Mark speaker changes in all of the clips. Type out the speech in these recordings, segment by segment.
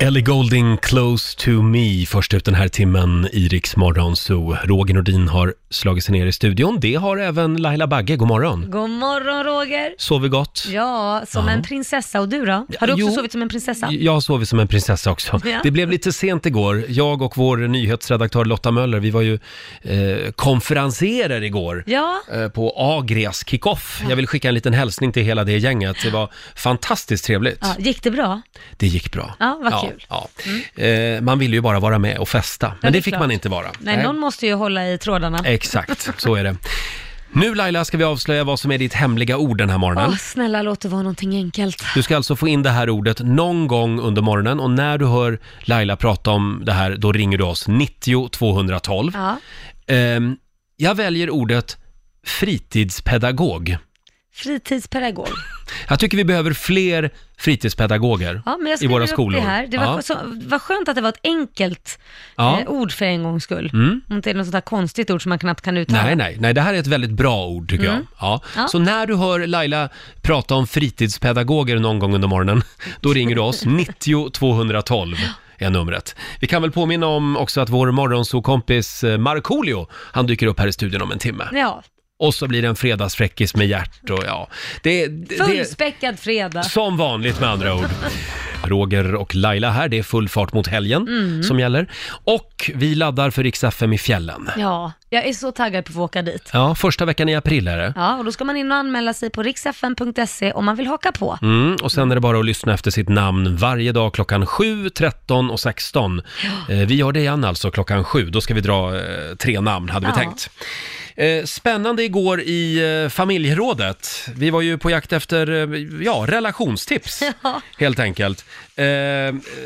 Speaker 1: Ellie Golding, Close to me, först ut den här timmen i Rix Morgon Zoo. Roger Nordin har slagit sig ner i studion. Det har även Laila Bagge. God morgon.
Speaker 2: God morgon Roger!
Speaker 1: Sover gott?
Speaker 2: Ja, som
Speaker 1: Ja.
Speaker 2: en prinsessa. Och du då? Har du också
Speaker 1: Jo.
Speaker 2: sovit som en prinsessa?
Speaker 1: Jag har sovit som en prinsessa också.
Speaker 2: Ja.
Speaker 1: Det blev lite sent igår. Jag och vår nyhetsredaktör Lotta Möller, vi var ju eh, konferenserer igår.
Speaker 2: Ja,
Speaker 1: eh, På Agrias kickoff. Jag vill skicka en liten hälsning till hela det gänget. Det var fantastiskt trevligt.
Speaker 2: ja. Gick det bra?
Speaker 1: Det gick bra.
Speaker 2: Ja, vad kul. Mm.
Speaker 1: Ja. Eh, man ville ju bara vara med och festa, men
Speaker 2: det
Speaker 1: det,
Speaker 2: är
Speaker 1: fick
Speaker 2: klart.
Speaker 1: man inte vara.
Speaker 2: Nej, någon måste ju hålla i trådarna.
Speaker 1: Exakt, så är det. Nu Laila ska vi avslöja vad som är ditt hemliga ord den här morgonen.
Speaker 2: Åh, snälla låt det vara någonting enkelt.
Speaker 1: Du ska alltså få in det här ordet någon gång under morgonen och när du hör Laila prata om det här, då ringer du oss 90 212.
Speaker 2: Ja.
Speaker 1: Ehm, jag väljer ordet fritidspedagog.
Speaker 2: Fritidspedagog.
Speaker 1: Jag tycker vi behöver fler fritidspedagoger
Speaker 2: Ja, men jag
Speaker 1: i
Speaker 2: skriver
Speaker 1: våra
Speaker 2: upp
Speaker 1: skolor.
Speaker 2: det här. Det var,
Speaker 1: ja.
Speaker 2: så, vad skönt att det var ett enkelt
Speaker 1: Ja.
Speaker 2: eh, ord för en gångs skull.
Speaker 1: Mm.
Speaker 2: Om det inte är något sånt här konstigt ord som man knappt kan uttala.
Speaker 1: Nej, nej, nej, det här är ett väldigt bra ord tycker jag. Ja.
Speaker 2: Ja.
Speaker 1: Så när du hör Laila prata om fritidspedagoger någon gång under morgonen, då ringer du oss. 90 212 är numret. Vi kan väl påminna om också att vår morgonsokompis eh, Markoolio, han dyker upp här i studion om en timme.
Speaker 2: Ja,
Speaker 1: Och så blir det en fredagsfräckis med hjärt och ja. Det, det, det,
Speaker 2: fullspäckad fredag.
Speaker 1: som vanligt med andra ord. Roger och Laila här, det är full fart mot helgen som gäller. Och vi laddar för Rix FM i fjällen.
Speaker 2: Ja, jag är så taggad på att få åka dit.
Speaker 1: Ja, första veckan i april är det.
Speaker 2: Ja, och då ska man in och anmäla sig på riksfn.se om man vill haka på.
Speaker 1: Mm, och sen är det bara att lyssna efter sitt namn varje dag klockan 7, 13 och 16. Eh, vi gör det igen alltså klockan 7. Då ska vi dra eh, tre namn hade vi
Speaker 2: Ja.
Speaker 1: tänkt. Eh, spännande igår i eh, familjerådet. Vi var ju på jakt efter eh, ja, relationstips
Speaker 2: Ja.
Speaker 1: helt enkelt. Eh,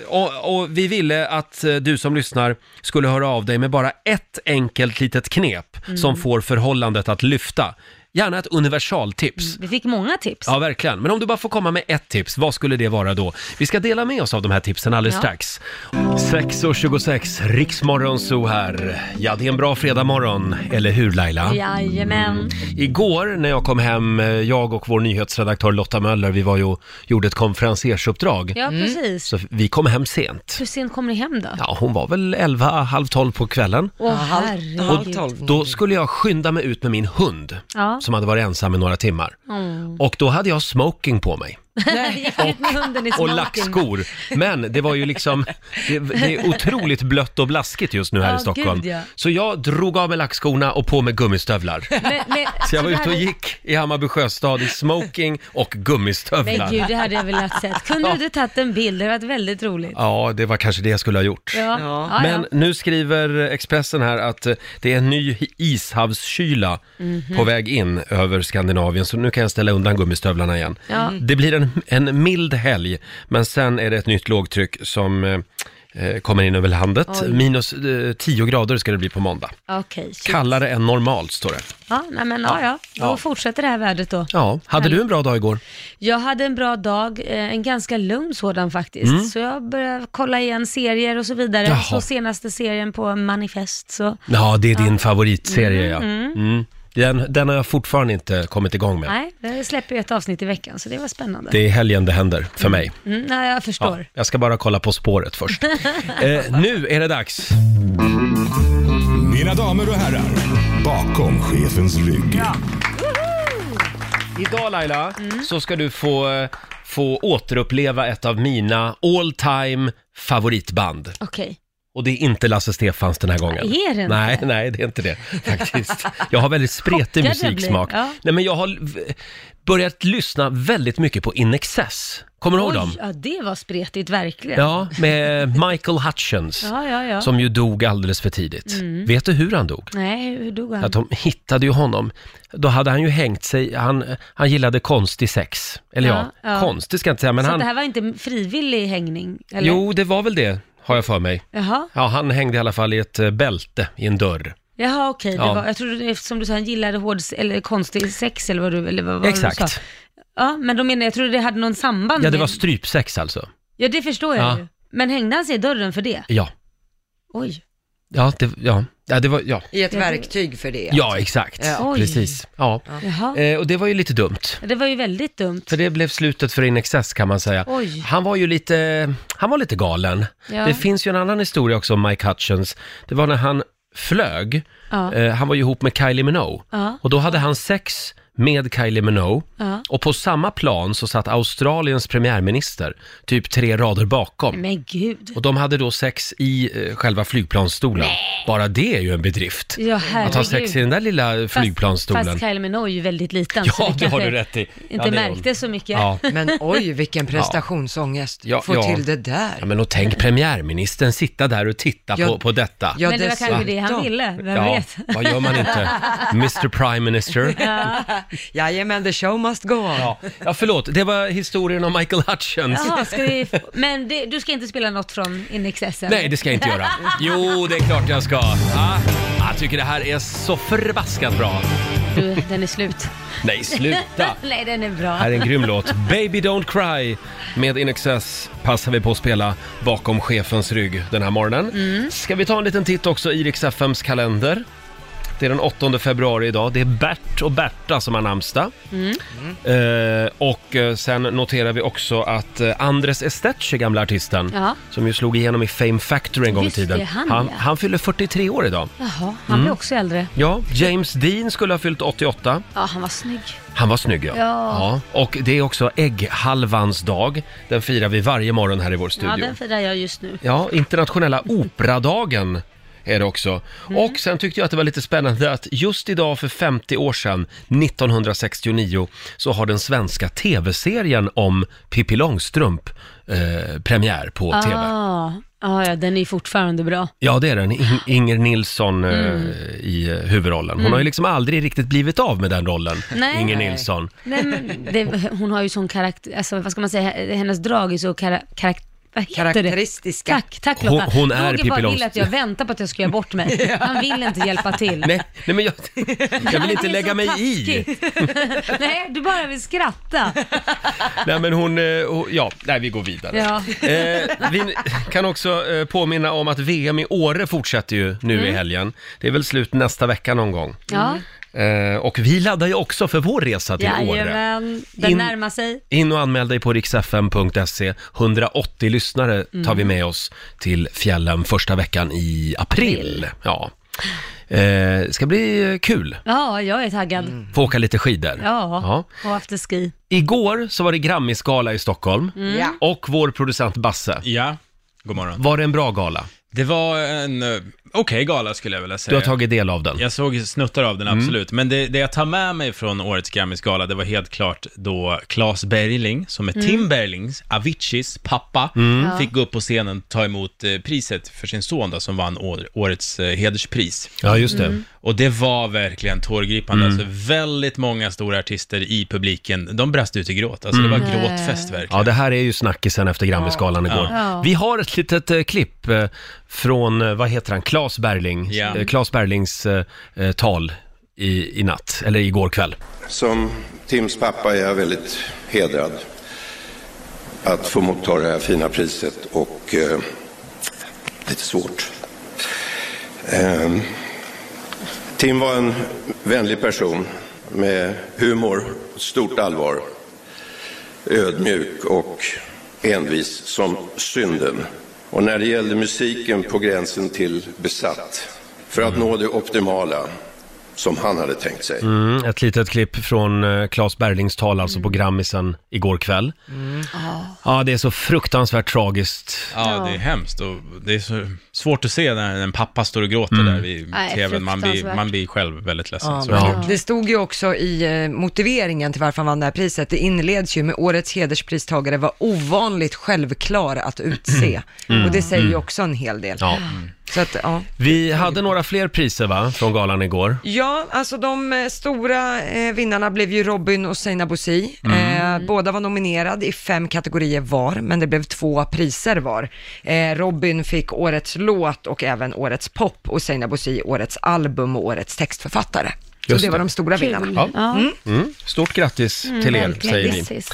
Speaker 1: och, och vi ville att eh, du som lyssnar skulle höra av dig med bara ett enkelt litet knep som
Speaker 2: Mm.
Speaker 1: får förhållandet att lyfta. Gärna ett universaltips.
Speaker 2: Vi fick många tips.
Speaker 1: Ja, verkligen. Men om du bara får komma med ett tips, vad skulle det vara då? Vi ska dela med oss av de här tipsen alldeles
Speaker 2: Ja.
Speaker 1: strax. 6.26, Riksmorgon så här. Ja, det är en bra fredagmorgon, eller hur Laila? Mm.
Speaker 2: Jajamän.
Speaker 1: Igår när jag kom hem, eh, jag och vår nyhetsredaktör Lotta Möller, vi var ju gjorde ett konferensersuppdrag.
Speaker 2: Ja, precis.
Speaker 1: Mm. Så vi kom hem sent.
Speaker 2: Hur sent kom ni hem då?
Speaker 1: Ja, hon var väl 11, halv 12 på kvällen.
Speaker 2: Åh,
Speaker 3: halv,
Speaker 2: herregud.
Speaker 3: halv tolv.
Speaker 1: Då skulle jag skynda mig ut med min hund,
Speaker 2: Mm. Ja.
Speaker 1: som hade varit ensam i några timmar.
Speaker 2: Mm.
Speaker 1: Och då hade jag smoking på mig.
Speaker 2: Vi gick ut med hunden i
Speaker 1: och
Speaker 2: smoking.
Speaker 1: lackskor. Men det var ju liksom, det, det är otroligt blött och blaskigt just nu här
Speaker 2: Ja,
Speaker 1: i Stockholm.
Speaker 2: gud, ja.
Speaker 1: Så jag drog av mig lackskorna och på med gummistövlar.
Speaker 2: Men, men,
Speaker 1: Så jag var
Speaker 2: det
Speaker 1: ute och
Speaker 2: hade-
Speaker 1: gick i Hammarby sjöstad i smoking och
Speaker 2: Men
Speaker 1: gummistövlar.
Speaker 2: gud, det hade jag velat sett. Kunde du tagit en bild? Det hade varit väldigt roligt.
Speaker 1: Ja, det var kanske det jag skulle ha gjort.
Speaker 2: Ja.
Speaker 3: Ja.
Speaker 2: Ja,
Speaker 1: Men
Speaker 2: ja.
Speaker 1: nu skriver Expressen här att eh, det är en ny ishavskyla
Speaker 2: Mhm.
Speaker 1: på väg in över Skandinavien, så nu kan jag ställa undan gummistövlarna igen.
Speaker 2: Ja.
Speaker 1: Det blir en, en mild helg, men sen är det ett nytt lågtryck som eh, eh, kommer in över landet. Minus eh, 10 grader ska det bli på måndag.
Speaker 2: Okej. shit.
Speaker 1: Kallare än normalt, står det.
Speaker 2: Ja, nej, men ja, ja. Då
Speaker 1: Ja.
Speaker 2: fortsätter det här vädret då.
Speaker 1: Ja, hade du en bra dag igår?
Speaker 2: Jag hade en bra dag, eh, en ganska lugn sådan faktiskt. Så jag började kolla igen serier och så vidare.
Speaker 1: Mm. Jaha.
Speaker 2: Så senaste serien på Manifest. Så.
Speaker 1: Ja, det är din favoritserie, ja. Mm. Den, den har jag fortfarande inte kommit igång med.
Speaker 2: Nej, det släpper ju ett avsnitt i veckan, så det var spännande.
Speaker 1: Det är i helgen det händer, för mig.
Speaker 2: Mm, nej, jag förstår.
Speaker 1: Jag ska bara kolla På spåret först. eh, nu är det dags.
Speaker 4: Mina damer och herrar, bakom chefens rygg.
Speaker 1: Idag Laila,
Speaker 2: Mm.
Speaker 1: så ska du få, eh, få återuppleva ett av mina all time favoritband.
Speaker 2: Okej.
Speaker 1: Och det är inte Lasse Stefans den här gången.
Speaker 2: Är det inte?
Speaker 1: Nej, nej, det är inte det faktiskt. Jag har väldigt spretig
Speaker 2: Chockad jag
Speaker 1: musiksmak.
Speaker 2: blev, ja.
Speaker 1: Nej, men jag har v- börjat lyssna väldigt mycket på In Excess. Kommer du ihåg dem?
Speaker 2: Oj, ja det var spretigt verkligen.
Speaker 1: Ja, med Michael Hutchins.
Speaker 2: ja, ja. ja. Mm.
Speaker 1: Som ju dog alldeles för tidigt. Vet du hur han dog?
Speaker 2: Nej, hur dog han?
Speaker 1: Att de hittade ju honom. Då hade han ju hängt sig, han, han gillade konstig sex. Eller ja,
Speaker 2: Ja, ja.
Speaker 1: konstig ska jag inte säga, men
Speaker 2: Så
Speaker 1: han...
Speaker 2: det här var inte frivillig hängning? Eller?
Speaker 1: Jo, det var väl det, har jag för mig.
Speaker 2: Jaha,
Speaker 1: Ja, han hängde i alla fall i ett eh, bälte i en dörr.
Speaker 2: Jaha okej.
Speaker 1: Ja.
Speaker 2: Det var, jag trodde, eftersom du sa han gillade hård, eller konstig sex eller vad du, eller vad, vad du
Speaker 1: Exakt.
Speaker 2: sa. Ja, men då menar jag, jag trodde det hade någon samband
Speaker 1: Ja, det var
Speaker 2: med...
Speaker 1: strypsex alltså.
Speaker 2: Ja, det förstår jag
Speaker 1: Ja.
Speaker 2: ju. Men hängde han sig i dörren för det?
Speaker 1: Ja.
Speaker 2: Oj.
Speaker 1: Ja, det, ja. Ja, det var, ja.
Speaker 3: I ett
Speaker 2: Ja, det-
Speaker 3: verktyg för det.
Speaker 1: ja, exakt.
Speaker 3: Ja.
Speaker 2: Oj.
Speaker 1: Precis. Ja.
Speaker 2: Jaha.
Speaker 1: Eh, och det var ju lite dumt.
Speaker 2: Det var ju väldigt dumt.
Speaker 1: För det blev slutet för In Excess kan man säga.
Speaker 2: Oj.
Speaker 1: Han var ju lite, han var lite galen.
Speaker 2: Ja.
Speaker 1: Det finns ju en annan historia också om Mike Hutchins. Det var när han flög,
Speaker 2: Ja.
Speaker 1: eh, han var ju ihop med Kylie Minogue.
Speaker 2: Ja.
Speaker 1: Och då hade han sex med Kylie Minogue.
Speaker 2: Ja.
Speaker 1: Och på samma plan så satt Australiens premiärminister, typ tre rader bakom.
Speaker 2: Men gud.
Speaker 1: Och de hade då sex i eh, själva flygplansstolen. Bara det är ju en bedrift.
Speaker 2: Ja,
Speaker 1: Att
Speaker 2: herregud.
Speaker 1: ha sex i den där lilla flygplansstolen.
Speaker 2: Fast, fast Kylie Minogue är ju väldigt liten. så
Speaker 1: ja,
Speaker 2: vi
Speaker 1: det har
Speaker 2: kanske
Speaker 1: du rätt i. Ja,
Speaker 2: Inte
Speaker 1: det är hon.
Speaker 2: märkte så mycket.
Speaker 1: Ja.
Speaker 3: Men oj, vilken prestationsångest.
Speaker 1: Ja,
Speaker 3: Få
Speaker 1: ja.
Speaker 3: till det där.
Speaker 1: Ja, men och tänk premiärministern sitta där och titta
Speaker 3: Ja,
Speaker 1: på, på detta.
Speaker 3: ja,
Speaker 2: Men det var kanske det han
Speaker 3: dessutom.
Speaker 2: ville, vem
Speaker 1: Ja,
Speaker 2: vet?
Speaker 1: vad gör man inte? Mr Prime Minister. Ja.
Speaker 3: Jajamän, the show must go on.
Speaker 1: Ja. förlåt. Det var historien om Michael Hutchins.
Speaker 2: Jaha, ska vi... Men det, du ska inte spela något från In Excess? eller?
Speaker 1: Nej, det ska jag inte göra. Jo, det är klart jag ska. Ja. Jag tycker det här är så förbaskat bra.
Speaker 2: Du, den är slut.
Speaker 1: Nej, sluta.
Speaker 2: Nej, den är bra.
Speaker 1: Här är en grym låt. Baby Don't Cry med In Excess passar vi på att spela bakom chefens rygg den här morgonen.
Speaker 2: Mm.
Speaker 1: Ska vi ta en liten titt också i Rix FMs kalender? Det är den 8 februari idag. Det är Bert och Berta som har namnsdag.
Speaker 2: Mm.
Speaker 1: Eh, och eh, sen noterar vi också att eh, Andres Estetche, gamla artisten,
Speaker 2: Ja.
Speaker 1: som ju slog igenom i Fame Factory en gång i
Speaker 2: Just det,
Speaker 1: tiden.
Speaker 2: han,
Speaker 1: han,
Speaker 2: ja.
Speaker 1: han fyller 43 år idag.
Speaker 2: Jaha, han
Speaker 1: Mm.
Speaker 2: blir också äldre.
Speaker 1: Ja, James Dean skulle ha fyllt 88.
Speaker 2: Ja, han var snygg.
Speaker 1: Han var snygg ja.
Speaker 2: Ja.
Speaker 1: Och det är också ägghalvans dag. Den firar vi varje morgon här i vår
Speaker 2: Ja,
Speaker 1: studio.
Speaker 2: den firar jag just nu.
Speaker 1: Ja, internationella operadagen är det också.
Speaker 2: Mm.
Speaker 1: Och sen tyckte jag att det var lite spännande att just idag för 50 år sedan, 1969, så har den svenska tv-serien om Pippi Långstrump eh, premiär på tv.
Speaker 2: Ah, ah, ja, den är ju fortfarande bra.
Speaker 1: Ja, det är den. In- Inger Nilsson eh,
Speaker 2: Mm.
Speaker 1: i eh, huvudrollen. Hon har ju liksom aldrig riktigt blivit av med den rollen,
Speaker 2: Nej.
Speaker 1: Inger
Speaker 3: Nej.
Speaker 1: Nilsson.
Speaker 2: Nej, men det, hon har ju sån karaktär, alltså vad ska man säga, hennes drag är så kara, karak, vad heter
Speaker 3: Karaktäristiska.
Speaker 2: Det? Tack, tack Lotta.
Speaker 1: Hon- hon är
Speaker 2: Roger
Speaker 1: Pippi
Speaker 2: bara vill
Speaker 1: Långstrump.
Speaker 2: att jag väntar på att jag ska göra bort mig. Han vill inte hjälpa till.
Speaker 1: Nej, nej men jag, jag vill
Speaker 2: Det är
Speaker 1: inte
Speaker 2: så
Speaker 1: lägga mig i.
Speaker 2: taskigt. Nej, du bara vill skratta.
Speaker 1: Nej men hon, eh, hon ja, nej vi går vidare.
Speaker 2: Ja.
Speaker 1: Eh, vi kan också eh, påminna om att VM i Åre fortsätter ju nu
Speaker 2: Mm.
Speaker 1: i helgen. Det är väl slut nästa vecka någon gång.
Speaker 2: Ja,
Speaker 1: Eh, och vi laddar ju också för vår resa till Åre.
Speaker 2: jajamän. Den
Speaker 1: In-
Speaker 2: närmar sig.
Speaker 1: In och anmäl dig på riksfm.se. 180 lyssnare tar
Speaker 2: Mm.
Speaker 1: vi med oss till fjällen första veckan i april. Ja. Eh, ska bli eh, kul.
Speaker 2: Ja, jag är taggad.
Speaker 1: Få åka lite skidor.
Speaker 2: Ja, och afterski.
Speaker 1: Igår så var det Grammisgala i Stockholm.
Speaker 2: Mm.
Speaker 3: Ja.
Speaker 1: Och vår producent Basse.
Speaker 5: Ja, god morgon.
Speaker 1: Var det en bra gala?
Speaker 5: Det var en eh, okej gala skulle jag vilja
Speaker 1: Du
Speaker 5: säga.
Speaker 1: har tagit Mm. del av den.
Speaker 5: Jag såg snuttar av den, absolut. Men det, det jag tar med mig från årets Grammisgala, det var helt klart då Claes Berling, som är Tim Berlings, Aviciis pappa,
Speaker 1: Mm.
Speaker 5: fick gå upp på scenen och ta emot eh, priset för sin son då, som vann år, årets eh, hederspris.
Speaker 1: Ja, just
Speaker 2: Mm.
Speaker 1: det. Mm.
Speaker 5: Och det var verkligen tårgripande. Alltså, väldigt många stora artister i publiken, de brast ut i gråt. Alltså, det
Speaker 1: Mm.
Speaker 5: var gråtfest verkligen.
Speaker 1: Ja, det här är ju snackisen efter Grammisgalan igår.
Speaker 2: Ja.
Speaker 1: Vi har ett litet eh, klipp eh, från, eh, vad heter han, Claes Berling,
Speaker 5: Ja.
Speaker 1: eh, Claes Berlings eh, eh, tal i, i natt, eller igår kväll.
Speaker 6: Som Tims pappa är jag väldigt hedrad att få motta det här fina priset och eh, lite svårt. Eh, Tim var en vänlig person med humor, stort allvar, ödmjuk och envis som synden. Och när det gällde musiken på gränsen till besatt för att nå det optimala som han hade tänkt sig.
Speaker 1: Mm, ett litet klipp från eh, Claes Berlings tal, alltså
Speaker 2: Mm.
Speaker 1: på Grammisen igår kväll. Ja, det är så fruktansvärt tragiskt.
Speaker 5: Ja, det är hemskt och det är så svårt att se när en pappa står och gråter
Speaker 1: Mm.
Speaker 5: där vid
Speaker 2: Nej,
Speaker 5: tvn. Man blir,
Speaker 2: fruktansvärt.
Speaker 5: man blir själv väldigt ledsen.
Speaker 3: Ja,
Speaker 5: så.
Speaker 3: men Det stod ju också i eh, motiveringen till varför han vann det här priset. Det inleds ju med årets hederspristagare var ovanligt självklar att utse. Och det säger ju också en hel del.
Speaker 1: Mm. Ja.
Speaker 3: Så att, ja.
Speaker 1: Vi hade några fler priser va, från galan igår.
Speaker 3: Ja, alltså de eh, stora eh, vinnarna blev ju Robin och Sina Bosi. Eh, båda var nominerade i fem kategorier var, men det blev två priser var. Eh, Robin fick årets låt och även årets pop och Sina Bosi årets album och årets textförfattare. Så
Speaker 1: Just
Speaker 3: det var
Speaker 1: det.
Speaker 3: de stora vinnarna.
Speaker 2: Kul.
Speaker 1: Ja.
Speaker 2: Ja.
Speaker 1: Mm. Stort grattis till er,
Speaker 2: Mm, verkligen.
Speaker 1: säger vi.
Speaker 2: Grattis.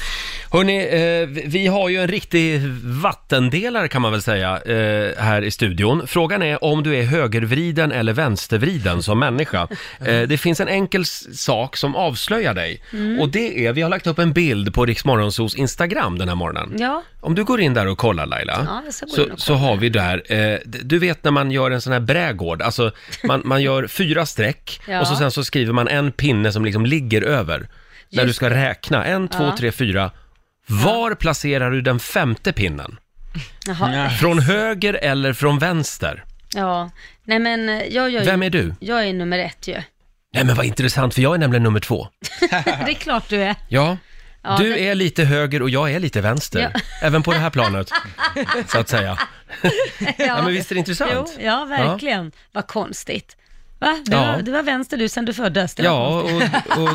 Speaker 1: Hörni, eh, vi- vi har ju en riktig vattendelare kan man väl säga eh, här i studion. Frågan är om du är högervriden eller vänstervriden som människa. Eh, det finns en enkel s- sak som avslöjar dig och det är, vi har lagt upp en bild på Riksmorgonsos Instagram den här morgonen.
Speaker 2: Ja.
Speaker 1: Om du går in där och kollar Laila,
Speaker 2: Ja, jag ska gå
Speaker 1: så,
Speaker 2: in och
Speaker 1: så har vi där, eh, d- du vet när man gör en sån här brädgård, alltså man, man gör fyra streck
Speaker 2: Ja.
Speaker 1: och så sen så skriver man en pinne som liksom ligger över. När
Speaker 2: Just
Speaker 1: du ska räkna, en, två,
Speaker 2: Ja.
Speaker 1: tre, fyra. Var placerar du den femte pinnen?
Speaker 2: Jaha.
Speaker 1: Från höger eller från vänster?
Speaker 2: Ja. Nej men eh, jag gör ju...
Speaker 1: Vem är du?
Speaker 2: Jag är nummer ett ju.
Speaker 1: Nej men vad intressant, för jag är nämligen nummer två.
Speaker 2: Det är klart du är.
Speaker 1: Ja.
Speaker 2: Ja,
Speaker 1: du
Speaker 2: det-
Speaker 1: är lite höger och jag är lite vänster.
Speaker 2: Ja.
Speaker 1: Även på det här planet, så att säga. Ja, men visst är det
Speaker 2: Jo,
Speaker 1: intressant?
Speaker 2: ja, verkligen. Vad konstigt. Va? Du,
Speaker 1: Ja.
Speaker 2: var, du var vänster du sen du föddes. Det var
Speaker 1: Ja,
Speaker 2: konstigt.
Speaker 1: och, och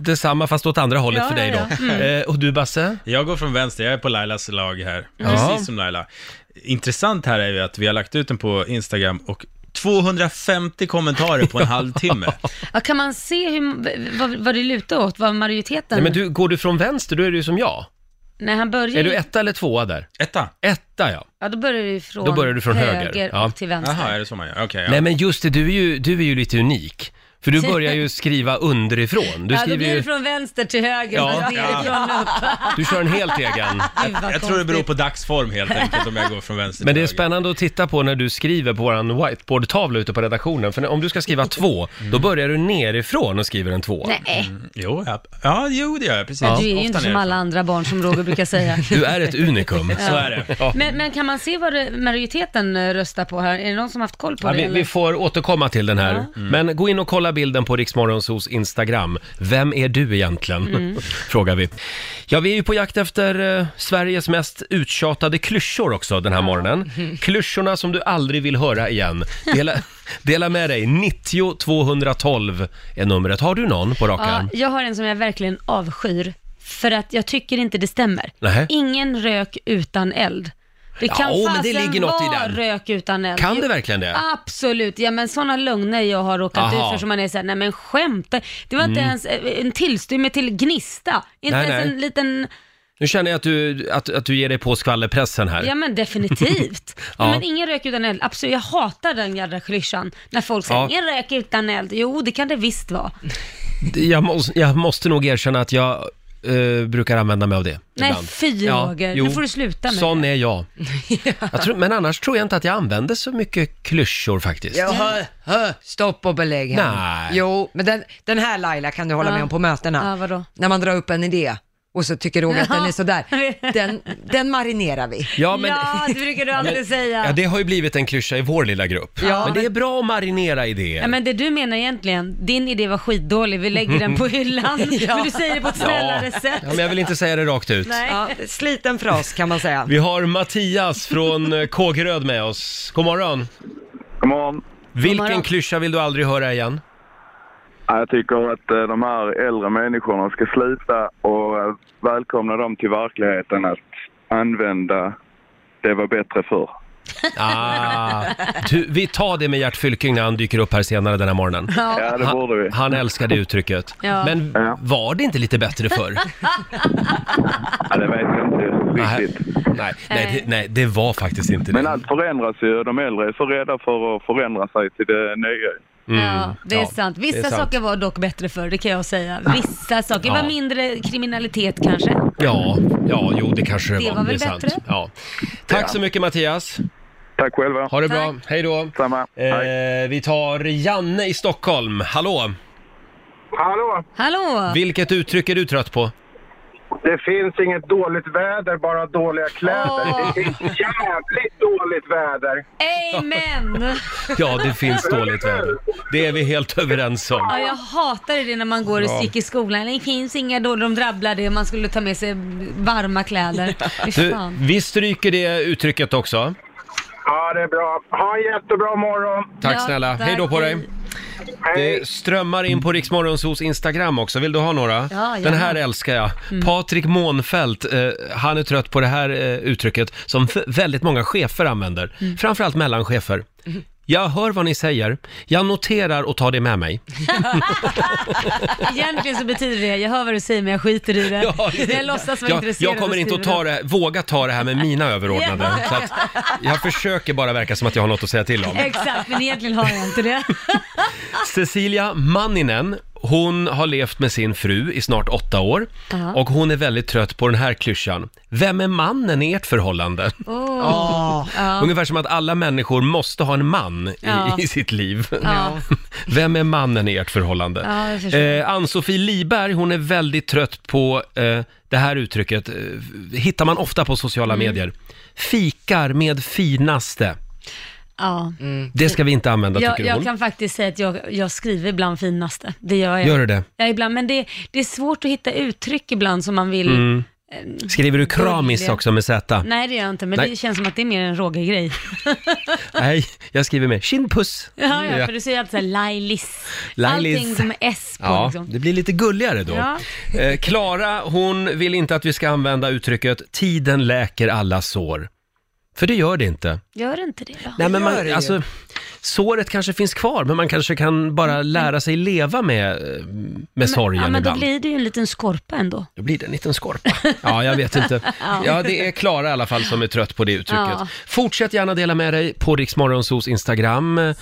Speaker 1: detsamma fast åt andra hållet
Speaker 2: Ja,
Speaker 1: för dig då.
Speaker 2: ja, Mm.
Speaker 1: Eh, och du Basse?
Speaker 5: Jag går från vänster, jag är på Lailas lag här.
Speaker 1: Ja.
Speaker 5: Precis som Laila. Intressant här är ju att vi har lagt ut den på Instagram och 250 kommentarer på en halvtimme.
Speaker 2: ja, kan man se hur, v- vad, vad det lutar åt? Vad majoriteten...
Speaker 1: Nej men du, går du från vänster då är du ju som jag.
Speaker 2: När han börjar...
Speaker 1: Är du etta eller tvåa där?
Speaker 5: Etta.
Speaker 1: Etta ja.
Speaker 2: Ja, då börjar du från,
Speaker 1: Då börjar du från höger. Ja.
Speaker 2: och till vänster.
Speaker 5: Jaha, är det så man gör? Okej,
Speaker 1: Nej men just det, du är ju, du är ju lite unik. För du börjar ju skriva underifrån. Du
Speaker 2: ja, då
Speaker 1: skriver
Speaker 2: blir
Speaker 1: ju,
Speaker 2: det från vänster till höger,
Speaker 1: Ja,
Speaker 2: men
Speaker 5: ja.
Speaker 2: nerifrån upp.
Speaker 1: du kör en helt egen.
Speaker 2: Gud, vad
Speaker 5: ja. Jag tror det beror
Speaker 2: konstigt.
Speaker 5: på dagsform helt enkelt om jag går från vänster
Speaker 1: Men
Speaker 5: till
Speaker 1: det är
Speaker 5: höger.
Speaker 1: spännande att titta på när du skriver på våran whiteboardtavla ute på redaktionen. För när- om du ska skriva två, då börjar du nerifrån och skriver en två.
Speaker 2: Nej,
Speaker 5: Jo, ja. ja, jo det gör jag. Precis.
Speaker 2: du är ju inte
Speaker 5: Mm. Ofta
Speaker 2: som
Speaker 5: nerifrån.
Speaker 2: alla andra barn som Roger brukar säga.
Speaker 1: Du är ett unikum.
Speaker 5: Så är det.
Speaker 1: Ja.
Speaker 2: Men, men kan man se vad det, majoriteten eh, röstar på här? Är det någon som haft koll på
Speaker 1: Ja,
Speaker 2: det?
Speaker 1: vi,
Speaker 2: eller?
Speaker 1: vi får återkomma till den här. Mm. Men gå in och kolla bilden på Riksmorgonsos Instagram. Vem är du egentligen?
Speaker 2: Mm.
Speaker 1: Frågar vi. Ja, vi är ju på jakt efter eh, Sveriges mest uttjatade klyschor också den här morgonen. Klyschorna som du aldrig vill höra igen. Dela, dela med dig. 90 212 är numret. Har du någon på rak
Speaker 2: Ja,
Speaker 1: arm?
Speaker 2: jag har en som jag verkligen avskyr, för att jag tycker inte det stämmer.
Speaker 1: Nähä.
Speaker 2: Ingen rök utan eld. Det
Speaker 1: Ja,
Speaker 2: kan
Speaker 1: åh, men
Speaker 2: fasen
Speaker 1: det ligger något i
Speaker 2: vara
Speaker 1: den.
Speaker 2: rök utan eld.
Speaker 1: Kan
Speaker 2: Jo,
Speaker 1: det verkligen det?
Speaker 2: Absolut, ja men sådana lögner jag har råkat
Speaker 1: Aha. Mm.
Speaker 2: ut för som man är såhär, nej men skämta. Det var inte ens eh, en tillstymme till gnista. Inte
Speaker 1: Nej,
Speaker 2: ens
Speaker 1: nej.
Speaker 2: en liten,
Speaker 1: Nu känner jag att du, att, att du ger dig på skvallerpressen här.
Speaker 2: ja men definitivt.
Speaker 1: Ja.
Speaker 2: ja. Men ingen rök utan eld, absolut. Jag hatar den jädra klyschan. När folk säger,
Speaker 1: Ja.
Speaker 2: ingen rök utan eld. Jo, det kan det visst vara.
Speaker 1: Jag, måste, jag måste nog erkänna att jag eh, brukar använda mig av det.
Speaker 2: Nej,
Speaker 1: ibland.
Speaker 2: fy Roger.
Speaker 1: jo.
Speaker 2: Nu får du sluta med
Speaker 1: Sån är jag. jag tror, men annars tror jag inte att jag använder så mycket klyschor faktiskt.
Speaker 3: Ja, hö, hö, stopp och belägg här.
Speaker 1: Nej.
Speaker 3: Jo, men den, den här Laila kan du hålla
Speaker 2: Ja.
Speaker 3: med om på mötena.
Speaker 2: Ja, vadå?
Speaker 3: När man drar upp en idé och så tycker Roger att den är sådär.
Speaker 2: Ja.
Speaker 3: Den, den marinerar vi.
Speaker 1: Ja,
Speaker 2: Ja,
Speaker 1: men,
Speaker 2: det brukar du alltid säga.
Speaker 1: ja, det har ju blivit en klyscha i vår lilla grupp.
Speaker 3: Ja,
Speaker 1: men det är bra att marinera idéer.
Speaker 2: Ja, men det du menar egentligen, din idé var skitdålig, vi lägger den på hyllan, men du säger det på ett snällare sätt.
Speaker 1: Ja, men jag vill inte säga det rakt ut.
Speaker 2: Nej.
Speaker 3: Ja, sliten fras kan man säga.
Speaker 1: Vi har Mattias från eh, Kågeröd med oss. God morgon.
Speaker 7: God morgon.
Speaker 1: Vilken
Speaker 2: God morgon.
Speaker 1: klyscha vill du aldrig höra igen?
Speaker 7: Ja, Jag tycker att eh, de här äldre människorna ska sluta och eh, välkomna dem till verkligheten att använda det var bättre förr.
Speaker 1: Ah, du, vi tar det med Gert Fylking när han dyker upp här senare den här morgonen.
Speaker 7: Ja, det borde vi.
Speaker 1: Han, han älskar det uttrycket.
Speaker 2: Ja.
Speaker 1: Men
Speaker 7: Ja.
Speaker 1: var det inte lite bättre förr?
Speaker 7: Ja, det vet jag inte
Speaker 1: Nej,
Speaker 7: riktigt.
Speaker 1: nej, nej,
Speaker 2: Eh.
Speaker 1: det, nej, det var faktiskt inte
Speaker 7: Men
Speaker 1: det.
Speaker 7: allt förändras ju. De äldre är så rädda för att förändra sig till det nya.
Speaker 2: Ja, det är
Speaker 1: Mm. Ja,
Speaker 2: sant.
Speaker 1: det
Speaker 2: Vissa
Speaker 1: är sant.
Speaker 2: saker var dock bättre förr, det kan jag säga. Vissa saker
Speaker 1: Ja.
Speaker 2: var mindre kriminalitet kanske.
Speaker 1: Ja, ja, jo det kanske det,
Speaker 2: Det
Speaker 1: var.
Speaker 2: var väl
Speaker 1: det är sant.
Speaker 2: bättre?
Speaker 1: Ja. Tack så mycket Mattias.
Speaker 7: Tack själva.
Speaker 1: Ha det
Speaker 2: Tack.
Speaker 1: bra. Hej då.
Speaker 7: Samma. Hej.
Speaker 1: Eh, vi tar Janne i Stockholm. Hallå!
Speaker 8: Hallå!
Speaker 2: Hallå!
Speaker 1: Vilket uttryck är du trött på?
Speaker 8: Det finns inget dåligt väder, bara dåliga kläder.
Speaker 2: Åh.
Speaker 8: Det är jävligt dåligt väder.
Speaker 2: Amen!
Speaker 1: Ja, det finns dåligt väder. Det är vi helt överens om.
Speaker 2: Ja, jag hatar det när man går och gick i skolan. Det finns inga då de drabblade man skulle ta med sig varma kläder. Fy
Speaker 1: Du,
Speaker 2: fan.
Speaker 1: vi stryker det uttrycket också.
Speaker 8: Ja, det är bra. Ha en jättebra morgon.
Speaker 1: Tack
Speaker 2: Ja,
Speaker 1: snälla.
Speaker 2: tack.
Speaker 1: Hej då på dig. Det strömmar in på Riksmorgonsos Instagram också. Vill du ha några?
Speaker 2: Ja,
Speaker 1: Den här
Speaker 2: gärna. Mm.
Speaker 1: älskar jag. Patrik Månfält, eh, han är
Speaker 2: Mm.
Speaker 1: trött på det här eh, uttrycket som f- väldigt många chefer använder. Framförallt mellanchefer. Jag hör vad ni säger. Jag noterar och tar det med mig.
Speaker 2: Egentligen så betyder det, jag hör vad du säger men jag skiter i det. jag låtsas vara
Speaker 1: jag,
Speaker 2: intresserad
Speaker 1: jag kommer
Speaker 2: och
Speaker 1: inte att
Speaker 2: skriver
Speaker 1: ta det, våga ta det här med mina överordnade.
Speaker 2: Ja.
Speaker 1: Så att jag försöker bara verka som att jag har något att säga till om.
Speaker 2: Exakt, men egentligen har jag inte det.
Speaker 1: Cecilia Manninen, hon har levt med sin fru i snart åtta år
Speaker 2: Ja.
Speaker 1: och hon är väldigt trött på den här klyschan. Vem är mannen i ert förhållande?
Speaker 2: Åh. Ja.
Speaker 1: Ungefär som att alla människor måste ha en man i,
Speaker 2: Ja.
Speaker 1: i sitt liv.
Speaker 2: Ja.
Speaker 1: Vem är mannen i ert förhållande?
Speaker 2: Ja, jag förstår.
Speaker 1: eh, Ann-Sofie Liberg, hon är väldigt trött på eh, det här uttrycket. Eh, hittar man ofta på sociala
Speaker 2: Mm.
Speaker 1: medier. Fikar med finaste.
Speaker 2: Ja.
Speaker 1: Det ska vi inte använda,
Speaker 2: Jag,
Speaker 1: tycker hon.
Speaker 2: jag kan faktiskt säga att jag, jag skriver ibland finaste. Det gör jag.
Speaker 1: Gör du det?
Speaker 2: Ja, ibland. Men det, det är svårt att hitta uttryck ibland som man vill...
Speaker 1: Mm. Skriver du kramis
Speaker 2: Gulliga.
Speaker 1: också med Z?
Speaker 2: Nej, det gör jag inte, men
Speaker 1: Nej.
Speaker 2: det känns som att det är mer en Roger-grej.
Speaker 1: Nej, jag skriver med kindpuss.
Speaker 2: Ja,
Speaker 1: Ja.
Speaker 2: ja, för du säger alltid såhär Lailis.
Speaker 1: Lailis.
Speaker 2: Allting som är S på
Speaker 1: Ja,
Speaker 2: liksom.
Speaker 1: det blir lite gulligare då.
Speaker 2: Ja.
Speaker 1: Eh, Klara, hon vill inte att vi ska använda uttrycket “tiden läker alla sår”. För det gör det inte.
Speaker 2: Gör inte det då?
Speaker 1: Nej, men
Speaker 3: gör det
Speaker 1: man,
Speaker 3: ju.
Speaker 1: alltså, såret kanske finns kvar, men man kanske kan bara lära sig leva med, eh, med sorgen
Speaker 2: ja, Mm. men då
Speaker 1: ibland.
Speaker 2: blir det ju en liten skorpa ändå.
Speaker 1: Då blir det en liten skorpa. Ja, jag vet inte. Ja, det är Klara i alla fall som är trött på det uttrycket.
Speaker 2: Ja.
Speaker 1: Fortsätt gärna dela med dig på Riksmorgonsos Instagram.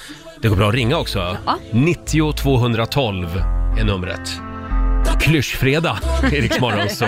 Speaker 1: Det går bra att ringa också.
Speaker 2: Ja.
Speaker 1: 90 212 är numret. Klyschfredag i Riksmorgonso.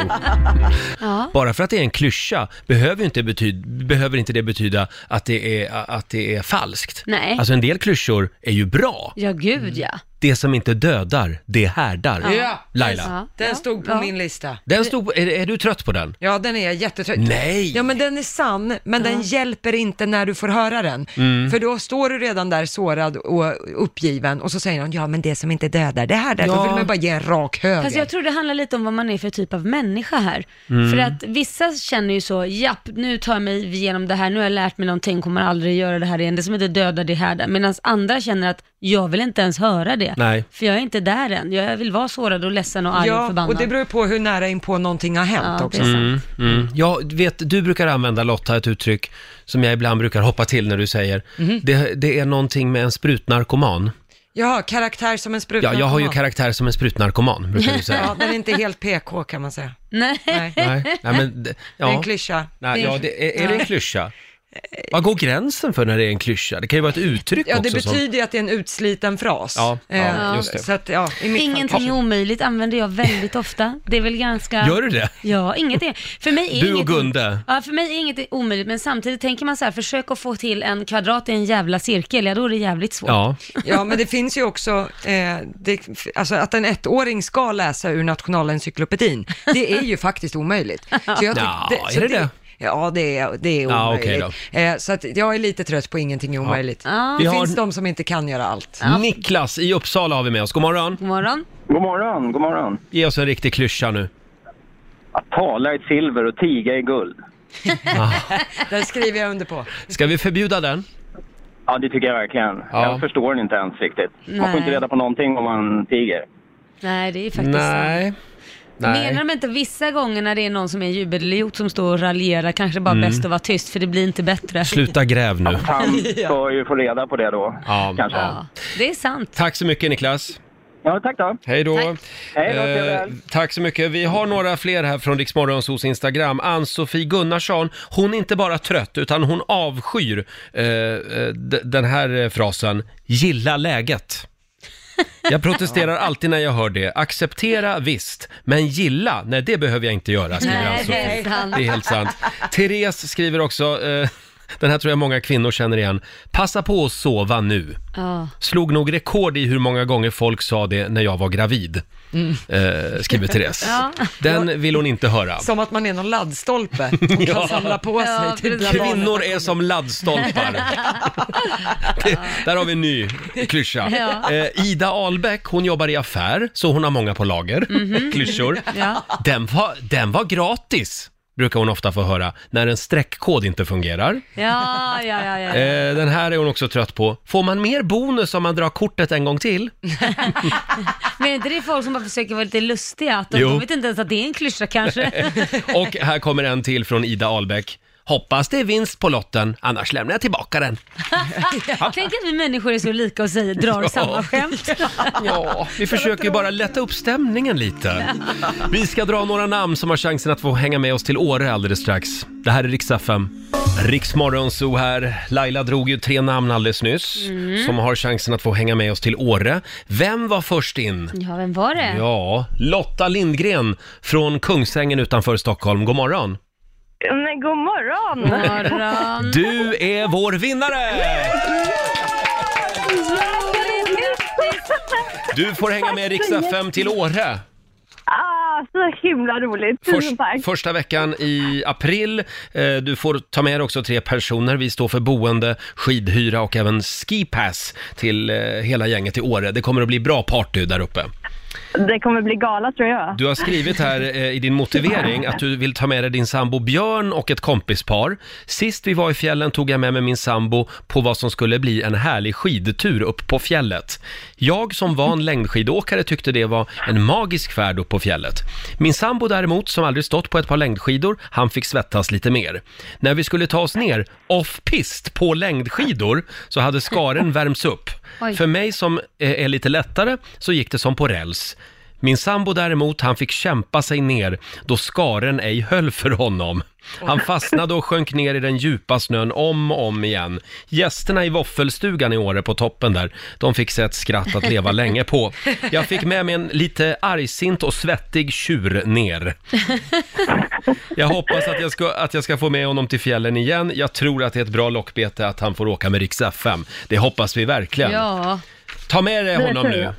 Speaker 1: Bara för att det är en klyscha behöver ju inte, betyd- behöver inte det betyda att det, är, att det är falskt.
Speaker 2: Nej.
Speaker 1: Alltså en del klyschor är ju bra.
Speaker 2: Ja, gud ja.
Speaker 1: Det som inte dödar, det härdar.
Speaker 3: Ja.
Speaker 1: Laila,
Speaker 2: Ja.
Speaker 3: Den stod på
Speaker 2: ja.
Speaker 3: min lista.
Speaker 1: den stod, på- är, är du trött på den?
Speaker 3: Ja, den är jag jättetrött.
Speaker 1: Nej!
Speaker 3: Typ. Ja, men den är sann, men den hjälper inte när du får höra den.
Speaker 1: Mm.
Speaker 3: För då står du redan där sårad och uppgiven och så säger någon, ja men det som inte dödar, det här där, då
Speaker 1: Ja.
Speaker 3: vill man bara ge en rak höger.
Speaker 2: Fast jag tror det handlar lite om vad man är för typ av människa här.
Speaker 1: Mm.
Speaker 2: För att vissa känner ju så, japp, nu tar jag mig igenom det här, nu har jag lärt mig någonting, kommer aldrig göra det här igen, det som inte dödar det här där. Medan andra känner att, jag vill inte ens höra det.
Speaker 1: Nej.
Speaker 2: För jag är inte där än, jag vill vara sårad och ledsen och arg och
Speaker 3: ja,
Speaker 2: förbannad.
Speaker 3: och det beror ju på hur nära in på någonting har hänt
Speaker 2: ja,
Speaker 3: också.
Speaker 2: det är sant.
Speaker 1: Mm. Ja, vet, du brukar använda Lotta ett uttryck som jag ibland brukar hoppa till när du säger.
Speaker 3: Mhm.
Speaker 1: Det, det är någonting med en sprutnarkoman.
Speaker 3: Ja, karaktär som en spruta.
Speaker 1: Ja, jag har ju karaktär som en sprutnarkoman, brukar du
Speaker 3: Ja,
Speaker 1: säga.
Speaker 3: den är inte helt PK kan man säga.
Speaker 2: Nej.
Speaker 3: Nej, det
Speaker 1: Nej, nej, men, d-
Speaker 3: är
Speaker 1: ja.
Speaker 3: en klyscha.
Speaker 1: Nej, ja, det, är, är det en klyscha? Vad går gränsen för när det är en klyscha? Det kan ju vara ett uttryck
Speaker 3: Ja, det
Speaker 1: också. som-
Speaker 3: betyder ju att det är en utsliten fras.
Speaker 1: Ja, ja,
Speaker 3: Eh,
Speaker 1: just det.
Speaker 3: Så att, ja, i mitt
Speaker 2: Ingenting är omöjligt använder jag väldigt ofta. Det är väl ganska...
Speaker 1: Gör du det?
Speaker 2: Ja, inget är... För mig är
Speaker 1: Du och
Speaker 2: inget...
Speaker 1: Gunde.
Speaker 2: Ja, för mig är inget omöjligt, men samtidigt tänker man så här, försök att få till en kvadrat i en jävla cirkel, ja då är det jävligt svårt.
Speaker 1: Ja,
Speaker 3: Ja, men det finns ju också, eh, det, alltså att en ettåring ska läsa ur Nationalencyklopedin, det är ju faktiskt omöjligt. Så jag tyck-
Speaker 1: Ja, är
Speaker 3: så
Speaker 1: det det?
Speaker 3: Ja, det är, det är
Speaker 1: Ja,
Speaker 3: omöjligt.
Speaker 1: okej
Speaker 3: eh, så att jag är lite trött på ingenting är omöjligt.
Speaker 2: Ja.
Speaker 1: Vi
Speaker 3: Det
Speaker 1: har-
Speaker 3: finns de som inte kan göra allt.
Speaker 1: Niklas i Uppsala har vi med oss. God morgon.
Speaker 2: God morgon.
Speaker 8: God morgon, god morgon.
Speaker 1: Ge oss en riktig klyscha nu.
Speaker 8: Att tala är silver och tiga är guld.
Speaker 3: Där skriver jag under på.
Speaker 1: Ska vi förbjuda den?
Speaker 8: Ja, det tycker jag verkligen.
Speaker 1: Ja.
Speaker 8: Jag förstår den inte ens riktigt. Man
Speaker 2: Nej.
Speaker 8: får inte reda på någonting om man tiger.
Speaker 2: Nej, det är faktiskt sant.
Speaker 1: Nej.
Speaker 2: Menar de inte vissa gånger när det är någon som är en jubelidiot som står och raljerar, kanske det bara är
Speaker 1: Mm.
Speaker 2: bäst att vara tyst för det blir inte bättre.
Speaker 1: Sluta gräv nu.
Speaker 8: Han ska ju få reda på det då,
Speaker 1: Ja.
Speaker 8: kanske.
Speaker 2: Ja, det är sant.
Speaker 1: Tack så mycket Niklas.
Speaker 8: Ja, tack då.
Speaker 1: Hej då.
Speaker 2: Tack.
Speaker 8: Hej då, trevlig
Speaker 1: eh,
Speaker 8: helg.
Speaker 1: tack så mycket. Vi har några fler här från Riksmorgonsos Instagram. Ann-Sofie Gunnarsson, hon är inte bara trött utan hon avskyr eh, eh, d- den här eh, frasen, gilla läget. Jag protesterar alltid när jag hör det. Acceptera visst, men gilla, nej det alltså- behöver jag inte göra, skriver
Speaker 2: Nej, det
Speaker 1: Ann-Sofie.
Speaker 2: är sant.
Speaker 1: Det är helt sant. Therese skriver också, eh, den här tror jag många kvinnor känner igen, passa på att sova nu
Speaker 2: Ja.
Speaker 1: slog nog rekord i hur många gånger folk sa det när jag var gravid. Eh, skriver Therese.
Speaker 2: Mm. Ja.
Speaker 1: Den vill hon inte höra.
Speaker 3: Som att man är någon laddstolpe och kan samla på sig
Speaker 2: Ja,
Speaker 3: till
Speaker 2: precis.
Speaker 3: barnet.
Speaker 1: Kvinnor är som laddstolpar. Det, där har vi en ny klyscha.
Speaker 2: Ja.
Speaker 1: Eh, Ida Ahlbeck, hon jobbar i affär, så hon har många på lager.
Speaker 2: Mhm.
Speaker 1: Klyschor.
Speaker 2: Ja.
Speaker 1: Den var, den var gratis, brukar hon ofta få höra, när en streckkod inte fungerar.
Speaker 2: Ja, ja, ja, ja.
Speaker 1: Eh, den här är hon också trött på. Får man mer bonus om man drar kortet en gång till?
Speaker 2: Men är inte det folk som bara försöker vara lite lustiga? Att de,
Speaker 1: Jo.
Speaker 2: de vet inte ens att det är en klyscha kanske.
Speaker 1: Och här kommer en till från Ida Ahlbeck. Hoppas det är vinst på lotten, annars lämnar jag tillbaka den.
Speaker 2: Tänk att vi människor är så lika och säger, drar
Speaker 1: Ja.
Speaker 2: samma skämt.
Speaker 1: Ja, vi försöker ju bara lätta upp stämningen lite. Vi ska dra några namn som har chansen att få hänga med oss till Åre alldeles strax. Det här är riksdag 5. Riksmorgonzoo här. Laila drog ju tre namn alldeles nyss som har chansen att få hänga med oss till Åre. Vem var först in?
Speaker 2: Ja, vem var det?
Speaker 1: Ja, Lotta Lindgren från Kungsängen utanför Stockholm. God morgon!
Speaker 9: Men god morgon!
Speaker 1: Mm.
Speaker 2: Morgon.
Speaker 1: Du är vår vinnare! Du får hänga med riksdag 5 till Åre.
Speaker 9: Ah, så himla roligt. Tusen tack.
Speaker 1: Först, första veckan i april. Eh, Du får ta med dig också tre personer. Vi står för boende, skidhyra och även skipass till eh, hela gänget i Åre. Det kommer att bli bra party där uppe.
Speaker 9: Det kommer bli gala tror jag.
Speaker 1: Du har skrivit här eh, i din motivering att du vill ta med dig din sambo Björn och ett kompispar. Sist vi var i fjällen tog jag med mig min sambo på vad som skulle bli en härlig skidtur upp på fjället. Jag som van längdskidåkare tyckte det var en magisk färd upp på fjället. Min sambo däremot, som aldrig stått på ett par längdskidor, han fick svettas lite mer. När vi skulle ta oss ner off-pist på längdskidor så hade skaren värmts upp.
Speaker 2: Oj.
Speaker 1: För mig som eh, är lite lättare så gick det som på räls. Min sambo däremot, han fick kämpa sig ner då skaren ej höll för honom. Han fastnade och sjönk ner i den djupa snön om och om igen. Gästerna i våffelstugan i Åre på toppen där, de fick se ett skratt att leva länge på. Jag fick med mig en lite argsint och svettig tjur ner. Jag hoppas att jag, ska, att jag ska få med honom till fjällen igen. Jag tror att det är ett bra lockbete att han får åka med Rix FM. Det hoppas vi verkligen.
Speaker 2: Ja,
Speaker 1: Ta med dig honom
Speaker 9: tror
Speaker 1: nu.
Speaker 9: jag.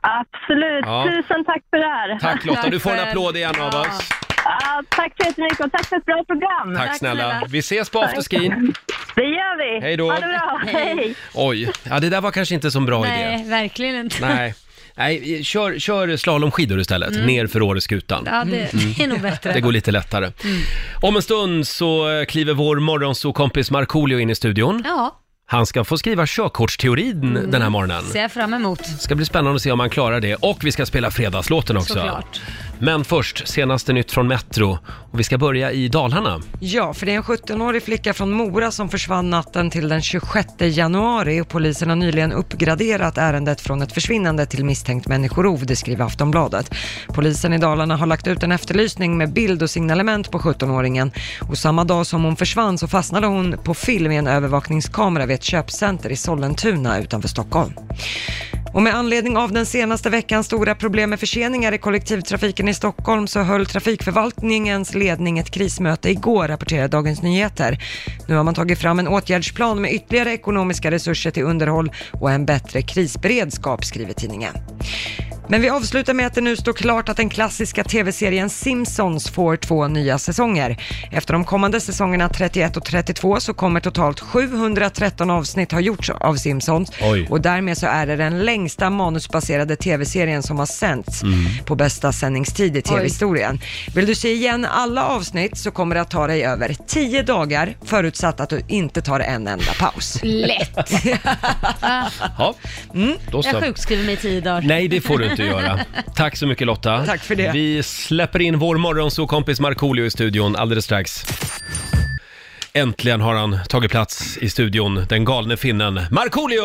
Speaker 9: Absolut.
Speaker 1: Ja.
Speaker 9: Tusen tack för det här.
Speaker 1: Tack Lotta,
Speaker 2: Tack
Speaker 1: du får en
Speaker 2: själv.
Speaker 1: applåd igen av
Speaker 2: Ja.
Speaker 1: oss.
Speaker 9: Ah, tack så jättemycket och tack för ett bra program.
Speaker 1: Tack snälla.
Speaker 2: snälla.
Speaker 1: Vi ses på afterskin.
Speaker 9: Det gör vi.
Speaker 1: Hej då.
Speaker 9: Ha det bra. Hej.
Speaker 1: Oj, ja det där var kanske inte så en bra idé.
Speaker 2: nej, verkligen inte.
Speaker 1: Nej. Nej, kör, kör slalomskidor istället,
Speaker 2: Mm.
Speaker 1: ner för Åreskutan.
Speaker 2: Ja, det, det är nog bättre.
Speaker 1: Mm. Det går lite lättare.
Speaker 2: Mm.
Speaker 1: Om en stund så eh, kliver vår morgonsåkompis Markoolio in i studion.
Speaker 2: Ja,
Speaker 1: Han ska få skriva körkortsteorin den här morgonen.
Speaker 2: ser jag fram emot.
Speaker 1: ska bli spännande att se om han klarar det. Och vi ska spela fredagslåten också.
Speaker 2: Såklart.
Speaker 1: Men först, senaste nytt från Metro. Och vi ska börja i Dalarna.
Speaker 3: Ja, för det är en 17-årig flicka från Mora som försvann natten till den 26 januari och polisen har nyligen uppgraderat ärendet från ett försvinnande till misstänkt människorov, det skriver Aftonbladet. Polisen i Dalarna har lagt ut en efterlysning med bild och signalement på 17-åringen och samma dag som hon försvann så fastnade hon på film i en övervakningskamera vid ett köpcenter i Sollentuna utanför Stockholm. Och med anledning av den senaste veckans stora problem med förseningar i kollektivtrafiken i Stockholm så höll trafikförvaltningens ledning ett krismöte igår, rapporterar Dagens Nyheter. Nu har man tagit fram en åtgärdsplan med ytterligare ekonomiska resurser till underhåll och en bättre krisberedskap, skriver tidningen. Men vi avslutar med att det nu står klart att den klassiska tv-serien Simpsons får två nya säsonger. Efter de kommande säsongerna 31 och 32 så kommer totalt 713 avsnitt ha gjorts av Simpsons
Speaker 1: Oj.
Speaker 3: och därmed så är det den längsta manusbaserade tv-serien som har sänts
Speaker 1: Mm.
Speaker 3: på bästa sändningstid i tv-historien. Vill du se igen alla avsnitt så kommer det att ta dig över 10 dagar förutsatt att du inte tar en enda paus.
Speaker 2: Lätt.
Speaker 1: Ja, då
Speaker 2: Mm. Jag
Speaker 1: så.
Speaker 2: sjukskriver mig i tio dagar.
Speaker 1: Nej, det får du inte göra. Tack så mycket Lotta.
Speaker 3: Tack för det.
Speaker 1: Vi släpper in vår morgonsåkompis Markoolio i studion alldeles strax. Äntligen har han tagit plats i studion, den galne finnen Markoolio!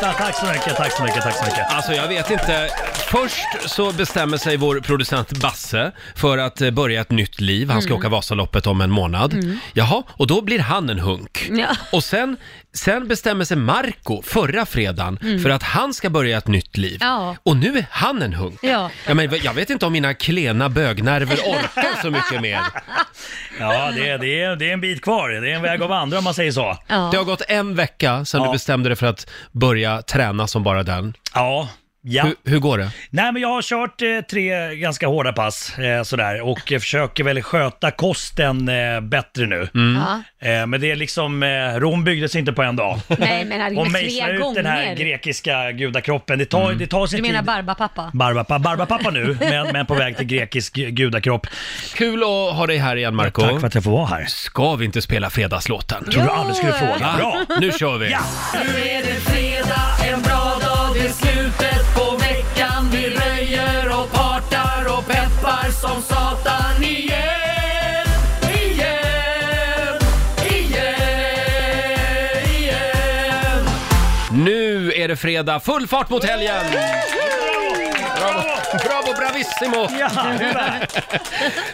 Speaker 10: Tack så mycket, tack så mycket, tack så mycket.
Speaker 1: Alltså jag vet inte. Först så bestämmer sig vår producent Basse för att eh, börja ett nytt liv. Han ska
Speaker 2: Mm.
Speaker 1: åka Vasaloppet om en månad. Jaha, och då blir han en hunk.
Speaker 2: Ja.
Speaker 1: Och sen, sen bestämmer sig Marco förra fredagen för att han ska börja ett nytt liv.
Speaker 2: Mm. Ja.
Speaker 1: Och nu är han en hunk.
Speaker 2: Ja.
Speaker 1: men, jag vet inte om mina klena bögnerver orkar så mycket mer.
Speaker 10: Ja, det, är- det, är, det är en bit kvar. Det är en väg att vandra om man säger så.
Speaker 1: Det
Speaker 2: Ja.
Speaker 1: har gått en vecka sedan du
Speaker 10: Ja.
Speaker 1: bestämde dig för att börja träna som bara den.
Speaker 10: Ja. Ja.
Speaker 1: Hur, hur går det?
Speaker 10: Nej, men jag har kört eh, tre ganska hårda pass eh, sådär och eh, försöker väl sköta kosten eh, bättre nu.
Speaker 1: Mm.
Speaker 2: Ja.
Speaker 10: Eh, men det är liksom, eh, Rom byggdes inte på en dag.
Speaker 2: Nej, men herregud,
Speaker 10: Och
Speaker 2: flera
Speaker 10: mejsla ut
Speaker 2: gånger.
Speaker 10: den här grekiska gudakroppen, det
Speaker 1: Mm.
Speaker 10: tar, det tar sin
Speaker 2: du menar
Speaker 10: tid.
Speaker 2: Barbapapa?
Speaker 10: Barbapapa, Barbapapa nu, men, men på väg till grekisk gu- gudakropp.
Speaker 1: Kul att ha dig här igen Marco.
Speaker 10: Tack för att jag får vara här.
Speaker 1: Ska vi inte spela fredagslåten?
Speaker 10: Tror du aldrig skulle fråga.
Speaker 1: Va?
Speaker 10: Bra!
Speaker 1: Nu kör vi!
Speaker 10: Ja!
Speaker 11: och partar och peppar som satan igen, igen
Speaker 1: Nu är det fredag, full fart mot helgen! Bravo, bravo bravissimo!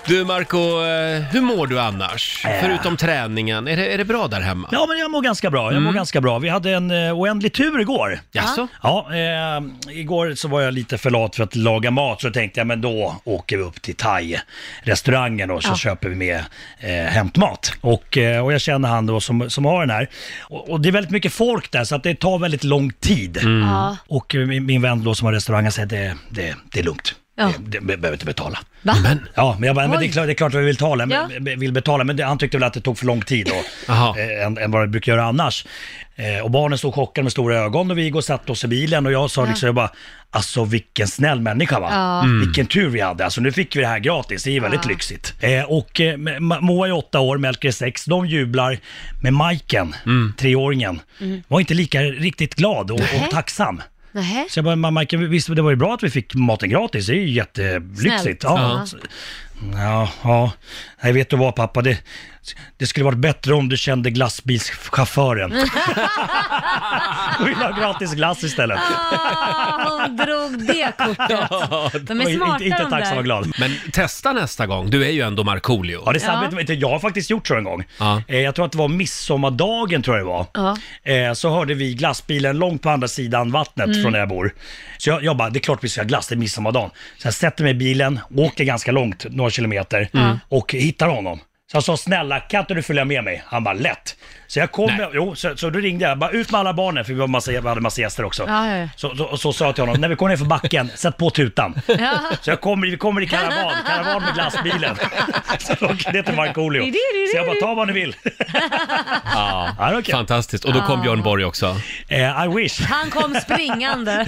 Speaker 1: Du Marco, eh, hur mår du annars? Förutom träningen, är det, är det bra där hemma?
Speaker 10: Ja, men jag mår ganska bra. Jag mår
Speaker 1: Mm.
Speaker 10: ganska bra. Vi hade en eh, oändlig tur igår.
Speaker 1: Jaså?
Speaker 10: Ja, eh, igår så var jag lite för lat för att laga mat, så tänkte jag men då åker vi upp till thai-restaurangen och så
Speaker 11: Ja.
Speaker 10: köper vi med eh, hämtmat. Och, eh, och jag känner han då som, som har den här. Och, och det är väldigt mycket folk där, så att det tar väldigt lång tid.
Speaker 11: Mm. Ja.
Speaker 10: Och eh, min, min vän då som har restaurangen säger att det, det, det är lugnt.
Speaker 11: Ja.
Speaker 10: Det, det behöver inte betala.
Speaker 2: Va?
Speaker 10: Men, ja, men jag bara, men det, är
Speaker 11: Oj.
Speaker 10: klart, det är klart att vi vill, tala, men,
Speaker 11: Ja.
Speaker 10: be- vill betala, men det, han tyckte väl att det tog för lång tid då, eh, än, än vad det brukar göra annars. Eh, och barnen stod chockade med stora ögon och vi gick och satte oss i bilen och jag sa
Speaker 11: Ja.
Speaker 10: liksom, jag bara, alltså vilken snäll människa va?
Speaker 11: Ja. Mm.
Speaker 10: Vilken tur vi hade, alltså nu fick vi det här gratis, det är ju väldigt
Speaker 11: Ja.
Speaker 10: lyxigt. Eh, och eh, Ma- Ma- Moa är åtta år, Melker är sex, de jublar med Majken, treåringen,
Speaker 11: Mm.
Speaker 10: var inte lika riktigt glad och,
Speaker 11: Nähä.
Speaker 10: och tacksam.
Speaker 2: Nähä?
Speaker 10: Så jag bara, mamma, kan vi- visst det var ju bra att vi fick maten gratis, det är ju jättelyxigt.
Speaker 11: Snällt.
Speaker 10: Ja.
Speaker 11: Ja.
Speaker 10: Ja, ja. Nej, vet du vad pappa, det, det skulle varit bättre om du kände glassbilschauffören. Vill ha gratis glass istället.
Speaker 2: Ah, hon drog det kortet. De är
Speaker 10: Oj,
Speaker 2: smarta
Speaker 10: inte, inte
Speaker 2: de
Speaker 10: tacksam
Speaker 2: där.
Speaker 10: och glad.
Speaker 1: Men testa nästa gång, du är ju ändå Markoolio.
Speaker 10: Ja, det är
Speaker 2: Ja.
Speaker 10: sant. Vet du, Jag har faktiskt gjort så en gång.
Speaker 1: Ja.
Speaker 10: Eh, Jag tror att det var midsommardagen, tror jag det var.
Speaker 2: Ja.
Speaker 10: Eh, så hörde vi glassbilen långt på andra sidan vattnet
Speaker 11: Mm.
Speaker 10: från där jag bor. Så jag, jag bara, det är klart vi ska ha glass, det är midsommardagen. Så jag sätter mig i bilen, åker ganska långt, några kilometer,
Speaker 11: Mm.
Speaker 10: och hittar honom. Så jag sa snälla kan inte du följa med mig? Han bara lätt. Så jag kom, med, jo, så, så då ringde jag, bara ut med alla barnen för vi, var massa, vi hade massa gäster också.
Speaker 11: Ja, ja, ja.
Speaker 10: Så, så, så sa jag till honom, när vi kommer ner för backen, sätt på tutan.
Speaker 11: Ja.
Speaker 10: Så jag kommer, vi kommer i karavan, karavan med glassbilen. Så jag åker ner till Markoolio. Så jag bara, ta vad ni vill.
Speaker 1: Ja,
Speaker 10: okej.
Speaker 1: Fantastiskt, och då kom
Speaker 2: Ja.
Speaker 1: Björn Borg också.
Speaker 10: Eh, I wish.
Speaker 2: Han kom springande.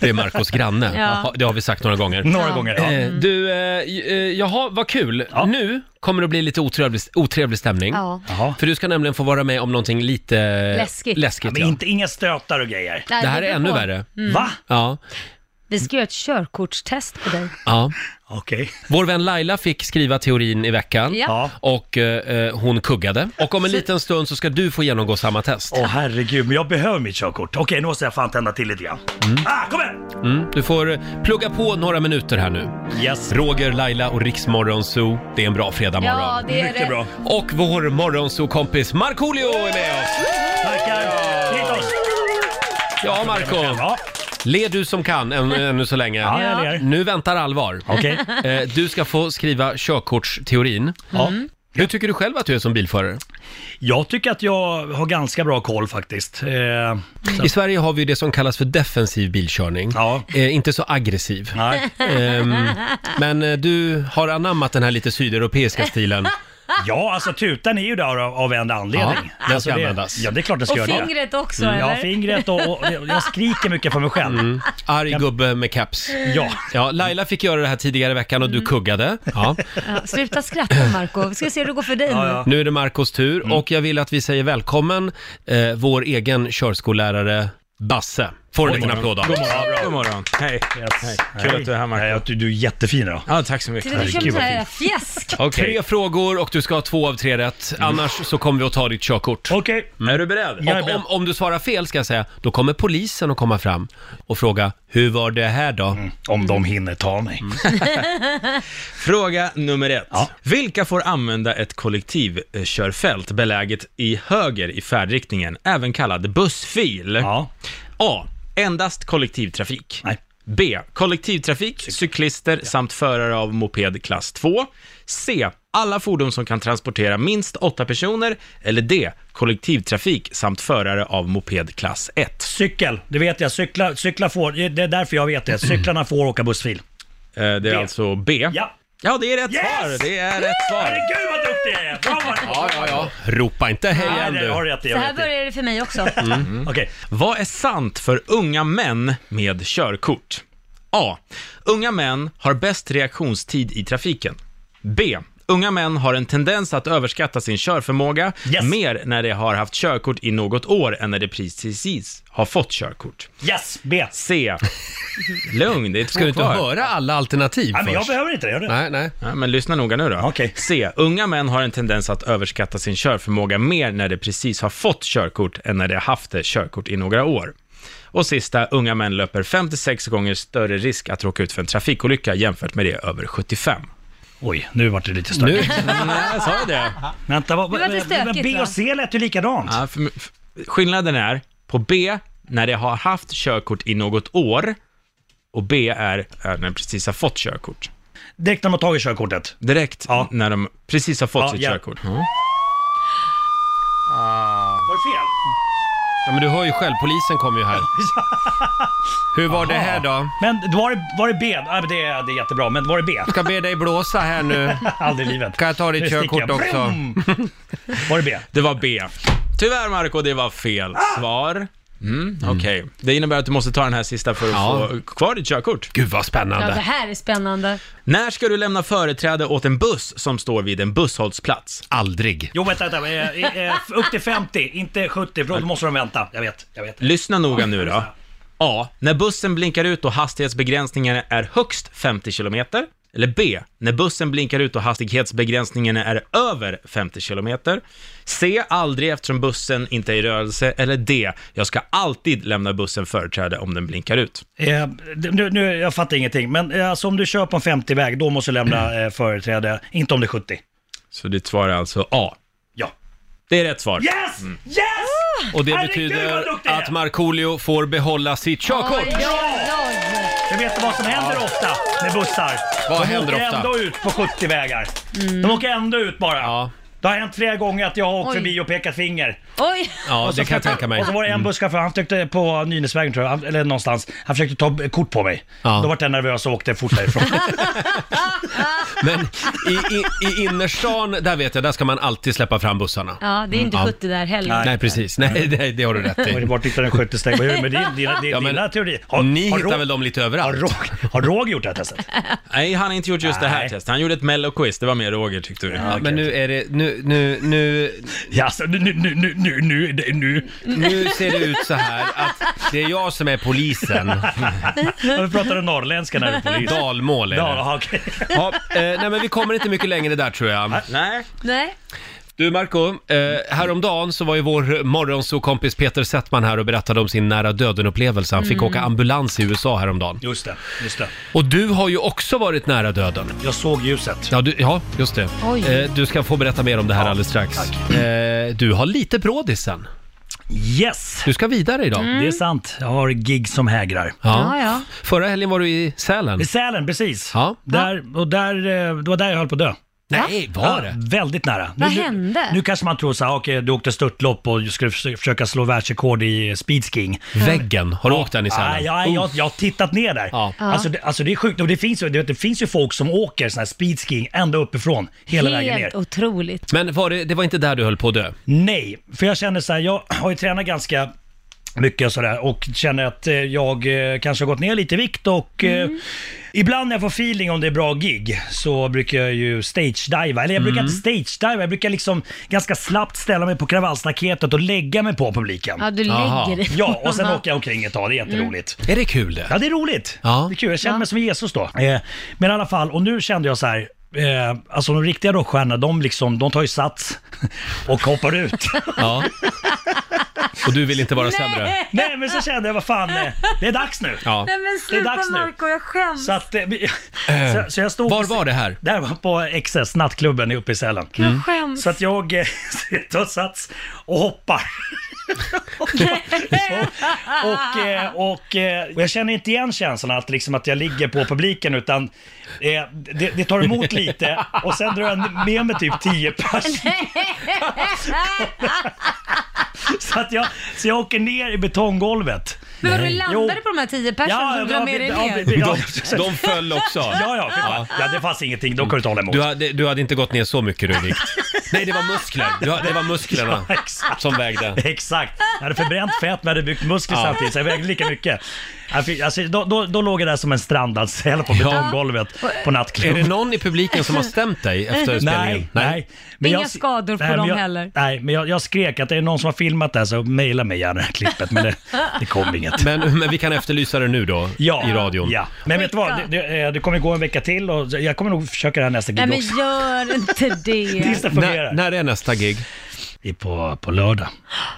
Speaker 1: Det är Marcos granne.
Speaker 2: Ja.
Speaker 1: Det har vi sagt några gånger.
Speaker 10: Några Ja. gånger, ja.
Speaker 1: Eh, Du, eh, j- eh, jaha, vad kul. Nu kommer det bli lite otrevlig, otrevlig stämning.
Speaker 2: Ja.
Speaker 1: För du ska nämligen få vara med om någonting lite
Speaker 2: Läskigt.
Speaker 1: läskigt
Speaker 10: Men
Speaker 1: ja.
Speaker 10: inte, inga stötar och grejer.
Speaker 2: Nej,
Speaker 1: Det här
Speaker 2: det
Speaker 1: är
Speaker 2: beror
Speaker 1: ännu
Speaker 2: på.
Speaker 1: värre.
Speaker 2: Mm. Va?
Speaker 1: Ja.
Speaker 2: Vi ska göra ett körkortstest på dig.
Speaker 1: ja.
Speaker 10: Okej.
Speaker 1: Vår vän Laila fick skriva teorin i veckan
Speaker 2: Ja. Ja.
Speaker 1: och eh, eh, hon kuggade. Och om en liten stund så ska du få genomgå samma test.
Speaker 10: Åh herregud, men jag behöver mitt körkort. Okej, nu måste jag fan tända till lite grann. Ah, kom igen!
Speaker 1: Mm, du får eh, plugga på några minuter här nu.
Speaker 10: Yes.
Speaker 1: Roger, Laila och Riksmorgon Zoo. Det är en bra fredagmorgon.
Speaker 2: Ja, det är Mycket det. bra.
Speaker 1: Och vår morgonzoo-kompis Markoolio är med oss!
Speaker 10: Tackar! Hit oss!
Speaker 1: Ja, Marco. Led du som kan än, ännu så länge.
Speaker 10: Ja, jag ler.
Speaker 1: Nu väntar allvar.
Speaker 10: Okej.
Speaker 1: Eh, Du ska få skriva körkortsteorin.
Speaker 10: Ja. Mm.
Speaker 1: Hur tycker du själv att du är som bilförare?
Speaker 10: Jag tycker att jag har ganska bra koll faktiskt. Eh,
Speaker 1: I Sverige har vi ju det som kallas för defensiv bilkörning. Eh, inte så aggressiv.
Speaker 10: Nej.
Speaker 1: Ehm, men eh, du har anammat den här lite sydeuropeiska stilen.
Speaker 10: Ja, alltså tutan är ju där av, av en anledning.
Speaker 1: Ja, den ska
Speaker 10: alltså, det,
Speaker 1: användas.
Speaker 10: Ja, det är klart den ska
Speaker 2: Och
Speaker 10: göra det. Mm,
Speaker 2: fingret också,
Speaker 10: Ja,
Speaker 2: eller?
Speaker 10: fingret och, och jag skriker mycket för mig själv.
Speaker 1: Mm. Arg gubbe med caps.
Speaker 10: Ja.
Speaker 1: ja. Laila fick göra det här tidigare i veckan och
Speaker 5: Mm.
Speaker 1: du kuggade. Ja.
Speaker 2: Ja, sluta skratta Marco. Vi ska se hur det går för dig nu.
Speaker 1: Nu är det Marcos tur
Speaker 5: Mm.
Speaker 1: och jag vill att vi säger välkommen eh, vår egen körskollärare Basse. Får en
Speaker 5: God
Speaker 1: liten applåd
Speaker 5: morgon.
Speaker 1: av
Speaker 5: God
Speaker 1: oss.
Speaker 5: morgon. God morgon. Hej. Hej. Kul att du är här Marco.
Speaker 10: Du, du är jättefin idag.
Speaker 5: Ja, tack så mycket.
Speaker 2: Titta, du kör med sån här fjäsk.
Speaker 1: Okej. Tre frågor och du ska ha två av tre rätt. Annars så kommer vi att ta ditt körkort.
Speaker 10: Okej.
Speaker 5: Mm. Är du beredd?
Speaker 1: Och om, om du svarar fel ska jag säga, då kommer polisen att komma fram och fråga hur var det här då?
Speaker 5: Mm.
Speaker 10: Om de hinner ta mig.
Speaker 5: Fråga nummer ett. Vilka får använda ett kollektivkörfält beläget i höger i färdriktningen, även kallad bussfil? A. Endast kollektivtrafik. B. Kollektivtrafik, cyklister samt förare av moped klass 2. C. Alla fordon som kan transportera minst åtta personer. Eller D. Kollektivtrafik samt förare av moped klass 1.
Speaker 10: Cykel, det vet jag. Cykla, cykla får, det är därför jag vet det. Cyklarna får åka bussfil.
Speaker 5: Eh, Det är alltså B.
Speaker 10: Ja.
Speaker 5: Ja, det är rätt svar. Det är rätt svar.
Speaker 10: Herregud vad duktig jag är! Bra, ja, ja, ja.
Speaker 1: Ropa inte hej
Speaker 10: Nej,
Speaker 1: än
Speaker 10: det
Speaker 1: du.
Speaker 10: har du rätt i.
Speaker 2: Så här börjar det för mig också.
Speaker 5: Mm. Vad är sant för unga män med körkort? A. Unga män har bäst reaktionstid i trafiken. B. unga män har en tendens att överskatta sin körförmåga mer när de har haft körkort i något år än när de precis har fått körkort.
Speaker 10: Yes, B.
Speaker 5: C. Lugn, det är två
Speaker 1: Ska du inte
Speaker 5: kvar.
Speaker 1: höra alla alternativ
Speaker 10: Nej, men jag
Speaker 1: först?
Speaker 10: behöver inte det. Gör du?
Speaker 1: Nej, nej.
Speaker 5: Ja, men lyssna noga nu då. C. Unga män har en tendens att överskatta sin körförmåga mer när de precis har fått körkort än när de har haft det körkort i några år. Och sista, unga män löper 56 gånger större risk att råka ut för en trafikolycka jämfört med det över 75.
Speaker 10: Oj, nu vart det lite stökigt.
Speaker 5: Nej, sa Mm, jag det?
Speaker 10: Vänta, vad,
Speaker 5: Det var lite
Speaker 10: men
Speaker 5: stökigt,
Speaker 10: B
Speaker 5: va?
Speaker 10: och C lät ju likadant.
Speaker 5: Ja, för, för, skillnaden är, på B, när de har haft körkort i något år, och B är, är när de precis har fått körkort.
Speaker 10: Direkt när de har tagit körkortet.
Speaker 5: Direkt när de precis har fått
Speaker 10: Ja,
Speaker 5: sitt
Speaker 10: ja.
Speaker 5: körkort. Ja.
Speaker 10: Var det fel?
Speaker 1: Ja, men du hör ju själv, polisen kommer ju här. Hur var det här då?
Speaker 10: Men var det, var det B? Ja, men det, är- det är jättebra, men var det B?
Speaker 1: Ska be dig blåsa här nu.
Speaker 10: Aldrig i livet.
Speaker 1: Kan jag ta
Speaker 10: Nu
Speaker 1: ditt
Speaker 10: sticker
Speaker 1: körkort
Speaker 10: jag.
Speaker 1: också?
Speaker 10: Vroom! Var det B?
Speaker 5: Det var B. Tyvärr Marco, det var fel svar. Mm, Okej, det innebär att du måste ta den här sista för att
Speaker 1: Ja.
Speaker 5: få kvar ditt körkort.
Speaker 1: Gud vad
Speaker 2: Ja, det
Speaker 1: spännande.
Speaker 2: här är spännande.
Speaker 5: När ska du lämna företräde åt en buss som står vid en busshållplats?
Speaker 1: Aldrig.
Speaker 10: Jo, vänta, vänta. eh, eh, f- Upp till 50, inte 70, för då måste de vänta. Jag vet, jag vet.
Speaker 5: Lyssna noga nu då. A. När bussen blinkar ut och hastighetsbegränsningen är högst 50 km. Eller B. När bussen blinkar ut och hastighetsbegränsningen är över 50 km. C. Aldrig eftersom bussen inte är i rörelse. Eller D. Jag ska alltid lämna bussen företräde om den blinkar ut.
Speaker 10: Eh, d- nu, nu, jag fattar ingenting, men eh, alltså, om du kör på en 50-väg, då måste du lämna eh, företräde. Inte om det är 70.
Speaker 5: Så ditt svar är alltså A.
Speaker 10: Ja.
Speaker 5: Det är rätt svar.
Speaker 10: Yes!
Speaker 1: Mm.
Speaker 10: Yes!
Speaker 1: Och det
Speaker 10: Herregud,
Speaker 1: betyder
Speaker 10: vad duktig jag är.
Speaker 1: att Markoolio får behålla sitt körkort.
Speaker 2: Oj, oj, oj.
Speaker 10: Jag vet vad som händer ofta med bussar.
Speaker 1: Vad
Speaker 10: de
Speaker 1: händer
Speaker 10: åker
Speaker 1: ofta?
Speaker 10: ändå ut på 70-vägar. De åker ändå ut bara.
Speaker 1: Ja.
Speaker 10: Det har hänt flera gånger att jag har åkt
Speaker 2: Oj.
Speaker 10: förbi och pekat finger.
Speaker 2: Oj.
Speaker 1: Ja, det kan jag tänka mig.
Speaker 10: Och så var det en busschaufför, han försökte på Nynäsvägen tror jag, han- eller någonstans, han försökte ta b- kort på mig.
Speaker 1: Ja.
Speaker 10: Då vart jag nervös och åkte fort därifrån.
Speaker 1: Men i, i, i innerstan, där vet jag, där ska man alltid släppa fram bussarna.
Speaker 2: Ja, det är inte
Speaker 10: Mm.
Speaker 1: Ja.
Speaker 2: 70 där heller.
Speaker 1: Nej, precis. Nej, det, det har du rätt
Speaker 10: Och
Speaker 1: i.
Speaker 10: vart hittade den 70 steg? Vad gör du med din, dina, dina,
Speaker 1: Ja, men
Speaker 10: dina teorier? Har,
Speaker 1: Ni
Speaker 10: har
Speaker 1: hittar
Speaker 10: Ro-
Speaker 1: väl dem lite
Speaker 10: Har
Speaker 1: överallt?
Speaker 10: Roger, har Roger gjort det här testet?
Speaker 5: Nej, han har inte gjort just det här
Speaker 10: Nej.
Speaker 5: testet. Han gjorde ett mello-quiz. Det var mer Roger tyckte du.
Speaker 1: Ja, men nu är det, nu, nu, nu,
Speaker 10: Ja, alltså, nu, nu, nu, nu, nu, nu, nu, nu.
Speaker 1: nu ser det ut så här att det är jag som är polisen.
Speaker 10: Varför pratar du norrländska när du är polis?
Speaker 1: Dalmål är det.
Speaker 10: Dal, okej.
Speaker 1: Ja, eh, nej men vi kommer inte mycket längre där tror jag.
Speaker 5: Nej.
Speaker 2: Nej.
Speaker 1: Du Marco, eh, häromdagen så var ju vår morgonsokompis Peter Settman här och berättade om sin nära döden-upplevelse. Han fick
Speaker 2: Mm.
Speaker 1: åka ambulans i USA häromdagen.
Speaker 10: Just det, just det.
Speaker 1: Och du har ju också varit nära döden.
Speaker 10: Jag såg ljuset.
Speaker 1: Ja, du, ja just det.
Speaker 2: Oj.
Speaker 1: Eh, du ska få berätta mer om det här alldeles strax. Eh, du har lite brådisen.
Speaker 10: Yes!
Speaker 1: Du ska vidare idag.
Speaker 10: Det är sant. Jag har gig som hägrar.
Speaker 2: Mm. Ja, ja.
Speaker 1: Förra helgen var du i Sälen.
Speaker 10: I Sälen, precis.
Speaker 1: Ja.
Speaker 10: Där, och där, eh, det var där jag höll på att dö.
Speaker 1: Nej, var
Speaker 10: Ja,
Speaker 1: det?
Speaker 10: väldigt nära.
Speaker 2: Vad
Speaker 10: nu,
Speaker 2: hände?
Speaker 10: Nu, nu kanske man tror så här, "Ah, okej, du åkte störtlopp och du skulle förs- försöka slå världsrekord i speedsking.
Speaker 1: Väggen, har du åkt den i Sälen? Oh.
Speaker 10: Nej, jag, jag, jag har tittat ner där.
Speaker 1: Ja.
Speaker 10: Alltså, det, alltså det är sjukt. Och det finns, ju- du vet, det finns ju folk som åker sån här speedsking ända uppifrån, hela vägen ner.
Speaker 2: Helt otroligt.
Speaker 1: Men var det, det var inte där du höll på att dö?
Speaker 10: Nej, för jag känner så här, jag har ju tränat ganska mycket och sådär och känner att eh, jag eh, kanske har gått ner lite i vikt och
Speaker 2: Mm.
Speaker 10: eh, ibland när jag får feeling om det är bra gig så brukar jag ju stage-diva. Eller jag brukar
Speaker 1: Mm.
Speaker 10: inte stage-diva, jag brukar liksom ganska slappt ställa mig på kravallstaketet och lägga mig på publiken.
Speaker 2: Ja, du
Speaker 1: Jaha.
Speaker 2: lägger dig.
Speaker 10: Ja, och sen åker jag omkring ett tag, det är jätteroligt.
Speaker 1: Är det kul det?
Speaker 10: Ja, det är roligt.
Speaker 1: Ja.
Speaker 10: Det är kul. Jag känner mig som Jesus då. Eh, men i alla fall, och nu kände jag så här. Eh, alltså de riktiga rockstjärnorna, de, liksom, de tar ju sats och hoppar ut.
Speaker 1: Ja. Och du vill inte vara sämre?
Speaker 10: Nej, men så kände jag, vad fan, eh, det är dags nu.
Speaker 1: Ja.
Speaker 2: Nej men
Speaker 10: Det är
Speaker 2: sluta
Speaker 10: dags nu.
Speaker 2: Marco, jag skäms.
Speaker 10: Så, att, eh, vi- så, så jag stod...
Speaker 1: Var var det här?
Speaker 10: Där var på XS, nattklubben uppe i Sälen.
Speaker 1: Mm.
Speaker 2: Jag skäms.
Speaker 10: Mm. Så att jag eh, tar sats och hoppar. och, eh, och, eh, och jag känner inte igen känslan att, liksom att jag ligger på publiken utan eh, det, det tar emot lite och sen drar jag med mig typ 10 pers. så, att jag, så jag åker ner i betonggolvet.
Speaker 2: Men vadå, landade
Speaker 10: Jo.
Speaker 2: på de här tio personerna som drar med dig
Speaker 10: ja,
Speaker 2: ner?
Speaker 10: ja, ja,
Speaker 1: De föll också?
Speaker 10: Ja, ja, för fan. ja, det fanns ingenting. De kunde inte hålla emot.
Speaker 1: Du hade, du hade inte gått ner så mycket du i vikt? Nej, det var muskler. Du, ha- det var musklerna
Speaker 10: Ja, exakt.
Speaker 1: som vägde.
Speaker 10: Exakt. Jag hade förbränt fett men jag hade byggt muskler
Speaker 5: Ja.
Speaker 10: samtidigt så jag vägde lika mycket. Jag fick- Alltså, då, då, då låg jag där som en strandad säl på betonggolvet på nattklubben.
Speaker 1: Är det någon i publiken som har stämt dig efter spelningen?
Speaker 10: Nej, nej.
Speaker 2: Inga skador på
Speaker 10: men
Speaker 2: dem
Speaker 10: jag,
Speaker 2: heller.
Speaker 10: Nej, men jag, jag skrek att det är någon som har filmat det här så mejla mig gärna det här klippet. Men det, det kom inget.
Speaker 1: Men, men vi kan efterlysa det nu då
Speaker 10: Ja,
Speaker 1: i radion.
Speaker 10: Ja, men vet du vad? Det, det, eh, det kommer gå en vecka till och jag kommer nog försöka det här nästa
Speaker 2: Nej
Speaker 10: gig
Speaker 2: men
Speaker 10: också.
Speaker 2: gör inte det.
Speaker 10: Tills det fungerar.
Speaker 1: När är nästa gig?
Speaker 10: På, på lördag.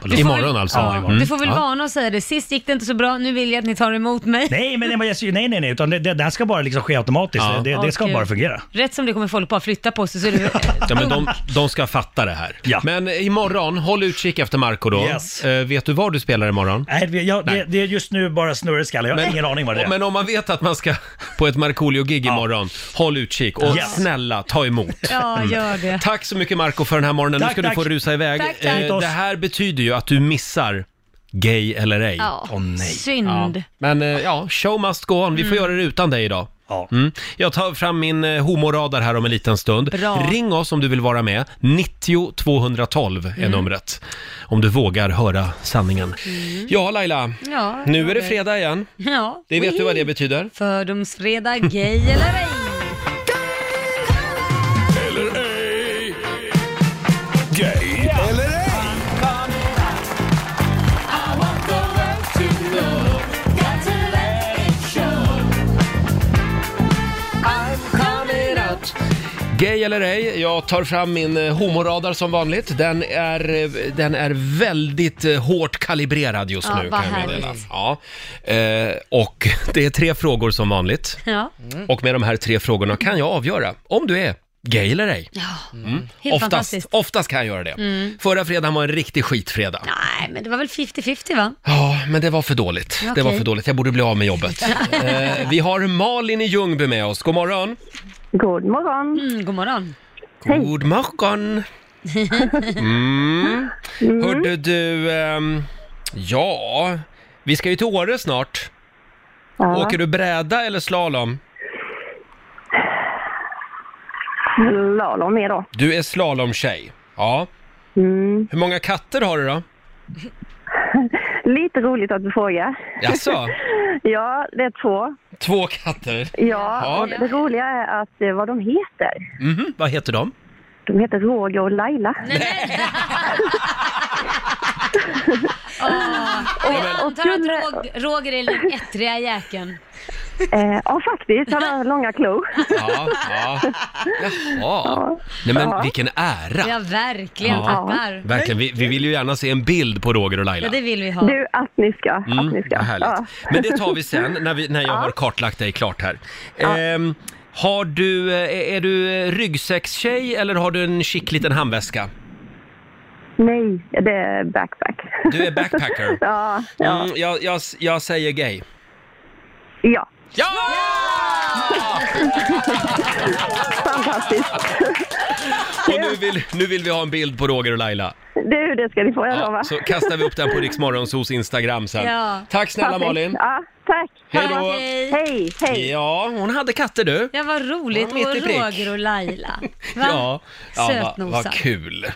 Speaker 10: På
Speaker 1: lördag. Imorgon alltså?
Speaker 10: Ja, imorgon. Mm.
Speaker 2: Du får väl
Speaker 10: Ja.
Speaker 2: varna och säga det. Sist gick det inte så bra, nu vill jag att ni tar emot mig.
Speaker 10: Nej, men nej, men- nej, nej, nej, utan det, det, det här ska bara liksom ske automatiskt.
Speaker 1: Ja.
Speaker 10: Det, det, det ska
Speaker 2: Åh,
Speaker 10: bara
Speaker 2: Gud.
Speaker 10: fungera.
Speaker 2: eh, Rätt som det kommer folk bara flytta på sig så är det
Speaker 1: Ja, men de, de ska fatta det här. Men imorgon, håll utkik efter Marco då.
Speaker 10: Yes.
Speaker 1: Eh, vet du var du spelar imorgon?
Speaker 10: Nej, det- jag, det, det är just nu bara snurrskalle. Jag har ingen aning vad det är.
Speaker 1: Men om man vet att man ska på ett Markoolio-gig imorgon, håll utkik och
Speaker 10: Yes.
Speaker 1: snälla, ta emot.
Speaker 2: Ja,
Speaker 1: Mm.
Speaker 2: gör det.
Speaker 1: Tack så mycket Marco för den här morgonen. nu
Speaker 2: Tack,
Speaker 1: ska du
Speaker 2: tack.
Speaker 1: få rusa iväg.
Speaker 2: Tack, tack.
Speaker 1: Eh, Det här betyder ju att du missar Gay eller ej.
Speaker 2: Ja, synd.
Speaker 1: Ja. Men eh, ja, show must go on. Vi får göra det utan dig idag. Mm. Jag tar fram min eh, homoradar här om en liten stund.
Speaker 2: Bra.
Speaker 1: Ring oss om du vill vara med. 90 212
Speaker 2: Mm.
Speaker 1: är numret. Om du vågar höra sanningen. Ja, Laila.
Speaker 2: Mm. Ja,
Speaker 1: Nu är det
Speaker 2: Roger.
Speaker 1: fredag igen.
Speaker 2: Ja.
Speaker 1: Det vet du vad det betyder?
Speaker 2: Fördomsfredag, gay eller ej?
Speaker 4: Gay eller ej?
Speaker 1: Gay eller ej, jag tar fram min eh, homoradar som vanligt. Den är, eh, den är väldigt eh, hårt kalibrerad just
Speaker 2: Ja,
Speaker 1: nu.
Speaker 2: vad
Speaker 1: Kan jag meddela.
Speaker 2: härligt.
Speaker 1: ja. eh, och det är tre frågor som vanligt.
Speaker 2: Ja.
Speaker 1: Och med de här tre frågorna kan jag avgöra om du är gay eller ej. Mm.
Speaker 2: Helt
Speaker 1: Oftast,
Speaker 2: fantastiskt.
Speaker 1: oftast kan jag göra det.
Speaker 2: Mm.
Speaker 1: Förra fredagen var en riktig skitfredag.
Speaker 2: Nej, men det var väl 50-50 va?
Speaker 1: Ja, men det var för dåligt. Det var
Speaker 2: Okej.
Speaker 1: för dåligt. Jag borde bli av med jobbet. eh, vi har Malin i Ljungby med oss. God morgon!
Speaker 9: God morgon.
Speaker 2: Mm, god morgon.
Speaker 1: God morgon! Mm. Hörde du, ehm, ja, vi ska ju till Åre snart.
Speaker 9: Ja.
Speaker 1: Åker du bräda eller slalom?
Speaker 9: Lala med då.
Speaker 1: Du är slalomtjej. Ja.
Speaker 9: Mm.
Speaker 1: Hur många katter har du då?
Speaker 9: Lite roligt att du frågar.
Speaker 1: Jaså?
Speaker 9: ja, det är två.
Speaker 1: Två katter?
Speaker 9: Ja, och det roliga är att eh, vad de heter.
Speaker 1: Mhm, Vad heter de?
Speaker 9: De heter Roger och Laila.
Speaker 2: Och jag antar att Rog- Roger är den ettriga jäkeln.
Speaker 9: Eh, ja, faktiskt. Han har långa klor.
Speaker 1: Ja, ja. Jaha. Nej men vilken ära!
Speaker 2: Ja, verkligen. Tackar.
Speaker 1: Verkligen, vi, vi vill ju gärna se en bild på Roger och Laila.
Speaker 2: Ja, det vill vi ha.
Speaker 9: Du, att ni ska.
Speaker 1: Mm,
Speaker 9: att ni ska.
Speaker 1: vad härligt.
Speaker 9: Ja.
Speaker 1: Men det tar vi sen när, vi, när jag har kartlagt dig klart här. Ehm, har du, eh, är du eh, ryggsäckstjej eller har du en chic liten handväska?
Speaker 9: Nej, det är backpack.
Speaker 1: Du är backpacker.
Speaker 9: Ja, ja.
Speaker 1: Mm, jag, jag, jag säger gay.
Speaker 9: ja.
Speaker 1: Ja!
Speaker 9: Fantastiskt.
Speaker 1: Och nu vill, nu vill vi ha en bild på Roger och Laila.
Speaker 9: Du, det ska ni få, jag lovar.
Speaker 1: Så kastar vi upp den på Rix Morgonzos Instagram sen.
Speaker 9: Ja.
Speaker 1: Tack snälla
Speaker 9: Perfekt.
Speaker 1: Malin.
Speaker 9: Ja, tack.
Speaker 1: Hej då.
Speaker 2: Hej.
Speaker 9: Hej, hej.
Speaker 1: Ja, hon hade katter du.
Speaker 2: Ja, vad roligt.
Speaker 1: Ja, mitt i
Speaker 2: och
Speaker 1: prick.
Speaker 2: Roger och Laila. Va?
Speaker 1: Ja, ja vad
Speaker 2: Sötnosar.
Speaker 1: vad kul.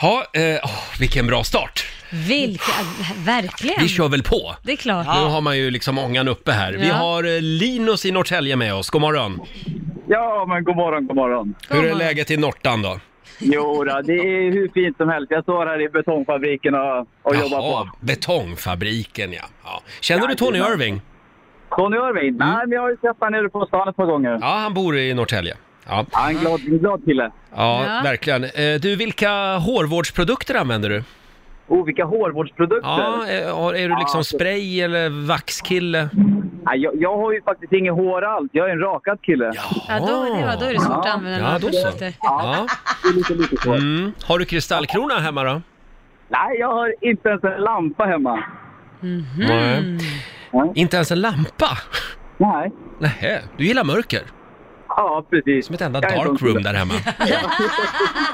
Speaker 1: Ha, eh, åh, vilken bra start.
Speaker 2: Vilka, verkligen.
Speaker 1: Vi kör väl på.
Speaker 2: Det är klart.
Speaker 1: Nu har man ju liksom ångan uppe här. Vi
Speaker 2: Ja.
Speaker 1: har eh, Linus i Norrtälje med oss. God morgon.
Speaker 11: Ja, men god morgon, god morgon.
Speaker 1: Hur är läget i Nortan då?
Speaker 11: Jo, då, det är hur fint som helst. Jag står här i betongfabriken och, och jobbar på.
Speaker 1: betongfabriken ja. ja. Känner du
Speaker 11: Ja,
Speaker 1: Tony
Speaker 11: det är-
Speaker 1: Irving?
Speaker 11: Tony Irving? Nej,
Speaker 10: Mm.
Speaker 11: men jag har ju sett honom nere på stan ett par gånger.
Speaker 1: Ja, han bor i Norrtälje. Ja.
Speaker 11: Han är glad, en glad kille.
Speaker 1: Ja,
Speaker 11: Ja.
Speaker 1: verkligen. Eh, Du, vilka hårvårdsprodukter använder du?
Speaker 11: Oh, vilka hårvårdsprodukter!
Speaker 1: Ja, eh, har- är du liksom spray eller vaxkille?
Speaker 11: Nej, jag, jag har ju faktiskt inget hår alls. Jag är en rakad kille.
Speaker 2: Ja, då, det var, då är det svårt att använda
Speaker 1: Ja,
Speaker 2: några
Speaker 1: då så.
Speaker 2: produkter.
Speaker 1: Ja. Mm. Har du kristallkrona hemma då?
Speaker 11: Nej, jag har inte ens en lampa hemma.
Speaker 1: Nej. Inte ens en lampa?
Speaker 11: Nej.
Speaker 1: Nähä, du gillar mörker?
Speaker 11: Ja, precis.
Speaker 1: Som ett enda
Speaker 11: Jag är en sån
Speaker 1: dark room
Speaker 11: kille.
Speaker 1: där hemma.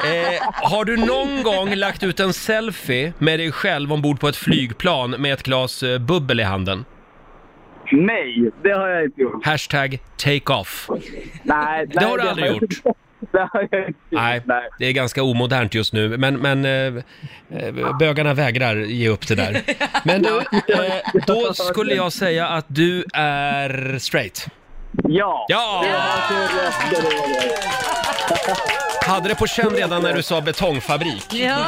Speaker 1: eh, har du någon gång lagt ut en selfie med dig själv ombord på ett flygplan med ett glas eh, bubbel i handen?
Speaker 11: Nej, det har jag inte gjort.
Speaker 1: Hashtag take off.
Speaker 11: Nej,
Speaker 1: Det har du aldrig gjort. Nej, det är ganska omodernt just nu, men, men eh, eh, bögarna vägrar ge upp det där. Men du, eh, då skulle jag säga att du är straight.
Speaker 11: Ja!
Speaker 1: Ja! Hade det på känn redan när du sa betongfabrik.
Speaker 2: Ja.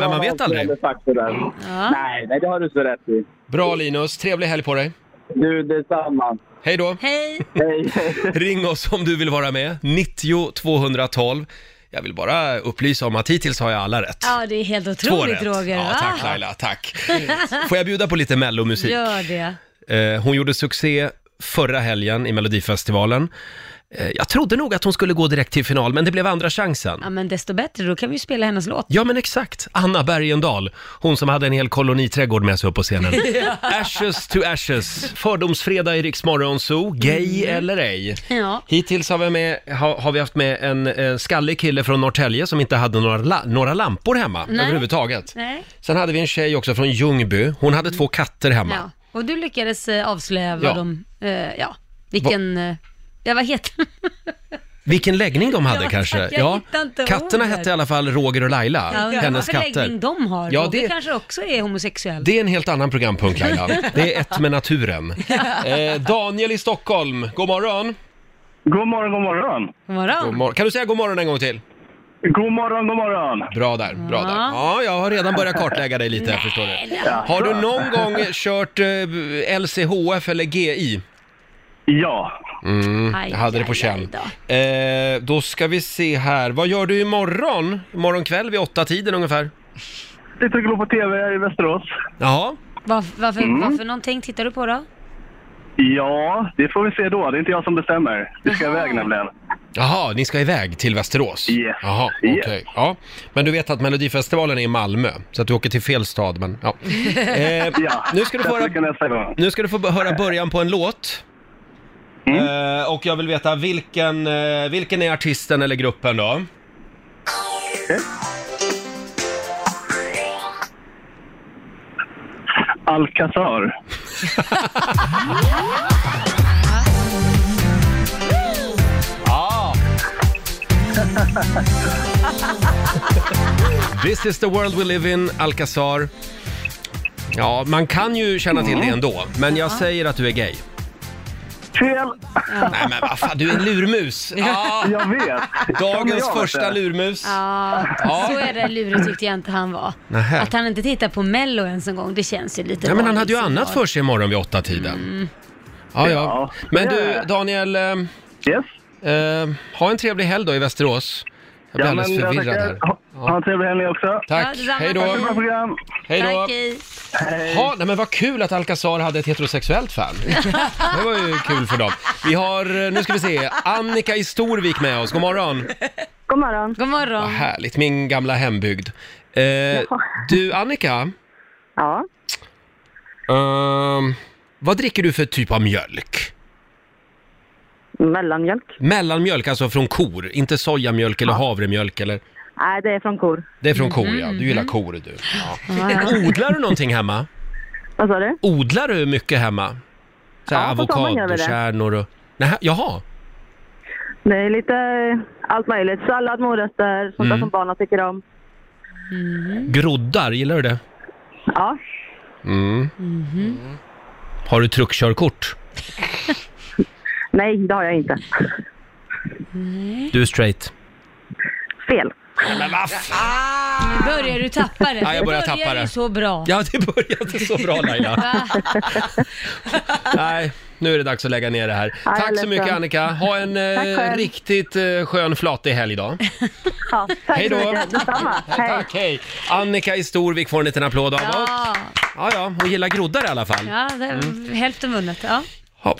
Speaker 1: Men man vet aldrig.
Speaker 11: Nej, nej, det har du så rätt i.
Speaker 1: Bra Linus, trevlig helg på dig.
Speaker 11: Du, detsamma.
Speaker 1: Hej då.
Speaker 2: Hej.
Speaker 1: Ring oss om du vill vara med, 90 212. Jag vill bara upplysa om att hittills har jag alla rätt.
Speaker 2: Ja, det är helt otroligt Roger. Ah.
Speaker 1: Ja,
Speaker 2: va?
Speaker 1: tack Laila, Typ. tack. Får jag bjuda på lite mellomusik?
Speaker 2: Gör det.
Speaker 1: Eh, Hon gjorde succé förra helgen i Melodifestivalen. Eh, Jag trodde nog att hon skulle gå direkt till final, men det blev andra chansen.
Speaker 2: Ja, men desto bättre, då kan vi ju spela hennes låt.
Speaker 1: Ja, men exakt. Anna Bergendahl, hon som hade en hel koloniträdgård med sig upp på scenen. Ashes to ashes, fördomsfredag i Rix Morgon Zoo, gay eller ej.
Speaker 2: Mm. Ja.
Speaker 1: Hittills har vi, med, har, har vi haft med en eh, skallig kille från Norrtälje som inte hade några, la, några lampor hemma
Speaker 2: Nej.
Speaker 1: överhuvudtaget.
Speaker 2: Nej.
Speaker 1: Sen hade vi en tjej också från Ljungby, hon hade två katter hemma.
Speaker 2: Ja. Och du lyckades eh, avslöja vad
Speaker 1: Ja.
Speaker 2: de, eh, ja, vilken, eh, ja vad heter de?
Speaker 1: Vilken läggning de hade
Speaker 2: Ja,
Speaker 1: kanske.
Speaker 2: jag hittar inte
Speaker 1: Katterna
Speaker 2: ordet.
Speaker 1: hette i alla fall Roger och Laila,
Speaker 2: ja,
Speaker 1: hennes
Speaker 2: vad för läggning
Speaker 1: katter.
Speaker 2: de har.
Speaker 1: Ja,
Speaker 2: Ja, det
Speaker 1: det-
Speaker 2: kanske också är homosexuell.
Speaker 1: Det är en helt annan programpunkt Laila. Det är ett med naturen. Eh, Daniel i Stockholm, god morgon.
Speaker 12: God morgon, god morgon.
Speaker 2: God morgon.
Speaker 1: God mor- kan du säga god morgon en gång till?
Speaker 12: God morgon, god morgon.
Speaker 1: Bra där, bra där. Ja, jag har redan börjat kartlägga dig lite, förstår du.
Speaker 12: Ja.
Speaker 1: Har du någon gång kört eh, LCHF eller GI?
Speaker 12: Ja.
Speaker 1: Mm,
Speaker 12: Aj,
Speaker 1: jag hade det på
Speaker 12: aj,
Speaker 1: känn. Eh, då ska vi se här, vad gör du imorgon? Imorgon kväll vid åtta tiden ungefär?
Speaker 12: Sitter och glor på TV här i Västerås.
Speaker 1: Ja.
Speaker 2: Vad, varför,
Speaker 12: Mm.
Speaker 2: vad för någonting tittar du på då?
Speaker 12: Ja, det får vi se då. Det är inte jag som bestämmer. Vi ska iväg nämligen.
Speaker 1: Jaha, ni ska iväg till Västerås? Yes. Jaha, okej. Ja. Men du vet att Melodifestivalen är i Malmö, så att du åker till fel stad, men ja. Eh, nu, ska du få höra, nu ska du få höra början på en låt. Eh, och jag vill veta vilken, eh, vilken är artisten eller gruppen då?
Speaker 12: Alcazar.
Speaker 1: Ja. This is the world we live in, Alcazar. Ja, man kan ju känna till det ändå, men jag säger att du är gay.
Speaker 12: Fel!
Speaker 1: Nej men vad fan, du är en lurmus! Ja.
Speaker 12: Jag vet.
Speaker 1: Dagens
Speaker 12: Jag vet
Speaker 1: första
Speaker 12: det.
Speaker 1: lurmus.
Speaker 2: Ja,
Speaker 1: Ja.
Speaker 2: så är det lurig tyckte jag inte han var.
Speaker 1: Nähä.
Speaker 2: Att han inte tittar på mello ens en gång, det känns ju lite
Speaker 1: Ja, men han
Speaker 2: dåligt
Speaker 1: hade ju
Speaker 2: signal.
Speaker 1: annat för sig imorgon vid åtta tiden. Ja, ja. Men du, Daniel. eh,
Speaker 12: Yes?
Speaker 1: ha en trevlig helg då i Västerås. Jag blir
Speaker 12: Ja,
Speaker 1: alldeles
Speaker 12: men jag
Speaker 1: förvirrad
Speaker 12: tackar.
Speaker 1: här.
Speaker 12: Ha- Ha en trevlig helg också.
Speaker 1: Tack. Ja, detsamma. Hej då.
Speaker 12: Bra program.
Speaker 1: Hej då.
Speaker 2: Tack, hej.
Speaker 1: Ja, nej men vad kul att Alcazar hade ett heterosexuellt fan. Det var ju kul för dem. Vi har, eh, nu ska vi se, Annika i Storvik med oss. God morgon.
Speaker 9: God morgon.
Speaker 2: God morgon.
Speaker 1: Härligt, min gamla hembygd. Eh, du, Annika.
Speaker 9: Ja.
Speaker 1: Ehm, vad dricker du för typ av mjölk?
Speaker 9: Mellanmjölk?
Speaker 1: Mellanmjölk, alltså från kor, inte sojamjölk eller havremjölk eller?
Speaker 9: Nej, det är från kor.
Speaker 1: Det är från kor ja,
Speaker 9: Mhm,
Speaker 1: du gillar kor du. Ja.
Speaker 9: Ja, ja.
Speaker 1: Odlar du någonting hemma?
Speaker 9: Vad sa du?
Speaker 1: Odlar du mycket hemma? Så här
Speaker 9: Ja, på sommaren gör vi det.
Speaker 1: avokadokärnor och... Nähä, jaha,
Speaker 9: Det är lite eh, allt möjligt. Sallad, morötter, sånt där
Speaker 1: Mm.
Speaker 9: som barnen tycker om.
Speaker 1: groddar, gillar du det?
Speaker 9: Ja.
Speaker 1: Mm. Har du truckkörkort?
Speaker 9: Nej, det har jag inte.
Speaker 1: Du är straight.
Speaker 9: Fel.
Speaker 1: Men vad
Speaker 2: Nu börjar du tappa det.
Speaker 1: Ja, jag börjar
Speaker 2: Det
Speaker 1: tappa
Speaker 2: ju
Speaker 1: det.
Speaker 2: så bra.
Speaker 1: Ja, det började så bra Laila.
Speaker 2: Va?
Speaker 1: Nej, nu är det dags att lägga ner det här.
Speaker 9: jag är
Speaker 1: Tack så
Speaker 9: ledsen.
Speaker 1: mycket Annika. Ha en
Speaker 9: Tack
Speaker 1: eh,
Speaker 9: själv.
Speaker 1: riktigt eh, skön flatig helg idag.
Speaker 9: Ja, tack
Speaker 1: Hej då.
Speaker 9: så mycket. Detsamma. Hej.
Speaker 1: Tack, hej. Annika i Storvik får en liten applåd av oss.
Speaker 2: Ja,
Speaker 1: Ja, ja, hon gillar groddar i alla fall.
Speaker 2: ja det är hälften vunnet. Ja.
Speaker 1: Mm.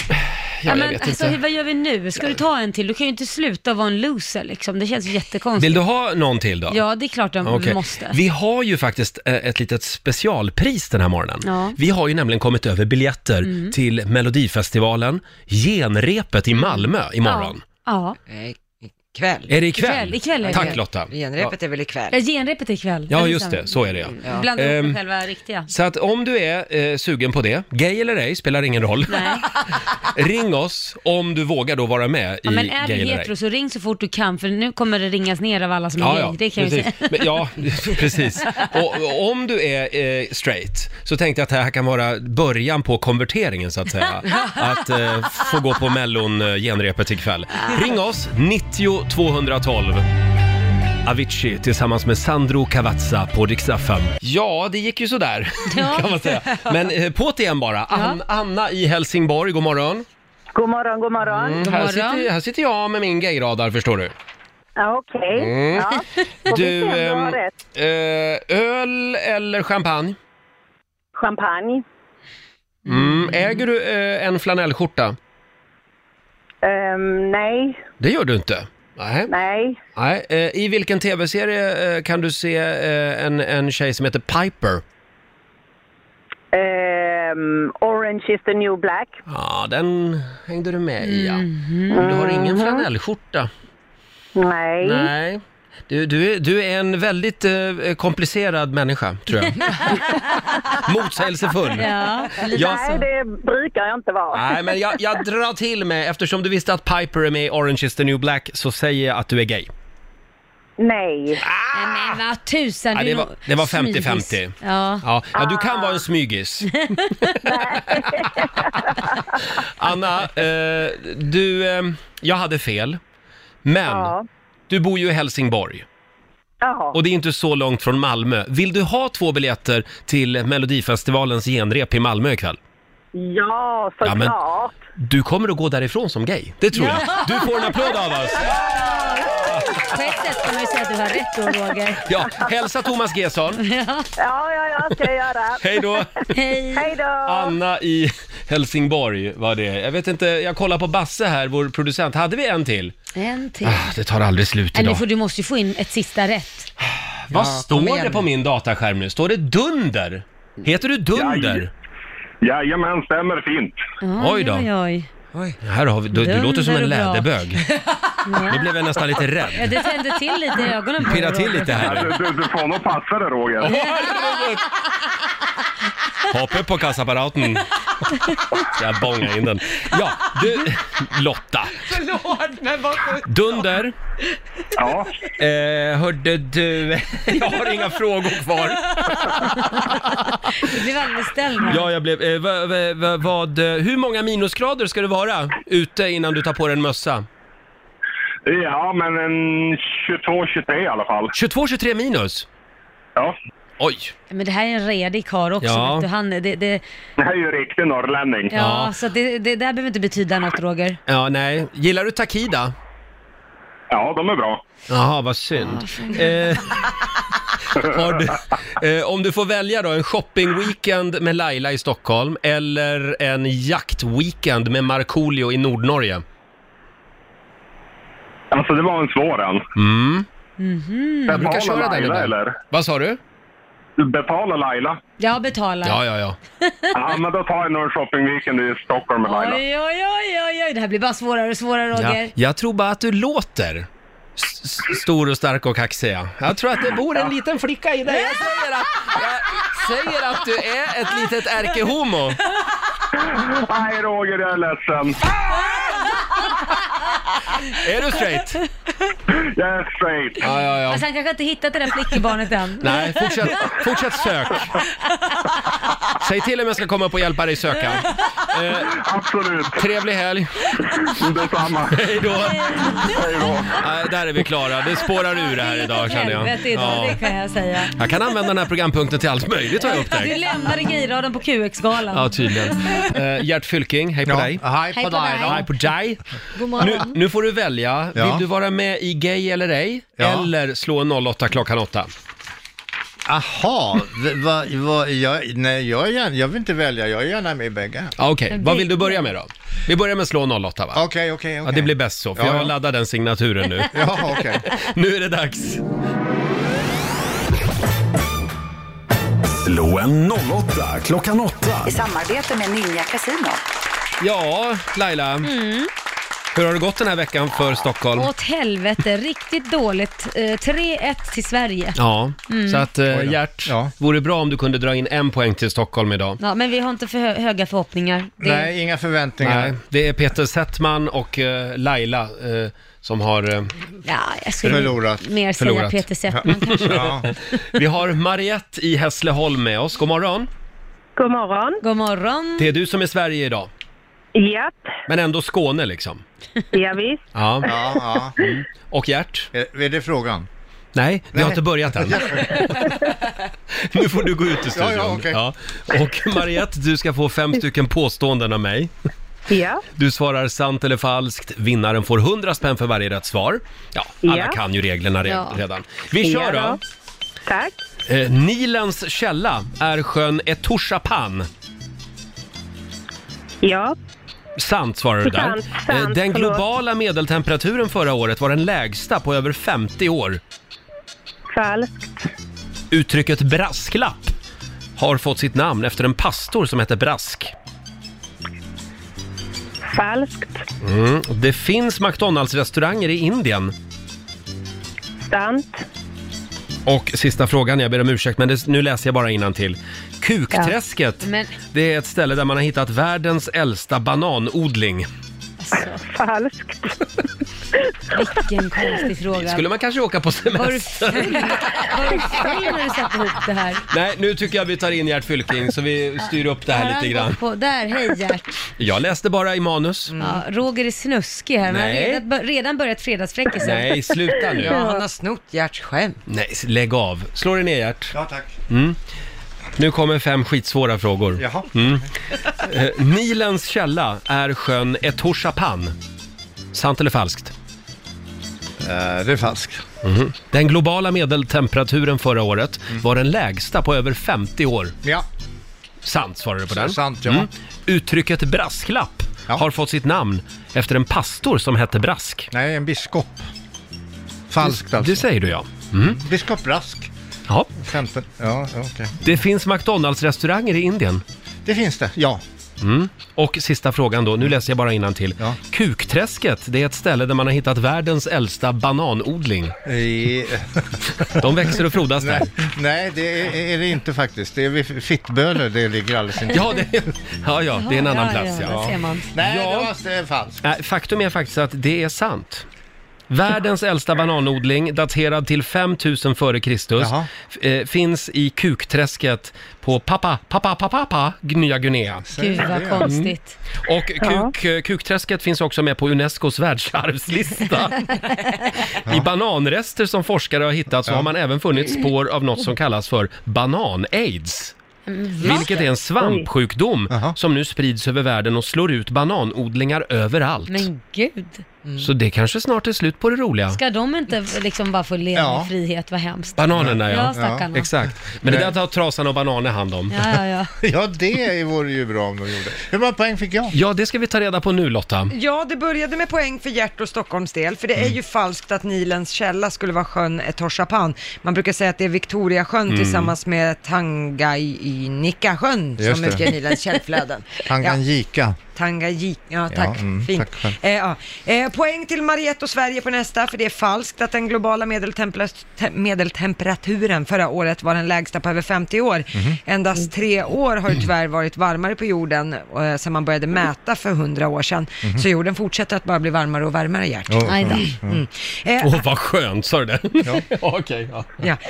Speaker 1: Ja, jag
Speaker 2: men,
Speaker 1: vet
Speaker 2: alltså,
Speaker 1: inte.
Speaker 2: Vad gör vi nu? Ska du ta en till? Du kan ju inte sluta vara en loser liksom. Det känns jättekonstigt.
Speaker 1: Vill du ha någon till då?
Speaker 2: Ja, det är klart att
Speaker 1: Okej.
Speaker 2: vi måste.
Speaker 1: Vi har ju faktiskt eh, ett litet specialpris den här morgonen.
Speaker 2: Ja.
Speaker 1: Vi har ju nämligen kommit över biljetter
Speaker 2: Mm.
Speaker 1: till Melodifestivalen, genrepet i Malmö imorgon.
Speaker 3: Eh,
Speaker 2: Ja. ja.
Speaker 3: Kväll.
Speaker 1: Är det ikväll? Ikväll,
Speaker 2: ikväll är det.
Speaker 1: Tack Lotta.
Speaker 3: Genrepet är väl ikväll?
Speaker 2: Ja, genrepet är ikväll.
Speaker 1: Ja,
Speaker 2: Är
Speaker 1: just
Speaker 2: samma?
Speaker 1: det. Så är det ja.
Speaker 2: Mm. Blanda ihop
Speaker 1: Ehm,
Speaker 2: med själva riktiga.
Speaker 1: Så att om du är eh, sugen på det, gay eller ej spelar ingen roll.
Speaker 2: Nej.
Speaker 1: Ring oss om du vågar då vara med i
Speaker 2: Ja, men är du
Speaker 1: gay eller
Speaker 2: hetero
Speaker 1: ej.
Speaker 2: så ring så fort du kan för nu kommer det ringas ner av alla som är gay. Det kan jag ju
Speaker 1: precis.
Speaker 2: säga.
Speaker 1: Men, ja, precis. Och, och om du är eh, straight så tänkte jag att det här kan vara början på konverteringen så att säga. Att eh, få gå på Mellon-genrepet ikväll. Ring oss, 90 212. Avicii tillsammans med Sandro Cavazza på Rix FM. Ja, det gick ju sådär
Speaker 4: Ja.
Speaker 1: kan man säga. Men eh, på det igen bara. An- Anna i Helsingborg, god morgon.
Speaker 9: God morgon, god morgon.
Speaker 1: Mm, här, sitter, här sitter jag med min gayradar förstår du.
Speaker 9: Ja, Okej.
Speaker 1: Mm.
Speaker 9: Ja. Får vi
Speaker 1: Du,
Speaker 9: se om du
Speaker 1: ehm,
Speaker 9: har rätt.
Speaker 1: eh, öl eller champagne?
Speaker 9: Champagne.
Speaker 1: Mm. Äger du eh, en flanellskjorta?
Speaker 9: Ehm, nej,
Speaker 1: Det gör du inte. Nej.
Speaker 9: nej.
Speaker 1: Nej. Eh, I vilken tv-serie eh, kan du se eh, en, en tjej som heter Piper?
Speaker 9: Ehm, orange is the new black.
Speaker 1: Ja, den hängde du med i ja.
Speaker 9: Mhm.
Speaker 1: Men Du har ingen flanellskjorta.
Speaker 9: Nej.
Speaker 1: Nej. Du, du, är, du är en väldigt eh, komplicerad människa, tror jag. Motsägelsefull. Jag-
Speaker 9: Nej, det brukar jag inte vara.
Speaker 1: Nej, men jag, jag drar till med, eftersom du visste att Piper är med i Orange is the new black, så säger jag att du är gay.
Speaker 9: Nej.
Speaker 2: Nej men vad tusan.
Speaker 1: Ja,
Speaker 2: du
Speaker 1: det,
Speaker 2: är
Speaker 1: var,
Speaker 2: nog
Speaker 1: det var
Speaker 2: smygis.
Speaker 1: 50-50.
Speaker 2: Ja.
Speaker 1: Ja, ja, du kan vara en smygis. Anna, eh, du, eh, jag hade fel. Men, du bor ju i Helsingborg.
Speaker 9: Jaha.
Speaker 1: Och det är inte så långt från Malmö. Vill du ha två biljetter till Melodifestivalens genrep i Malmö ikväll?
Speaker 9: Ja,
Speaker 1: Ja, men-
Speaker 9: såklart.
Speaker 1: Du kommer att gå därifrån som gay, det tror jag.
Speaker 2: Ja.
Speaker 1: Du får en applåd av oss!
Speaker 2: På ett sätt kan man ju säga att du har rätt då Roger.
Speaker 1: Ja, hälsa Thomas Gesson.
Speaker 2: Ja,
Speaker 9: ja, ja, ska jag göra.
Speaker 1: Hej då!
Speaker 2: Hej.
Speaker 9: Hej då.
Speaker 1: Anna i Helsingborg var det. Jag vet inte, jag kollar på Basse här, vår producent. Hade vi en till?
Speaker 2: En till.
Speaker 1: Ah, det tar aldrig slut
Speaker 2: Nej, nu
Speaker 1: idag.
Speaker 2: får, du måste ju få in ett sista rätt.
Speaker 1: Vad
Speaker 2: Ja, kom
Speaker 1: står
Speaker 2: igen.
Speaker 1: det på min dataskärm nu? Står det Dunder? Heter du Dunder?
Speaker 12: Jajamän, stämmer fint.
Speaker 1: Oj då.
Speaker 2: Oj, oj. oj.
Speaker 1: Här har vi, du, du
Speaker 2: Dunder
Speaker 1: låter som en
Speaker 2: och brak.
Speaker 1: läderbög. Nu blev jag nästan lite
Speaker 2: Ja,
Speaker 1: rädd.
Speaker 2: det tände till lite i ögonen på
Speaker 1: Pirra
Speaker 2: dig,
Speaker 1: till
Speaker 2: Roger.
Speaker 1: lite här nu.
Speaker 12: Alltså, Du, du får nog passa dig Roger.
Speaker 1: Hoppa upp på kassaapparaten. Ska jag bonga in den. Ja, du, Lotta.
Speaker 4: Förlåt, men vad
Speaker 1: Dunder.
Speaker 12: Ja.
Speaker 1: Eh, hörde du... Jag har inga frågor kvar.
Speaker 2: Du blev alldeles ställd här.
Speaker 1: Ja, jag blev... Eh, vad, vad- vad, vad, eh, hur många minusgrader ska det vara ute innan du tar på dig en mössa?
Speaker 12: Ja, men en 22-23 i alla fall.
Speaker 1: 22-23 minus?
Speaker 12: Ja.
Speaker 1: Oj.
Speaker 2: Men det här är en redig karl också.
Speaker 12: Ja.
Speaker 2: Vet du, han, är- det, det,
Speaker 12: Det här är ju riktig norrlänning.
Speaker 2: ja, så att det, det där behöver inte betyda något Roger.
Speaker 1: Ja, nej. Gillar du Takida?
Speaker 12: Ja, de är bra.
Speaker 1: Jaha, vad synd. Eh, har du, eh, om du får välja då, en shoppingweekend med Laila i Stockholm eller en jaktweekend med Markoolio i Nordnorge?
Speaker 12: Alltså det var en svår en.
Speaker 1: Mm.
Speaker 2: Mhm.
Speaker 12: Betala Laila
Speaker 1: ibland.
Speaker 12: eller?
Speaker 1: Vad sa du?
Speaker 12: Betala Laila.
Speaker 2: Jag betalar.
Speaker 1: Ja, ja, ja.
Speaker 12: Ja, men då tar jag nog en shoppingweekend i Stockholm med Laila.
Speaker 2: Oj, oj, oj, oj, oj, det här blir bara svårare och svårare Roger.
Speaker 1: ja. Jag tror bara att du låter s- s- stor och stark och kaxig. ja. Jag tror att det bor en liten flicka i dig. Jag säger att, jag säger att du är ett litet ärkehomo.
Speaker 12: Nej Roger, jag är ledsen.
Speaker 1: Är du straight?
Speaker 12: Jag är straight.
Speaker 1: Ja, ja, ja.
Speaker 2: Fast han kanske inte hittat det där flickebarnet än.
Speaker 1: Nej, fortsätt, fortsätt sök. Säg till om jag ska komma upp och hjälpa dig söka.
Speaker 12: Absolut.
Speaker 1: Trevlig helg.
Speaker 12: Detsamma.
Speaker 1: Hej då. Nej, där är vi klara. Det spårar ur det här idag känner jag.
Speaker 2: Helvete idag, det kan jag säga.
Speaker 1: Jag kan använda den här programpunkten till allt möjligt har jag
Speaker 2: Du
Speaker 1: upptäckt.
Speaker 2: lämnade gayraden på QX-galan.
Speaker 1: Ja, tydligen. Eh, Gert Fylking, hej på
Speaker 13: Ja,
Speaker 1: dig.
Speaker 13: hej
Speaker 2: på Hej på dig dig. då.
Speaker 1: Hej på dig.
Speaker 2: God
Speaker 1: Nu, nu får du välja.
Speaker 13: Ja.
Speaker 1: Vill du vara med i Gay eller ej?
Speaker 13: Ja.
Speaker 1: Eller slå en 08 klockan 8?
Speaker 13: Aha, v- va, va, jag, nej, jag, är gärna, jag vill inte välja, jag är gärna med i bägge.
Speaker 1: Ja, Okej, vad vill du börja med då? Vi börjar med slå 08 va? Okej,
Speaker 13: okej, okej.
Speaker 1: Ja, det blir bäst så, för
Speaker 13: Ja,
Speaker 1: jag
Speaker 13: ja.
Speaker 1: laddar den signaturen nu.
Speaker 13: Ja, okej.
Speaker 1: Nu är det dags.
Speaker 4: Slå en 08 klockan 8.
Speaker 14: I samarbete med Ninja Casino.
Speaker 2: Mm.
Speaker 1: Ja, Laila.
Speaker 5: Hur har det gått den här veckan för Stockholm?
Speaker 2: Åt helvete, riktigt dåligt. Eh, 3-1 till Sverige.
Speaker 5: Ja,
Speaker 2: Mm.
Speaker 5: så att eh, Gert, vore bra om du kunde dra in en poäng till Stockholm idag.
Speaker 2: Ja, men vi har inte för hö- höga förhoppningar. Det-
Speaker 13: Nej, inga förväntningar.
Speaker 5: Nej, det är Peter Settman och eh, Laila eh, som har eh,
Speaker 2: Ja, jag skulle mer säga
Speaker 5: Förlorat. Mm.
Speaker 2: Peter Settman kanske.
Speaker 5: Vi har Mariette i Hässleholm med oss. God morgon.
Speaker 10: God morgon.
Speaker 2: God morgon.
Speaker 5: Det är du som är Sverige idag,
Speaker 10: Japp,
Speaker 5: men ändå Skåne liksom.
Speaker 10: ja, visst.
Speaker 5: Ja.
Speaker 10: Ja,
Speaker 5: Mm. Och Gert?
Speaker 13: Eh, Är, det frågan?
Speaker 5: Nej, vi har inte börjat än. nu får du gå ut ur studion.
Speaker 13: Ja, ja, okej.
Speaker 5: Och Mariette, du ska få fem stycken påståenden av mig.
Speaker 10: Ja.
Speaker 5: Du svarar sant eller falskt. Vinnaren får 100 spänn för varje rätt svar. Ja, alla
Speaker 10: Ja.
Speaker 5: kan ju reglerna re-
Speaker 10: Ja.
Speaker 5: redan. Vi kör
Speaker 10: Ja
Speaker 5: då.
Speaker 10: Tack.
Speaker 5: Eh, Nilens källa är sjön Etushapan.
Speaker 10: Ja.
Speaker 5: Sant svarar du där.
Speaker 10: Sant, sant,
Speaker 5: Eh, den
Speaker 10: förlåt.
Speaker 5: globala medeltemperaturen förra året var den lägsta på över 50 år.
Speaker 10: Falskt.
Speaker 5: Uttrycket brasklapp har fått sitt namn efter en pastor som hette Brask.
Speaker 10: Falskt.
Speaker 5: Mm. Det finns McDonalds-restauranger i Indien.
Speaker 10: Sant.
Speaker 5: Och sista frågan, jag ber om ursäkt men det, nu läser jag bara till. Kukträsket,
Speaker 2: Ja. Men-
Speaker 5: det är ett ställe där man har hittat världens äldsta bananodling.
Speaker 10: Falskt.
Speaker 2: Vilken konstig fråga.
Speaker 5: Skulle man kanske åka på
Speaker 2: Var du
Speaker 5: semester?
Speaker 2: full? Var du full när du satte ihop det här?
Speaker 5: Nej, nu tycker jag vi tar in Gert Fylking så vi styr upp det
Speaker 2: Har
Speaker 5: här
Speaker 2: han
Speaker 5: lite
Speaker 2: gått
Speaker 5: grann.
Speaker 2: På, där, hej Gert.
Speaker 5: Jag läste bara i manus.
Speaker 10: Mm.
Speaker 2: Ja, Roger är snuskig här, men han har
Speaker 5: Nej.
Speaker 2: redan, bör- redan börjat fredagsfräckisen.
Speaker 5: Nej, sluta nu. Ja, han har
Speaker 2: snott Gerts skämt.
Speaker 5: Nej, s- lägg av. Slå dig ner Gert.
Speaker 13: Ja, tack.
Speaker 5: Mm. Nu kommer fem skitsvåra frågor.
Speaker 13: Jaha.
Speaker 5: Mm. Eh, Nilens källa är sjön Etoshapan. Sant eller falskt?
Speaker 13: Eh,
Speaker 5: Mhm.
Speaker 13: det är falskt.
Speaker 5: Den globala medeltemperaturen förra året var den lägsta på över 50 år.
Speaker 13: Mm. Ja.
Speaker 5: Sant svarar du på den.
Speaker 13: Sant, ja.
Speaker 5: Uttrycket brasklapp har fått sitt namn efter en pastor som hette Brask.
Speaker 13: Nej, en biskop. Falskt alltså.
Speaker 5: Det säger du ja. Mm.
Speaker 13: Biskop Brask.
Speaker 5: Ja.
Speaker 13: 15. Ja, okej.
Speaker 5: Det finns McDonalds-restauranger i Indien.
Speaker 13: Det finns det, ja.
Speaker 5: Mm. Och sista frågan då, nu läser jag bara innantill. till. Kukträsket, det är ett ställe där man har hittat världens äldsta bananodling. De växer och frodas där.
Speaker 13: Nej, nej det är, är det inte faktiskt. Det är vid Fittböle det ligger alldeles intill.
Speaker 5: Ja, det, ja, ja, det är en annan plats. Ja.
Speaker 13: Nej, det var det är falskt.
Speaker 5: Nej, Äh, Faktum är faktiskt att det är sant. Världens äldsta bananodling, daterad till 5000 före Kristus,
Speaker 13: Jaha.
Speaker 5: f- eh, finns i kukträsket på Papua, Papua, Papua, Papua, Nya Guinea.
Speaker 2: Gud vad konstigt.
Speaker 5: Mm. Och kuk, kukträsket finns också med på Unescos världsarvslista. I bananrester som forskare har hittat så har man även funnit spår av något som kallas för banan-aids.
Speaker 2: Mm,
Speaker 5: Vilket är en svampsjukdom
Speaker 13: Oh.
Speaker 5: som nu sprids över världen och slår ut bananodlingar överallt.
Speaker 2: Men gud.
Speaker 5: Så det kanske snart är slut på det roliga.
Speaker 2: Ska de inte liksom bara få leva
Speaker 5: Ja.
Speaker 2: i frihet? Vad hemskt.
Speaker 5: Bananerna ja.
Speaker 2: Ja, stackarna.
Speaker 5: Exakt. Men det där tar trasan och bananer hand om.
Speaker 2: Ja, ja, ja.
Speaker 13: Ja, det vore ju bra om de gjorde. Hur många poäng fick jag?
Speaker 5: Ja, det ska vi ta reda på nu Lotta.
Speaker 3: Ja, det började med poäng för Gert och Stockholms del, för det
Speaker 13: Mm.
Speaker 3: är ju falskt att Nilens källa skulle vara sjön Etorsapan. Man brukar säga att det är Victoriasjön
Speaker 13: Mm.
Speaker 3: tillsammans med Tanganyikasjön
Speaker 13: Just
Speaker 3: som
Speaker 13: det.
Speaker 3: utgör Nilens källflöden.
Speaker 13: Tanganyika.
Speaker 3: Ja. Tanganyika, ja tack.
Speaker 13: Ja, mm,
Speaker 3: Fint.
Speaker 13: tack själv.
Speaker 3: Eh, ja. eh, poäng till Mariette och Sverige på nästa, för det är falskt att den globala medeltempla- te- medeltemperaturen förra året var den lägsta på över 50 år.
Speaker 13: Mhm.
Speaker 3: Endast tre år har ju tyvärr varit varmare på jorden eh, sedan man började mäta för 100 år sedan.
Speaker 5: Mhm.
Speaker 3: Så jorden fortsätter att bara bli varmare och varmare, Gert.
Speaker 5: Ja, Aj då. ja.
Speaker 3: Mm.
Speaker 5: Åh,
Speaker 3: Eh,
Speaker 5: vad skönt, sa du det? Ja. Okej, ja.
Speaker 3: Ja.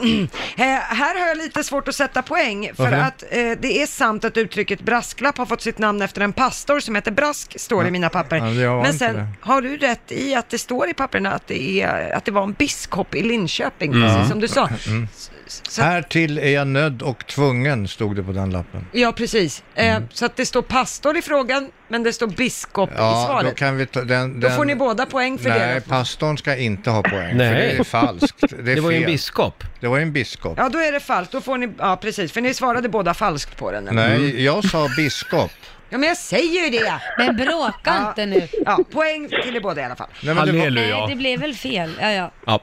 Speaker 3: Mm. Eh, här har jag lite svårt att sätta poäng, för
Speaker 5: Varför det?
Speaker 3: att eh, det är sant att uttrycket brasklapp har fått sitt namn efter en pastor som heter Brask, står det i mina papper.
Speaker 13: Ja, det var
Speaker 3: Men
Speaker 13: inte
Speaker 3: sen
Speaker 13: det.
Speaker 3: har du rätt i att det står i papperna att det, är, att det var en biskop i Linköping, precis som du sa.
Speaker 13: Mm. Här till är jag nödd och tvungen, stod det på den lappen. Mm.
Speaker 3: Ja, precis. Eh, så att det står pastor i frågan, men det står biskop i
Speaker 13: Ja, då
Speaker 3: svaret.
Speaker 13: kan vi ta den...
Speaker 3: Då
Speaker 13: den
Speaker 3: får ni båda poäng för
Speaker 13: Nej,
Speaker 3: det.
Speaker 13: pastorn ska inte ha poäng, för
Speaker 5: Nej.
Speaker 13: det är falskt. Det, är
Speaker 5: Det var ju en
Speaker 13: fel.
Speaker 5: biskop.
Speaker 13: Det var ju en biskop.
Speaker 3: Ja, då är det falskt. Då får ni, ja precis, för ni svarade båda falskt på den.
Speaker 5: Mm.
Speaker 13: Nej, jag sa biskop.
Speaker 3: Ja, men jag säger ju det!
Speaker 2: Men bråka inte nu.
Speaker 3: Ja, poäng till er båda i alla fall.
Speaker 13: Nej, men det var-
Speaker 2: Nej, det blev väl fel. Ja, ja.
Speaker 5: Ja.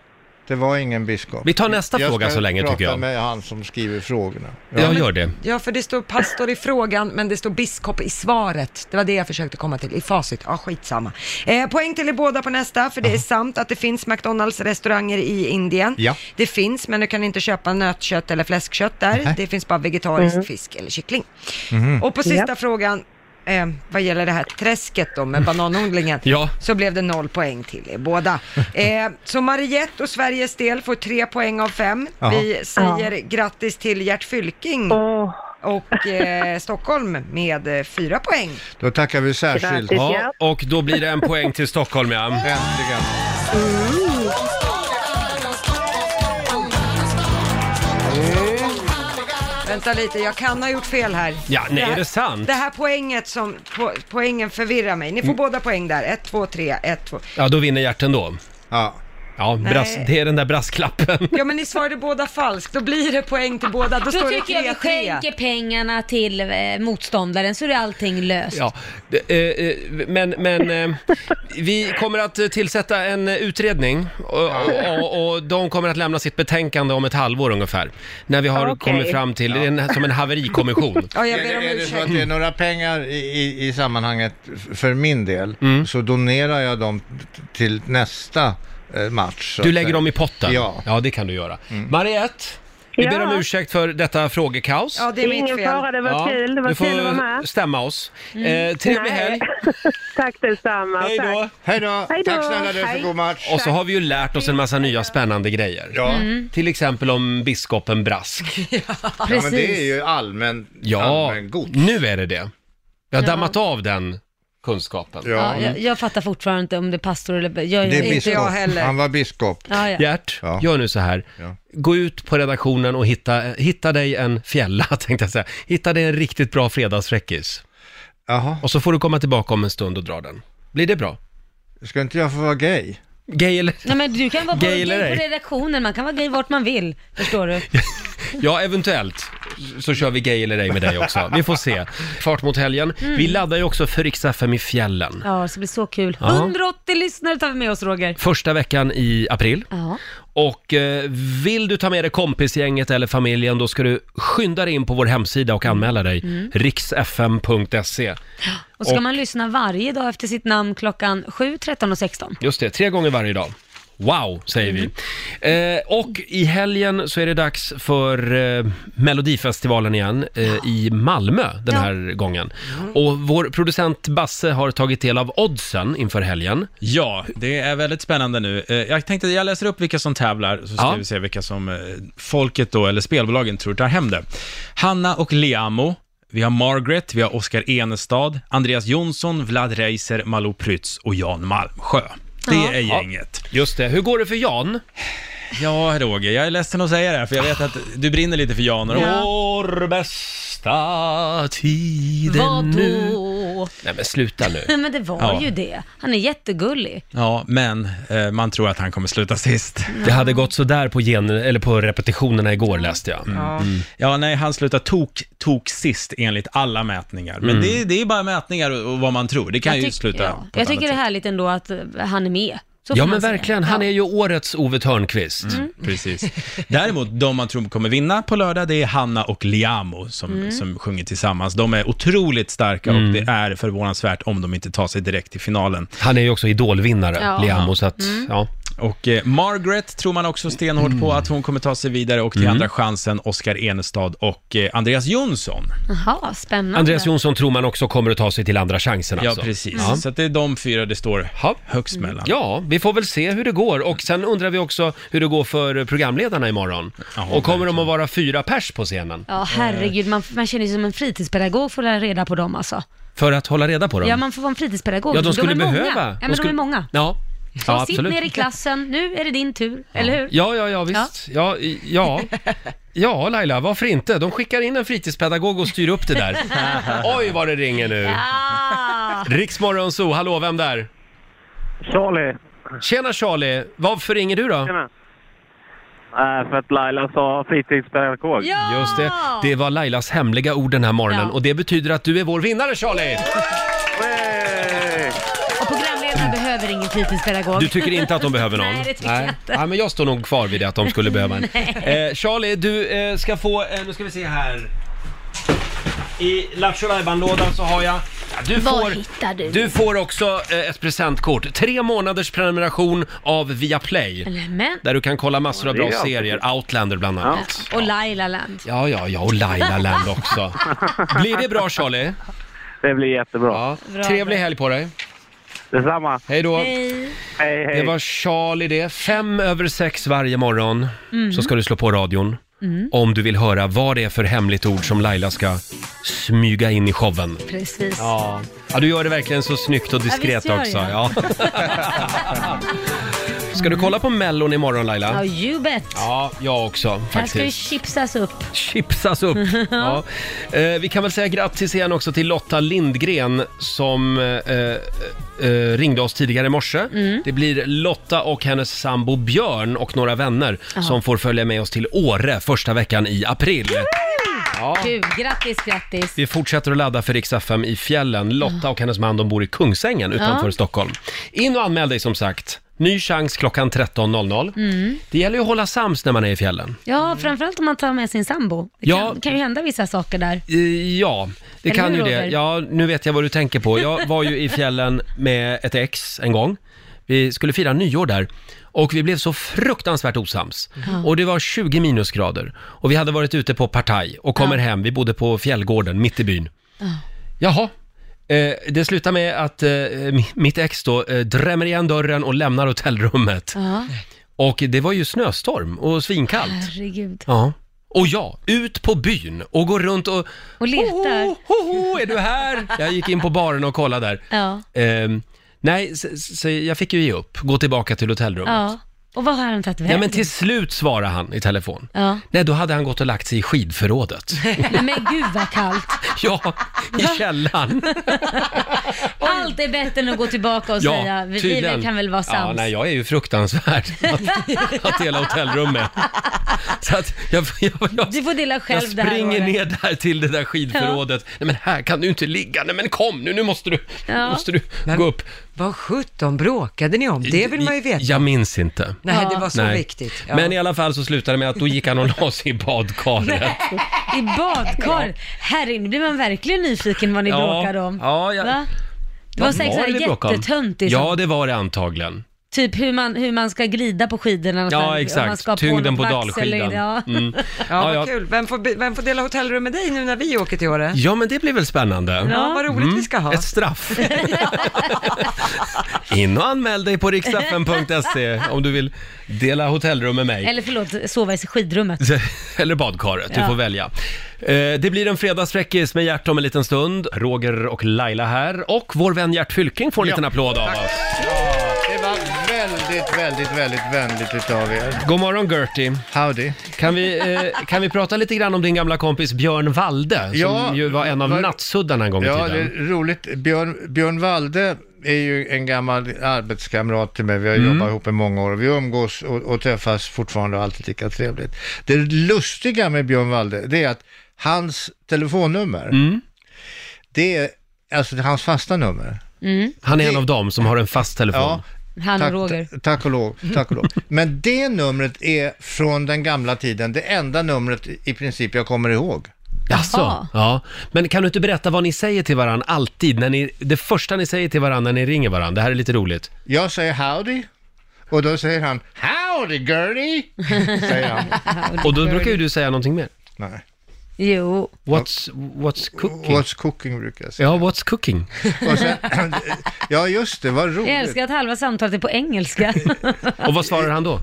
Speaker 13: Det var ingen biskop.
Speaker 5: Vi tar nästa
Speaker 13: jag
Speaker 5: fråga
Speaker 13: ska
Speaker 5: så länge, tycker
Speaker 13: prata
Speaker 5: jag.
Speaker 13: med han som skriver frågorna.
Speaker 5: Jag gör det.
Speaker 3: Ja, för det står pastor i frågan, men det står biskop i svaret. Det var det jag försökte komma till, i facit. Ja, skitsamma. Eh, poäng till er båda på nästa, för det är sant att det finns McDonalds-restauranger i Indien.
Speaker 13: Mm. Ja.
Speaker 3: Det finns, men du kan inte köpa nötkött eller fläskkött där.
Speaker 13: Nej.
Speaker 3: Det finns bara vegetariskt
Speaker 13: Mhm.
Speaker 3: fisk eller kyckling.
Speaker 13: Mhm.
Speaker 3: Och på sista
Speaker 13: Ja.
Speaker 3: frågan, eh, vad gäller det här träsket då med bananodlingen,
Speaker 13: Ja.
Speaker 3: så blev det noll poäng till er båda. Eh, så Mariette och Sveriges del får tre poäng av fem.
Speaker 13: Jaha.
Speaker 3: Vi säger grattis till Gert Fylking och eh, Stockholm med eh, fyra poäng.
Speaker 13: Då tackar vi särskilt.
Speaker 3: Grattis, ja.
Speaker 5: och då blir det en poäng till Stockholm, ja.
Speaker 13: Äntligen.
Speaker 3: Vänta lite, jag kan ha gjort fel här.
Speaker 5: Ja, nej,
Speaker 3: Det här-
Speaker 5: är det sant?
Speaker 3: Det här poänget som, po poängen förvirrar mig. Ni får
Speaker 5: Mm.
Speaker 3: båda poäng där. Ett, två, tre, ett, två.
Speaker 5: Ja, då vinner hjärten då.
Speaker 13: Ja.
Speaker 5: Ja,
Speaker 3: Nej.
Speaker 5: bras, det är den där brasklappen.
Speaker 3: Ja men ni svarade båda falskt, då blir det poäng till båda. Då,
Speaker 2: Då
Speaker 3: står
Speaker 2: tycker jag vi
Speaker 3: det 3-3.
Speaker 2: skänker pengarna till eh, motståndaren så är allting löst.
Speaker 5: Ja, det- eh, eh, men, men eh, vi kommer att eh, tillsätta en eh, utredning och, och, och de kommer att lämna sitt betänkande om ett halvår ungefär. När vi har
Speaker 13: Okej.
Speaker 5: kommit fram till, det är en, som en haverikommission.
Speaker 13: är, det- är det så att det är några pengar i, i, i sammanhanget f- för min del, så donerar jag dem t- till nästa eh, match. så
Speaker 5: Du
Speaker 13: att
Speaker 5: lägger
Speaker 13: säga.
Speaker 5: dem i potten?
Speaker 13: Ja.
Speaker 5: ja det kan du göra. Mariette, vi
Speaker 13: Ja.
Speaker 5: ber om ursäkt för detta frågekaos.
Speaker 3: Ja, det är mitt fel. Ingen fara, det var kul. Det var
Speaker 5: du får
Speaker 3: kul att vara med.
Speaker 5: stämma oss.
Speaker 3: Mm.
Speaker 5: Eh, trevlig
Speaker 3: Nej.
Speaker 5: helg!
Speaker 15: Tack detsamma.
Speaker 5: Hej då.
Speaker 13: Hej då.
Speaker 15: Hej då.
Speaker 13: Tack snälla du för
Speaker 15: Hej.
Speaker 13: god match.
Speaker 5: Och så har vi ju lärt oss en massa nya spännande grejer.
Speaker 13: Ja.
Speaker 2: Mm.
Speaker 5: Till exempel om biskopen Brask.
Speaker 13: Ja, men det är ju allmän,
Speaker 5: Ja,
Speaker 13: allmän god.
Speaker 5: nu är det det. Jag
Speaker 2: Ja.
Speaker 5: har dammat av den kunskapen.
Speaker 2: Ja, jag, jag fattar fortfarande inte om det är pastor eller... Jag, jag,
Speaker 5: Det är
Speaker 2: inte
Speaker 5: biskop.
Speaker 2: jag heller.
Speaker 13: Han var biskop.
Speaker 2: Ja, ja.
Speaker 5: Gert, gör nu så här. Gå ut på redaktionen och hitta, hitta dig en fjälla, tänkte jag säga. Hitta dig en riktigt bra fredagsfräckis.
Speaker 13: Och
Speaker 5: så får du komma tillbaka om en stund och dra den. Blir det bra?
Speaker 13: Ska inte jag få vara gay?
Speaker 5: Gay eller...
Speaker 2: Nej men du kan vara på,
Speaker 5: Gay
Speaker 2: gay
Speaker 5: eller
Speaker 2: på
Speaker 5: ej?
Speaker 2: redaktionen, man kan vara gay vart man vill. Förstår du?
Speaker 5: Ja, eventuellt så kör vi gay eller ej med dig också. Vi får se. Fart mot helgen.
Speaker 2: Mm.
Speaker 5: Vi laddar ju också för riks FM i fjällen.
Speaker 2: Ja, det ska bli så kul.
Speaker 5: Ja.
Speaker 2: 180 lyssnare tar vi med oss Roger.
Speaker 5: Första veckan i april.
Speaker 2: Ja.
Speaker 5: Och eh, vill du ta med dig kompisgänget eller familjen, då ska du skynda dig in på vår hemsida och anmäla dig.
Speaker 2: Mm.
Speaker 5: riksfm.se.
Speaker 2: Och ska
Speaker 5: Och-
Speaker 2: man lyssna varje dag efter sitt namn klockan 7, 13 och 16.
Speaker 5: Just det, tre gånger varje dag. Wow, säger vi. Eh, och i helgen så är det dags för eh, Melodifestivalen igen eh, i Malmö den här gången. Och vår producent Basse har tagit del av oddsen inför helgen.
Speaker 10: Ja, det är väldigt spännande nu. Eh, Jag tänkte att jag läser upp vilka som tävlar, så ska
Speaker 5: Ja.
Speaker 10: vi se vilka som eh, folket då, eller spelbolagen tror tar hem det. Hanna och Liamo, vi har Margaret, vi har Oskar Enestad, Andreas Jonsson, Vlad Reiser, Malou Prytz och Jan Malmsjö. Det
Speaker 5: Ja.
Speaker 10: är gänget.
Speaker 5: Just det. Hur går det för Jan?
Speaker 10: Ja, Roger, jag är ledsen att säga det här, för jag vet att du brinner lite för Jan. Och
Speaker 5: Ja. Vår bästa tid
Speaker 2: Vadå?
Speaker 5: Nej men sluta nu.
Speaker 2: Nej men det var
Speaker 10: Ja.
Speaker 2: ju det. Han är jättegullig.
Speaker 10: Ja, men eh, man tror att han kommer sluta sist.
Speaker 5: Det hade gått sådär på, gen, eller på repetitionerna igår läste jag.
Speaker 2: Mm.
Speaker 10: Ja. ja, nej, han slutar tok, tok sist enligt alla mätningar. Men
Speaker 5: Mm.
Speaker 10: det, det är bara mätningar och, och vad man tror. Det kan
Speaker 2: Jag
Speaker 10: ju
Speaker 2: tyck-
Speaker 10: sluta
Speaker 2: ja.
Speaker 10: på
Speaker 2: Jag
Speaker 10: ett
Speaker 2: tycker det
Speaker 10: annat
Speaker 2: är härligt ändå att eh, han är med. Så
Speaker 5: Ja
Speaker 2: får
Speaker 5: men
Speaker 2: man säga.
Speaker 5: verkligen, han är ju årets Ove Thörnqvist.
Speaker 2: Mm.
Speaker 10: sätt. Precis. Däremot, de man tror kommer vinna på lördag, det är Hanna och Liamo som,
Speaker 2: Mm.
Speaker 10: som sjunger tillsammans. De är otroligt starka och
Speaker 15: Mm.
Speaker 10: det är förvånansvärt om de inte tar sig direkt till finalen.
Speaker 5: Han är ju också idolvinnare,
Speaker 10: Ja.
Speaker 5: Liamo, så att,
Speaker 10: Mm.
Speaker 5: ja.
Speaker 10: Och eh, Margaret tror man också stenhårt på att hon kommer ta sig vidare och till
Speaker 5: Mm.
Speaker 10: Andra chansen, Oskar Enestad och eh, Andreas Jonsson.
Speaker 2: Jaha, spännande.
Speaker 5: Andreas Jonsson tror man också kommer att ta sig till andra chansen
Speaker 10: Ja,
Speaker 5: alltså.
Speaker 10: precis.
Speaker 5: Ja.
Speaker 10: Så att det är de fyra det står högst mellan.
Speaker 5: Ja, vi får väl se hur det går och sen undrar vi också hur det går för programledarna imorgon. och kommer de att vara fyra pers på scenen?
Speaker 2: Ja, herregud, man, man känner sig som en fritidspedagog för att lära reda på dem alltså.
Speaker 5: För att hålla reda på dem?
Speaker 2: Ja, man får vara en fritidspedagog.
Speaker 5: Ja, de skulle
Speaker 2: är
Speaker 5: behöva.
Speaker 2: Många. Ja, men de,
Speaker 5: skulle...
Speaker 2: är många.
Speaker 5: Ja,
Speaker 2: Så
Speaker 5: ja
Speaker 2: sitt ner i
Speaker 5: absolut.
Speaker 2: klassen, nu är det din tur, eller hur?
Speaker 5: Ja, ja, ja, visst. Ja, i- ja. ja, Laila, varför inte? De skickar in en fritidspedagog och styr upp det där. Oj, vad det ringer nu. Riksmorgon Zoo, hallå, vem där?
Speaker 1: Charlie.
Speaker 5: Tjena Charlie, varför ringer du då?
Speaker 1: Nej, för att Laila sa fritidspedagog.
Speaker 5: Just det, det var Lailas hemliga ord den här morgonen och det betyder att du är vår vinnare Charlie!
Speaker 2: Och programledarna behöver inget
Speaker 16: fritidspedagog.
Speaker 5: Du tycker inte att de behöver någon?
Speaker 16: Nej, det tycker jag inte.
Speaker 5: Nej, men jag står nog kvar vid det att de skulle behöva en.
Speaker 16: Nej.
Speaker 5: Eh, Charlie, du eh, ska få, eh, nu ska vi se här. I Lattjo lådan så har jag... Ja, du
Speaker 16: Var
Speaker 5: får,
Speaker 16: hittar du?
Speaker 5: du får också eh, ett presentkort. Tre månaders prenumeration av Viaplay.
Speaker 2: Eller men.
Speaker 5: Där du kan kolla massor av
Speaker 2: Ja, det
Speaker 5: bra
Speaker 2: är alltid.
Speaker 5: serier, Outlander bland annat.
Speaker 2: Och Laila Land.
Speaker 5: Ja, ja, ja, och Laila Land också. Blir det bra Charlie?
Speaker 17: Det blir jättebra.
Speaker 2: Bra.
Speaker 5: Trevlig helg på dig.
Speaker 17: Detsamma.
Speaker 5: Hej då.
Speaker 2: Hej.
Speaker 17: Hej, hej.
Speaker 5: Det var Charlie det. Fem över sex varje morgon
Speaker 17: Mm.
Speaker 5: så ska du slå på radion.
Speaker 2: Mm.
Speaker 5: Om du vill höra vad det är för hemligt ord som Laila ska smyga in i showen.
Speaker 2: Precis.
Speaker 5: Ja. ja, du gör det verkligen så snyggt och
Speaker 2: Ja, visst
Speaker 5: diskret
Speaker 2: gör
Speaker 5: också.
Speaker 2: jag.
Speaker 5: Ja. Ska du kolla på Mellon imorgon
Speaker 2: Ja,
Speaker 5: Laila?
Speaker 2: you bet.
Speaker 5: Ja, jag också
Speaker 2: Här ska ju
Speaker 5: faktiskt.
Speaker 2: chipsas upp.
Speaker 5: Chipsas upp. Ja. Eh, vi kan väl säga grattis igen också till Lotta Lindgren som eh, eh, ringde oss tidigare i morse.
Speaker 2: Mm.
Speaker 5: Det blir Lotta och hennes sambo Björn och några vänner
Speaker 2: Ja.
Speaker 5: som får följa med oss till Åre första veckan i april. Ja.
Speaker 2: Du, grattis, grattis.
Speaker 5: Vi fortsätter att ladda för Rix FM i fjällen. Lotta och hennes man de bor i Kungsängen utanför
Speaker 2: Ja.
Speaker 5: Stockholm. In och anmäl dig som sagt. Ny chans klockan 13.00.
Speaker 2: Mm.
Speaker 5: Det gäller ju att hålla sams när man är i fjällen.
Speaker 2: Ja, framförallt om man tar med sin sambo. Det
Speaker 5: Ja.
Speaker 2: kan, kan ju hända vissa saker där.
Speaker 5: Eh, Ja, det
Speaker 2: Eller
Speaker 5: kan
Speaker 2: hur,
Speaker 5: ju det.
Speaker 2: Roger?
Speaker 5: Ja, nu vet jag vad du tänker på. Jag var ju i fjällen med ett ex en gång. Vi skulle fira nyår där och vi blev så fruktansvärt osams.
Speaker 2: Ja.
Speaker 5: Och det var 20 minusgrader och vi hade varit ute på partaj och kommer hem. Vi bodde på fjällgården mitt i byn.
Speaker 2: Ja.
Speaker 5: Jaha. Eh, det slutar med att eh, mi- mitt ex då eh, drämmer igen dörren och lämnar hotellrummet.
Speaker 2: Ja.
Speaker 5: Och det var ju snöstorm och svinkallt.
Speaker 2: Herregud.
Speaker 5: Ja. Och jag, ut på byn och går runt och...
Speaker 2: Och letar. Ho,
Speaker 5: är du här? Jag gick in på baren och kollade där.
Speaker 2: Ja.
Speaker 5: Ehm, nej, så, så jag fick ju ge upp, gå tillbaka till hotellrummet. Ja,
Speaker 2: ja. Och vad har han tagit vägen?
Speaker 5: men till slut svarade han i telefon.
Speaker 2: Ja.
Speaker 5: Nej, då hade han gått och lagt sig i skidförrådet.
Speaker 2: Nej, men gud vad kallt.
Speaker 5: ja, i källaren.
Speaker 2: Allt är bättre än att gå tillbaka och
Speaker 5: ja,
Speaker 2: säga, vi,
Speaker 5: tydligen.
Speaker 2: vi kan väl vara
Speaker 5: Ja,
Speaker 2: sams.
Speaker 5: nej, jag är ju fruktansvärd att dela hotellrum med. Så att jag, jag, jag,
Speaker 2: Du får dela
Speaker 5: jag
Speaker 2: själv det här
Speaker 5: springer
Speaker 2: året.
Speaker 5: ner där till det där skidförrådet. Nej men här kan du inte ligga. Nej men kom nu, nu måste du,
Speaker 2: Ja.
Speaker 5: måste du gå upp.
Speaker 3: Vad sjutton bråkade ni om? Det vill man ju veta.
Speaker 5: Jag minns inte.
Speaker 3: Nej, det var så
Speaker 5: Nej.
Speaker 3: viktigt. Ja.
Speaker 5: Men i alla fall så slutade det med att då gick han och la sig i badkaret.
Speaker 2: I badkar. Herregud, nu blir man verkligen nyfiken vad ni
Speaker 5: Ja.
Speaker 2: bråkade om.
Speaker 5: Ja, jag-
Speaker 2: Va? Det var säkert sådär
Speaker 5: det vi bråkade om?
Speaker 2: jättetöntigt.
Speaker 5: Ja,
Speaker 2: som-
Speaker 5: det var det antagligen.
Speaker 2: Typ hur man, hur man ska glida på skidorna. och så här,
Speaker 5: Ja,
Speaker 2: om man
Speaker 5: exakt.
Speaker 2: ska ha
Speaker 5: Tyngden
Speaker 2: något
Speaker 5: på
Speaker 2: vax eller-
Speaker 5: dalskidan.
Speaker 2: Ja.
Speaker 5: Mm.
Speaker 3: Ja,
Speaker 5: Ja,
Speaker 3: vad
Speaker 5: ja.
Speaker 3: kul. Vem får, be- vem får dela hotellrum med dig nu när vi åker till Åre?
Speaker 5: Ja, men det blir väl spännande.
Speaker 3: Ja, vad roligt vi ska ha.
Speaker 5: Mm. Ett straff. In och anmäl dig på riksdagen.se E om du vill dela hotellrum med mig.
Speaker 2: Eller förlåt, sova i skidrummet.
Speaker 5: Eller badkaret, du
Speaker 2: Ja.
Speaker 5: får välja. Eh, Det blir en fredagsfräckis med Gert om en liten stund. Roger och Laila här. Och vår vän Gert Fylking får en liten applåd av oss.
Speaker 10: Det var väldigt, väldigt, väldigt vänligt utav er.
Speaker 5: God morgon Gertie.
Speaker 10: Howdy.
Speaker 5: Kan vi, eh, kan vi prata lite grann om din gamla kompis Björn Valde, som
Speaker 10: Ja,
Speaker 5: ju var en av
Speaker 10: var-
Speaker 5: nattsuddarna en gång i
Speaker 10: Ja, det
Speaker 5: tiden?
Speaker 10: är roligt. Björn, Björn Walde är ju en gammal arbetskamrat till mig. Vi har jobbat ihop i många år. Vi umgås och, och träffas fortfarande och alltid lika trevligt. Det lustiga med Björn Walde, det är att hans telefonnummer, det är alltså hans fasta nummer.
Speaker 2: Mm.
Speaker 5: Han är en av dem som har en fast telefon.
Speaker 10: Ja,
Speaker 2: Han och
Speaker 10: Tack-
Speaker 2: Roger.
Speaker 10: Tack och lov, tack och lov. Men det numret är från den gamla tiden, det enda numret i princip jag kommer ihåg.
Speaker 5: Jaså? Ja. Men kan du inte berätta vad ni säger till varandra alltid? När ni, det första ni säger till varandra när ni ringer varandra, det här är lite roligt.
Speaker 10: Jag säger howdy och då säger han howdy Gertie, säger han.
Speaker 5: Och då brukar ju du säga någonting mer.
Speaker 10: Nej.
Speaker 2: Jo.
Speaker 5: What's, what's cooking?
Speaker 10: What's cooking brukar jag säga.
Speaker 5: Ja, what's cooking?
Speaker 10: Och sen, ja just det, vad roligt.
Speaker 2: Jag älskar att halva samtalet är på engelska.
Speaker 5: Och vad svarar han då?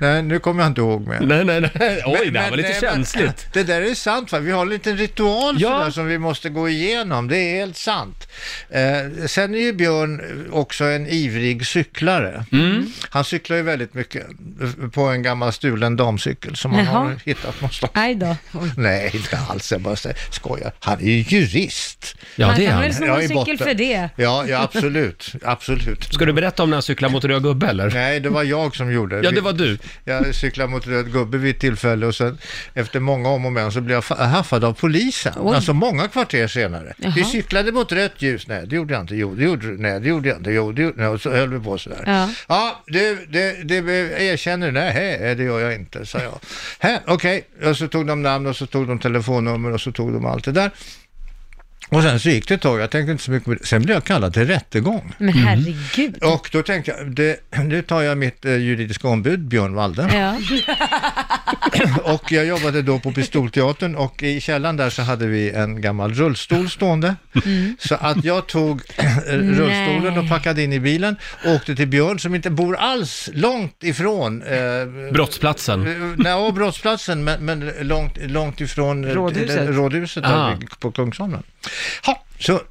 Speaker 10: nej, nu kommer jag inte ihåg mer.
Speaker 5: Nej, nej, nej. Oj, det här var lite
Speaker 10: nej,
Speaker 5: känsligt.
Speaker 10: det där är sant, va? vi har en liten ritual sådär som vi måste gå igenom, det är helt sant. Eh, sen är ju Björn också en ivrig cyklare. Han cyklar ju väldigt mycket eh, på en gammal stulen damcykel som han
Speaker 2: Jaha.
Speaker 10: har hittat någonstans.
Speaker 2: Aj då.
Speaker 10: Nej, inte alls, Alltså, jag bara säger, skojar. Han är ju jurist.
Speaker 5: Ja, det är han.
Speaker 2: väl sno en
Speaker 10: Ja, i
Speaker 2: cykel
Speaker 10: botten.
Speaker 2: för det.
Speaker 10: Ja, ja absolut. absolut.
Speaker 5: Ska du berätta om när han cyklade mot röd gubbe eller?
Speaker 10: Nej, det var jag som gjorde
Speaker 1: eh,
Speaker 5: Ja, det var du.
Speaker 1: Jag cyklade mot röd gubbe vid ett tillfälle och sen efter många om och men så blev jag fa- haffad av polisen.
Speaker 10: Oj.
Speaker 1: Alltså många kvarter senare.
Speaker 10: Jaha.
Speaker 1: Du cyklade mot rött ljus. Nej, det gjorde jag inte. Jo, det gjorde du. Nej, det gjorde jag inte. Jo, det gjorde... Nej, och så höll vi på sådär.
Speaker 10: Ja.
Speaker 1: Ja, det, det, det erkänner du. Nej, hej, det gör jag inte, sa jag. Hä, Okej, och så tog de namn och så tog de telefonnummer och så tog de allt det där. Och sen så gick det ett tag, jag tänkte inte så mycket på det. Sen blev jag kallad till rättegång.
Speaker 2: Men herregud.
Speaker 1: Mm. Och då tänkte jag, det, nu tar jag mitt eh, juridiska ombud Björn Walde.
Speaker 2: Ja.
Speaker 1: Och jag jobbade då på Pistolteatern och i källaren där så hade vi en gammal rullstol stående.
Speaker 10: Mm.
Speaker 1: Så att jag tog rullstolen och packade in i bilen och åkte till Björn som inte bor alls långt ifrån eh,
Speaker 5: Brottsplatsen.
Speaker 1: Eh, Nej, och brottsplatsen, men, men långt, långt ifrån eh,
Speaker 5: Rådhuset.
Speaker 1: eh, rådhuset
Speaker 5: Ah.
Speaker 1: där vid- på Kungsholmen. Ha, så eh,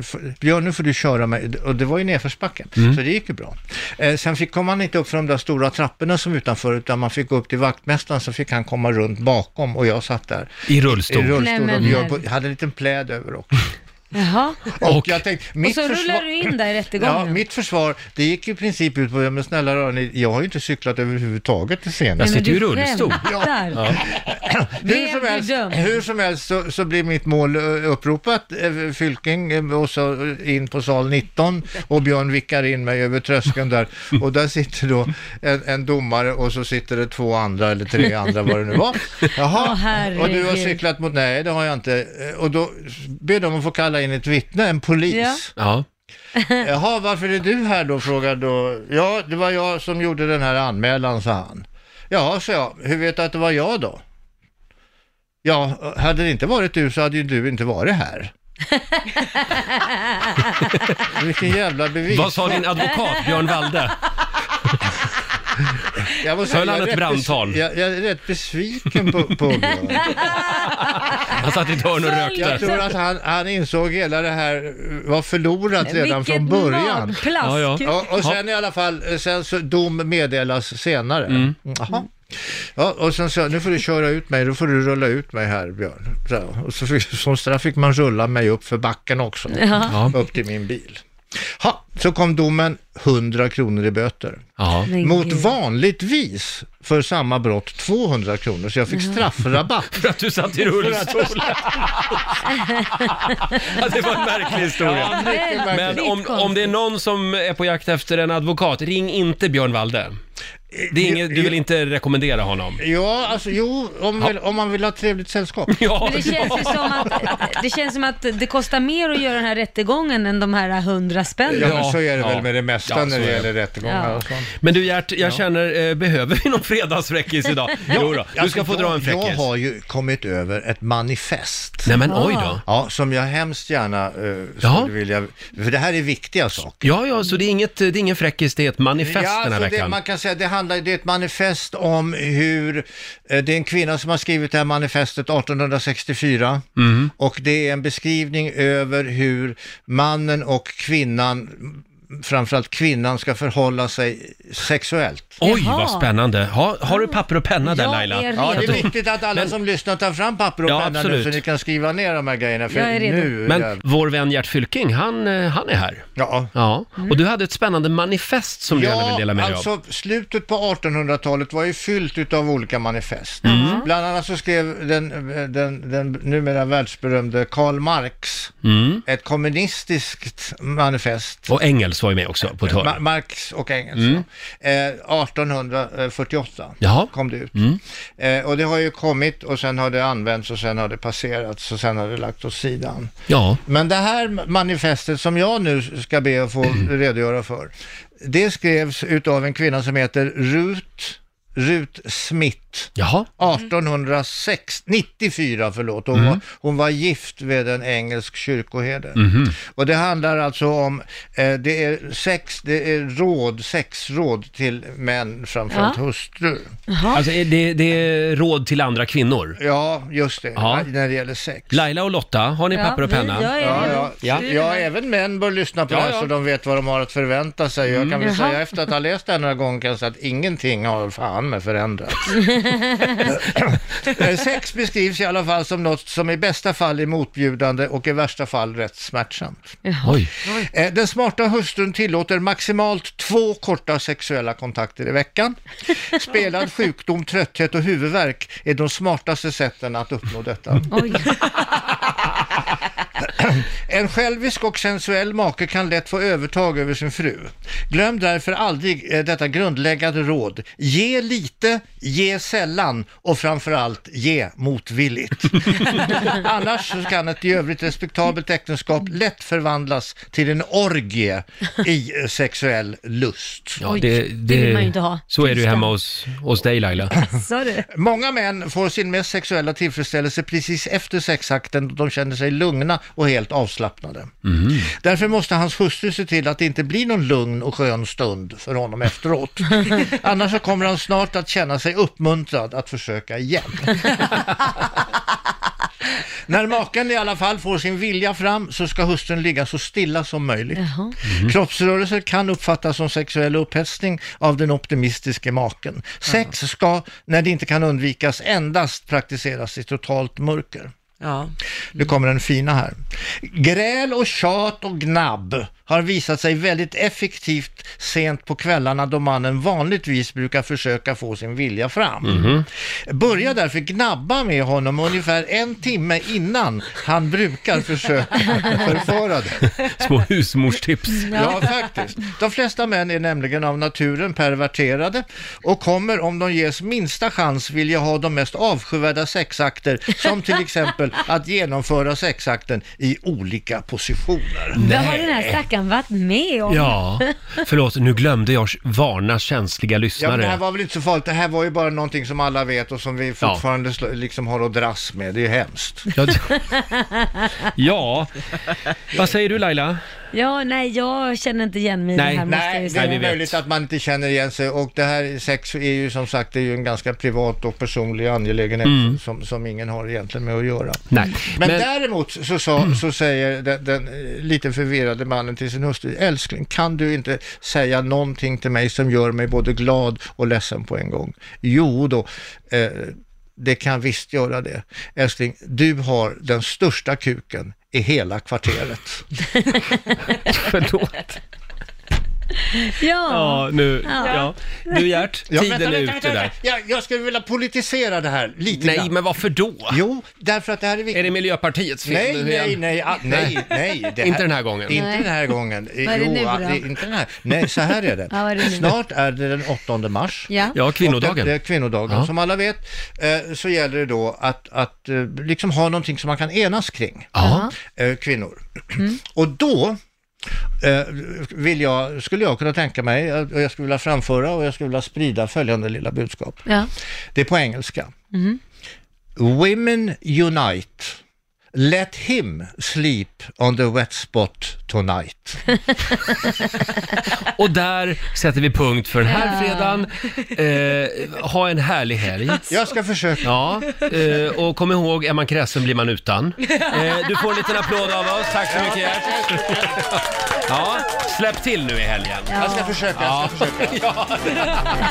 Speaker 1: f- Björn, nu får du köra mig. Och det var ju nedförsbacken, så det gick ju bra. Eh, sen fick, kom man inte upp för de där stora trapporna som utanför, utan man fick gå upp till vaktmästaren, så fick han komma runt bakom och jag satt där.
Speaker 5: I rullstol.
Speaker 1: I
Speaker 2: Nej,
Speaker 1: rullstol
Speaker 2: men
Speaker 1: och Björn på,
Speaker 2: herregud.
Speaker 1: hade en liten pläd över också.
Speaker 2: Jaha.
Speaker 1: Och, jag tänkte, mitt
Speaker 2: så rullar
Speaker 1: försvar-
Speaker 2: du in där i rättegången.
Speaker 1: Ja, mitt försvar, det gick i princip ut på, ja, men snälla rara ni, jag har ju inte cyklat överhuvudtaget till scenen.
Speaker 2: Nej, men du skämtar.
Speaker 1: Hur som helst, hur som helst så, så blir mitt mål eh, uppropat, eh, Fylking, eh, och så eh, in på sal 19 och Björn vickar in mig över tröskeln där. Och där sitter då en, en domare och så sitter det två andra, eller tre andra vad det nu var. Jaha,
Speaker 10: Åh, herregud.
Speaker 1: och du har cyklat mot, nej det har jag inte. Eh, Och då ber de att få kalla in ett vittne, en polis.
Speaker 10: Ja.
Speaker 5: Ja.
Speaker 1: Jaha, varför är du här då? frågade då. Ja, det var jag som gjorde den här anmälan, sa han. Ja, sa jag. Hur vet du att det var jag då? Ja, hade det inte varit du så hade ju du inte varit här. Vilken jävla bevis.
Speaker 5: Vad sa din advokat, Björn Walde?
Speaker 1: Jag måste säga,
Speaker 5: Höll han
Speaker 1: jag är
Speaker 5: ett
Speaker 1: rätt
Speaker 5: brandtal?
Speaker 1: bes- Jag, jag är rätt besviken på, på Björn.
Speaker 5: Han satt i ett hörn och rökte.
Speaker 1: Jag tror att han, han insåg hela det här eh, var förlorat redan
Speaker 10: Vilket
Speaker 1: från början.
Speaker 10: magplask. Ja, ja.
Speaker 1: Och, och sen i alla fall, eh, sen så dom meddelas senare.
Speaker 5: Mm.
Speaker 1: Jaha. Ja, och sen så, nu får du köra ut mig, då får du rulla ut mig här Björn. Så, och så fick, som straff fick man rulla mig upp för backen också,
Speaker 10: Ja.
Speaker 1: upp till min bil. Ha, så kom domen 100 kronor i böter.
Speaker 10: Men
Speaker 1: Mot
Speaker 10: gud.
Speaker 1: vanligtvis för samma brott 200 kronor, så jag fick
Speaker 10: Ja.
Speaker 1: straffrabatt.
Speaker 5: för att du satt i rullstol. Ja, det var en märklig historia.
Speaker 10: Ja, mycket
Speaker 5: Men
Speaker 10: märkligt.
Speaker 5: om, om det är någon som är på jakt efter en advokat, ring inte Björn Walde. Det
Speaker 1: Eh,
Speaker 5: är inget, du vill inte rekommendera honom?
Speaker 1: Ja, alltså jo, om, man vill- om man vill ha trevligt sällskap.
Speaker 5: Ja,
Speaker 2: Men det känns ju som att det, känns som att det kostar mer att göra den här rättegången än de här hundra spännen.
Speaker 1: Ja, men så är det väl med det mesta
Speaker 5: Ja, så
Speaker 1: när det
Speaker 5: är det.
Speaker 1: gäller rättegångar
Speaker 2: Ja.
Speaker 1: och sånt.
Speaker 5: Men du Gert, jag känner, eh, behöver vi någon fredagsfräckis idag? Jo då, du ska
Speaker 1: Alltså,
Speaker 5: få dra
Speaker 1: jag-
Speaker 5: en
Speaker 1: Jag
Speaker 5: fräckis.
Speaker 1: har ju kommit över ett manifest.
Speaker 5: Nej, men oj då.
Speaker 1: Ja, som jag hemskt gärna eh, skulle vilja... För det här är viktiga saker.
Speaker 5: Ja, ja, så det är, inget, det är ingen fräckis, det är ett manifest
Speaker 1: Ja,
Speaker 5: den här
Speaker 1: alltså det,
Speaker 5: veckan.
Speaker 1: man kan säga det handlar, det är ett manifest om hur, eh, det är en kvinna som har skrivit det här manifestet 1864
Speaker 10: Mm.
Speaker 1: och det är en beskrivning över hur mannen och kvinnan, framförallt kvinnan, ska förhålla sig sexuellt.
Speaker 5: Oj, vad spännande. Ha, har du papper och penna där
Speaker 1: Jag
Speaker 5: Laila?
Speaker 1: är Ja, det är redo. viktigt att alla som lyssnar tar fram papper och penna nu, så ni kan skriva ner de här grejerna. För
Speaker 5: Jag är redo.
Speaker 1: nu,
Speaker 5: Men vår vän Gert Fylking, han, eh, han är här.
Speaker 1: Ja.
Speaker 5: ja. Och du hade ett spännande manifest som du gärna vill dela med dig
Speaker 1: alltså
Speaker 5: av.
Speaker 1: slutet på 1800-talet var ju fyllt av olika manifest.
Speaker 5: Mm.
Speaker 1: Bland annat så skrev den, den, den numera världsberömde Karl Marx
Speaker 5: Mm.
Speaker 1: ett kommunistiskt manifest.
Speaker 5: Och Engels var ju med också på ett hörn.
Speaker 1: alltså- Ma- Marx och Engels.
Speaker 5: Mm.
Speaker 1: ja. Eh, 1848
Speaker 5: Jaha.
Speaker 1: kom det ut.
Speaker 5: Mm.
Speaker 1: Eh, och det har ju kommit och sen har det använts och sen har det passerats och sen har det lagt åt sidan.
Speaker 5: Ja.
Speaker 1: Men det här manifestet som jag nu ska be att få redogöra för, det skrevs utav en kvinna som heter Ruth Ruth Smith. 1894, förlåt. Hon,
Speaker 10: Mm.
Speaker 1: var, hon var gift med en engelsk kyrkoherde.
Speaker 10: Mhm.
Speaker 1: Och det handlar alltså om, eh, det är sex, det är råd, sexråd till män, framförallt
Speaker 5: Ja.
Speaker 1: hustrur.
Speaker 5: Alltså, är det, det är råd till andra kvinnor.
Speaker 1: Ja, just det,
Speaker 5: Ja.
Speaker 1: när det gäller sex.
Speaker 5: Laila och Lotta, har ni
Speaker 1: Ja,
Speaker 5: papper och
Speaker 1: vi-
Speaker 5: penna?
Speaker 1: jag är Ja, redo. ja. Ja, även män bör lyssna på
Speaker 5: Ja,
Speaker 1: det här
Speaker 5: ja.
Speaker 1: så de vet vad de har att förvänta sig. Jag kan väl
Speaker 5: Mm. Jaha.
Speaker 1: säga efter att ha läst det här några gånger kan jag säga att ingenting har fan med förändrats. Eh, Sex beskrivs i alla fall som något som i bästa fall är motbjudande och i värsta fall rätt smärtsamt.
Speaker 5: Oj.
Speaker 1: Eh, Den smarta hustrun tillåter maximalt två korta sexuella kontakter i veckan. Spelad sjukdom, trötthet och huvudvärk är de smartaste sätten att uppnå detta. En självisk och sensuell make kan lätt få övertag över sin fru. Glöm därför aldrig eh, detta grundläggande råd. Ge lite, ge sällan och framförallt ge motvilligt. Annars så kan ett i övrigt respektabelt äktenskap lätt förvandlas till en orgie i eh, sexuell lust.
Speaker 5: Ja, det, det, Så är det ju hemma hos, hos dig Laila.
Speaker 1: Många män får sin mest sexuella tillfredsställelse precis efter sexakten då de känner sig lugna och helt avslappnade.
Speaker 5: Mm.
Speaker 1: Därför måste hans hustru se till att det inte blir någon lugn och skön stund för honom efteråt. Annars så kommer han snart att känna sig uppmuntrad att försöka igen. När maken i alla fall får sin vilja fram så ska hustrun ligga så stilla som möjligt.
Speaker 18: Mhm.
Speaker 1: Kroppsrörelser kan uppfattas som sexuell upphetsning av den optimistiske maken. Sex ska, när det inte kan undvikas, endast praktiseras i totalt mörker. Nu kommer den fina här. Gräl och tjat och gnabb har visat sig väldigt effektivt sent på kvällarna då mannen vanligtvis brukar försöka få sin vilja fram.
Speaker 18: Mhm.
Speaker 1: Börja därför gnabba med honom ungefär en timme innan han brukar försöka förföra dig.
Speaker 5: Små husmorstips.
Speaker 1: Ja, faktiskt. De flesta män är nämligen av naturen perverterade och kommer om de ges minsta chans vilja ha de mest avskyvärda sexakter, som till exempel att genomföra sexakten i olika positioner.
Speaker 2: Vad har den här stackaren varit med om?
Speaker 5: Ja, förlåt, nu glömde jag varna känsliga
Speaker 1: Ja, men
Speaker 5: lyssnare.
Speaker 1: det här var väl inte så farligt. Det här var ju bara någonting som alla vet och som vi fortfarande sl- liksom har att dras med. Det är ju hemskt.
Speaker 5: Ja, Ja, vad säger du Laila?
Speaker 2: ja, nej, jag känner inte igen mig i det
Speaker 1: Nej,
Speaker 2: här måste jag
Speaker 1: nej,
Speaker 2: ju
Speaker 1: det
Speaker 2: säga.
Speaker 1: är möjligt att man inte känner igen sig och det här sex är ju som sagt det är ju en ganska privat och personlig angelägenhet
Speaker 5: Mm.
Speaker 1: som, som ingen har egentligen med att göra.
Speaker 5: Nej.
Speaker 1: Men,
Speaker 5: Men-
Speaker 1: däremot så, sa, så säger den, den eh, lite förvirrade mannen till sin hustru, älskling kan du inte säga någonting till mig som gör mig både glad och ledsen på en gång? Jo då, eh, det kan visst göra det. Älskling, du har den största kuken i hela kvarteret.
Speaker 2: Ja.
Speaker 5: Ja, nu,
Speaker 1: Ja.
Speaker 5: ja. Du Gert,
Speaker 1: Ja,
Speaker 5: tiden
Speaker 1: vänta,
Speaker 5: är
Speaker 1: vänta,
Speaker 5: ute
Speaker 1: vänta.
Speaker 5: där.
Speaker 1: Jag, jag skulle vilja politisera det här lite
Speaker 5: Nej,
Speaker 1: grann.
Speaker 5: men varför då?
Speaker 1: Jo, därför att det här är viktigt.
Speaker 5: Är det Miljöpartiets fel
Speaker 1: Nej,
Speaker 5: nu igen?
Speaker 1: nej, nej, ah, nej, nej. det här-
Speaker 5: Inte den här gången.
Speaker 1: Inte den här gången.
Speaker 5: Vad är det
Speaker 1: Jo,
Speaker 5: nu då?
Speaker 1: ah, det är inte den här. Nej, så här är det.
Speaker 5: Ja, vad är det nu?
Speaker 1: Snart är det den 8 mars.
Speaker 2: Ja.
Speaker 5: Ja, kvinnodagen.
Speaker 1: Och Det, det är kvinnodagen.
Speaker 5: Ja.
Speaker 1: Som alla vet eh, så gäller det då att, att eh, liksom ha någonting som man kan enas kring.
Speaker 5: Ja.
Speaker 1: Eh, Kvinnor.
Speaker 5: Mm.
Speaker 1: Och då eh, vill jag, skulle jag kunna tänka mig, eh, och jag skulle vilja framföra och jag skulle vilja sprida följande lilla budskap.
Speaker 2: Ja.
Speaker 1: Det är på engelska.
Speaker 2: Mhm.
Speaker 1: Women unite. Let him sleep on the wet spot tonight.
Speaker 5: Och där sätter vi punkt för den här
Speaker 1: Ja.
Speaker 5: fredagen. Eh, ha en härlig helg.
Speaker 1: Jag ska försöka.
Speaker 5: Ja, eh, och kom ihåg, är man kräsen blir man utan. Eh, du får en liten applåd av oss. Tack så mycket Gert. Ja, släpp till nu i helgen.
Speaker 1: Jag ska försöka, jag ska försöka.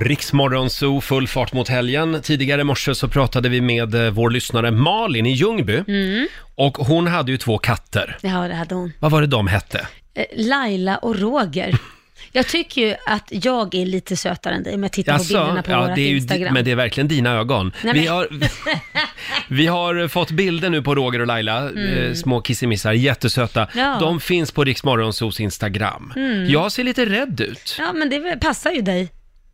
Speaker 5: Riksmorgon Zoo, full fart mot helgen. Tidigare i morse så pratade vi med eh, vår lyssnare Malin i Ljungby.
Speaker 2: Mm.
Speaker 5: Och hon hade ju två katter.
Speaker 2: ja, det hade hon.
Speaker 5: Vad var det de hette?
Speaker 2: Eh, Laila och Roger. Jag tycker ju att jag är lite sötare än dig om jag tittar på bilderna på vårat
Speaker 5: det är ju,
Speaker 2: Instagram.
Speaker 5: Men det är verkligen dina ögon.
Speaker 2: Nej,
Speaker 5: vi,
Speaker 2: men-
Speaker 5: har, vi har fått bilder nu på Roger och Laila,
Speaker 2: Mm.
Speaker 5: eh, små kissemissar, jättesöta.
Speaker 2: Ja.
Speaker 5: De finns på Riksmorgonsos Instagram.
Speaker 2: Mm.
Speaker 5: Jag ser lite rädd ut.
Speaker 2: Ja, men det väl- passar ju dig.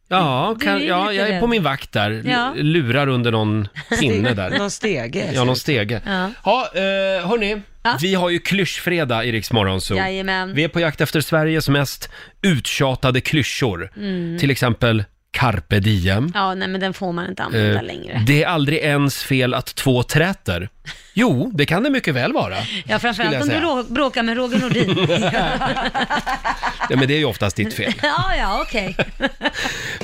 Speaker 5: Ja,
Speaker 2: Du är
Speaker 5: kan,
Speaker 2: ju
Speaker 5: ja
Speaker 2: lite
Speaker 5: jag är
Speaker 2: rädd.
Speaker 5: på min vakt där, L-
Speaker 2: Ja.
Speaker 5: lurar under någon pinne där.
Speaker 3: Någon stege.
Speaker 5: Ja, någon stege.
Speaker 2: Ja.
Speaker 5: Ja, eh, hörni. Vi har ju klyschfredag i Riksmorgonso.
Speaker 2: Jajamän.
Speaker 5: Vi är på jakt efter Sveriges mest uttjatade klyschor.
Speaker 2: Mm.
Speaker 5: Till exempel carpe diem.
Speaker 2: Ja, nej men den får man inte använda
Speaker 5: Eh,
Speaker 2: längre.
Speaker 5: Det är aldrig ens fel att två träter. Jo, det kan det mycket väl vara.
Speaker 2: Ja,
Speaker 5: skulle jag
Speaker 2: framförallt om du
Speaker 5: säga.
Speaker 2: rå- bråkar med Roger Nordin.
Speaker 5: Ja, men det är ju oftast ditt fel.
Speaker 2: ja, ja, okej.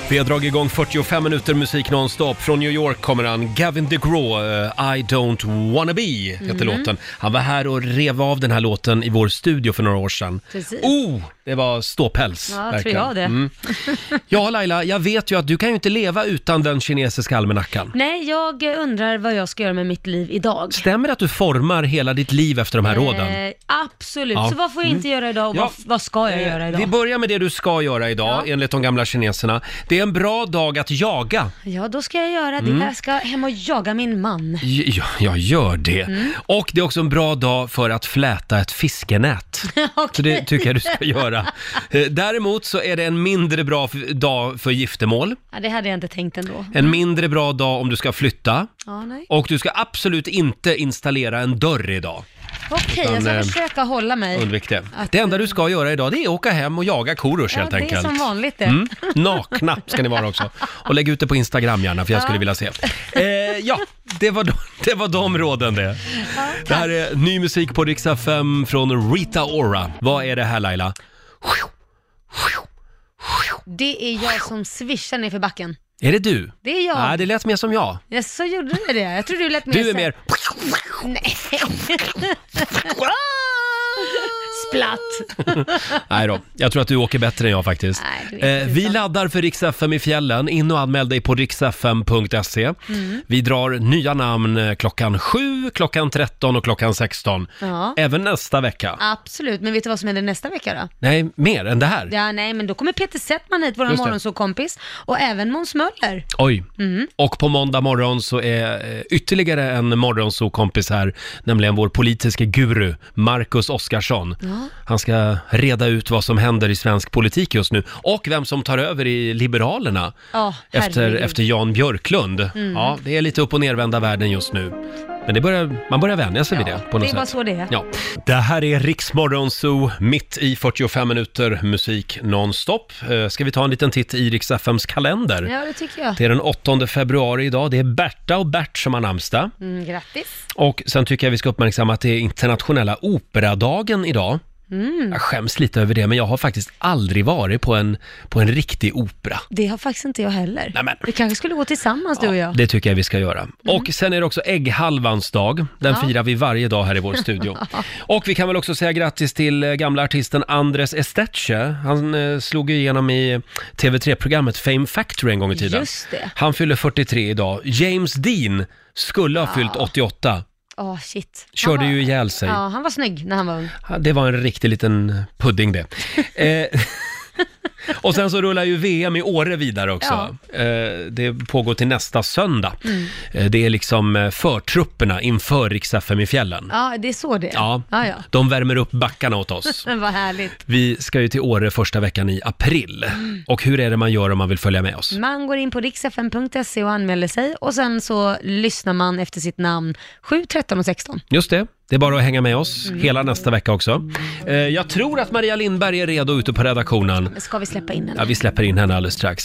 Speaker 5: Vi har dragit igång 45 minuter musik nonstop. Från New York kommer han, Gavin DeGraw, eh, I don't wanna be, heter
Speaker 19: Mhm.
Speaker 5: låten. Han var här och rev av den här låten i vår studio för några år sedan.
Speaker 2: Precis.
Speaker 5: Oh, det var ståpäls.
Speaker 2: Ja, tror
Speaker 5: verkligen. Mm.
Speaker 2: jag det.
Speaker 5: Ja, Laila, jag vet ju att du kan ju inte leva utan den kinesiska almanackan.
Speaker 2: Nej, jag eh, undrar vad jag ska göra med mitt liv idag.
Speaker 5: Stämmer det att du formar hela ditt liv efter de här råden?
Speaker 2: Eh, absolut.
Speaker 5: Ja. Mm.
Speaker 2: Så vad får jag inte göra idag och
Speaker 5: Ja. eh,
Speaker 2: vad, vad ska jag göra
Speaker 5: Vi
Speaker 2: idag?
Speaker 5: börjar med det du ska göra idag, enligt de gamla kineserna. Det är en bra dag att jaga.
Speaker 2: Ja, då ska jag göra det.
Speaker 5: Mm.
Speaker 2: Jag ska hem och jaga min man.
Speaker 5: Ja, jag gör det.
Speaker 2: Mm.
Speaker 5: Och det är också en bra dag för att fläta ett fiskenät. Så det tycker jag du ska göra. Eh, Däremot så är det en mindre bra f- dag för giftermål.
Speaker 2: Ja, det hade jag inte tänkt ändå.
Speaker 5: En mindre bra dag om du ska flytta.
Speaker 2: Ja, nej.
Speaker 5: Och du ska absolut inte installera en dörr idag.
Speaker 2: Okej,
Speaker 5: Utan,
Speaker 2: jag
Speaker 5: eh,
Speaker 2: ska försöka hålla mig.
Speaker 5: Undvik det.
Speaker 2: Att-
Speaker 5: Det enda du ska göra idag det är att åka hem och jaga korus
Speaker 2: Ja,
Speaker 5: helt
Speaker 2: det är
Speaker 5: enkelt. Mm.
Speaker 2: som vanligt det.
Speaker 5: Nakna ska ni vara också. Och lägg ut det på Instagram gärna för jag
Speaker 2: Ja.
Speaker 5: skulle vilja se. Eh, ja, det var, de, det var de råden det. det här är ny musik på Riksa 5 från Rita Ora. Vad är det här Laila?
Speaker 2: Det är jag som swishar ner för backen.
Speaker 5: Är det du?
Speaker 2: Det är jag.
Speaker 5: Nej, det lät mer som jag.
Speaker 2: Ja, så gjorde du det. Jag tror du lät mer
Speaker 5: Du är
Speaker 2: så-
Speaker 5: mer...
Speaker 2: Nej. Splatt.
Speaker 5: Nej då, jag tror att du åker bättre än jag faktiskt.
Speaker 2: Nej, du är
Speaker 5: eh, vi laddar för Rix FM i fjällen. In och anmäl dig på riksfm.se.
Speaker 2: Mm.
Speaker 5: Vi drar nya namn eh, klockan 7, klockan 13 och klockan 16.
Speaker 2: Ja,
Speaker 5: Även nästa vecka.
Speaker 2: absolut. Men vet du vad som händer nästa vecka då?
Speaker 5: Nej, mer än det här.
Speaker 2: Ja, nej, men då kommer Peter Settman hit, vår
Speaker 5: Just det.
Speaker 2: morgonsåkompis, och även Måns Möller.
Speaker 5: Oj.
Speaker 2: Mm.
Speaker 5: Och på måndag morgon så är eh, ytterligare en morgonsokompis här, nämligen vår politiske guru, Marcus Oskarsson.
Speaker 2: Ja.
Speaker 5: Han ska reda ut vad som händer i svensk politik just nu och vem som tar över i Liberalerna.
Speaker 2: Ja,
Speaker 5: efter,
Speaker 2: herregud.
Speaker 5: efter Jan Björklund.
Speaker 2: Mm.
Speaker 5: Ja, det är lite upp och nervända världen just nu. Men det börjar, man börjar vänja sig vid det på något
Speaker 2: Det är bara
Speaker 5: sätt.
Speaker 2: så det är.
Speaker 5: Ja. Det här är Riksmorgon Zoo, mitt i 45 minuter musik nonstop. Eh, Ska vi ta en liten titt i Rix FMs kalender?
Speaker 2: Ja, det tycker jag.
Speaker 5: Det är den 8 februari idag. Det är Berta och Bert som har namnsdag.
Speaker 2: Mm, grattis.
Speaker 5: Och sen tycker jag vi ska uppmärksamma att det är internationella operadagen idag.
Speaker 2: Mm.
Speaker 5: Jag skäms lite över det, men jag har faktiskt aldrig varit på en, på en riktig opera.
Speaker 2: Det har faktiskt inte jag heller.
Speaker 5: Nej, men.
Speaker 2: Vi kanske skulle gå tillsammans, du och jag.
Speaker 5: Det tycker jag vi ska göra. Och sen är det också ägghalvans dag. Den
Speaker 2: Mm. Ja.
Speaker 5: firar vi varje dag här i vår studio. Och vi kan väl också säga grattis till eh, gamla artisten Andres Estetche. Han eh, slog ju igenom i TV3-programmet Fame Factory en gång i tiden.
Speaker 2: Just det.
Speaker 5: Han fyller 43 idag. James Dean skulle ha fyllt 88.
Speaker 2: Åh, shit. Han
Speaker 5: Körde
Speaker 2: var-
Speaker 5: ju ihjäl sig.
Speaker 2: Ja, han var snygg när han var ung.
Speaker 5: Ja, Det var en riktig liten pudding det. Eh, och sen så rullar ju VM i Åre vidare också. Eh, det pågår till nästa söndag.
Speaker 2: Mm.
Speaker 5: Eh, det är liksom eh, förtrupperna inför riks i fjällen.
Speaker 2: Ja, det är så det är.
Speaker 5: Ja,
Speaker 2: ja. ja.
Speaker 5: de värmer upp backarna åt oss.
Speaker 2: Men vad härligt.
Speaker 5: Vi ska ju till Åre första veckan i april.
Speaker 2: Mm.
Speaker 5: Och hur är det man gör om man vill följa med oss?
Speaker 2: Man går in på riksfn.se och anmäler sig och sen så lyssnar man efter sitt namn 7, 13 och 16.
Speaker 5: Just det, det är bara att hänga med oss
Speaker 2: Mm.
Speaker 5: hela nästa vecka också. Eh, jag tror att Maria Lindberg är redo ute på redaktionen.
Speaker 2: Ska vi släppa in henne?
Speaker 5: Ja, vi släpper in henne alldeles strax.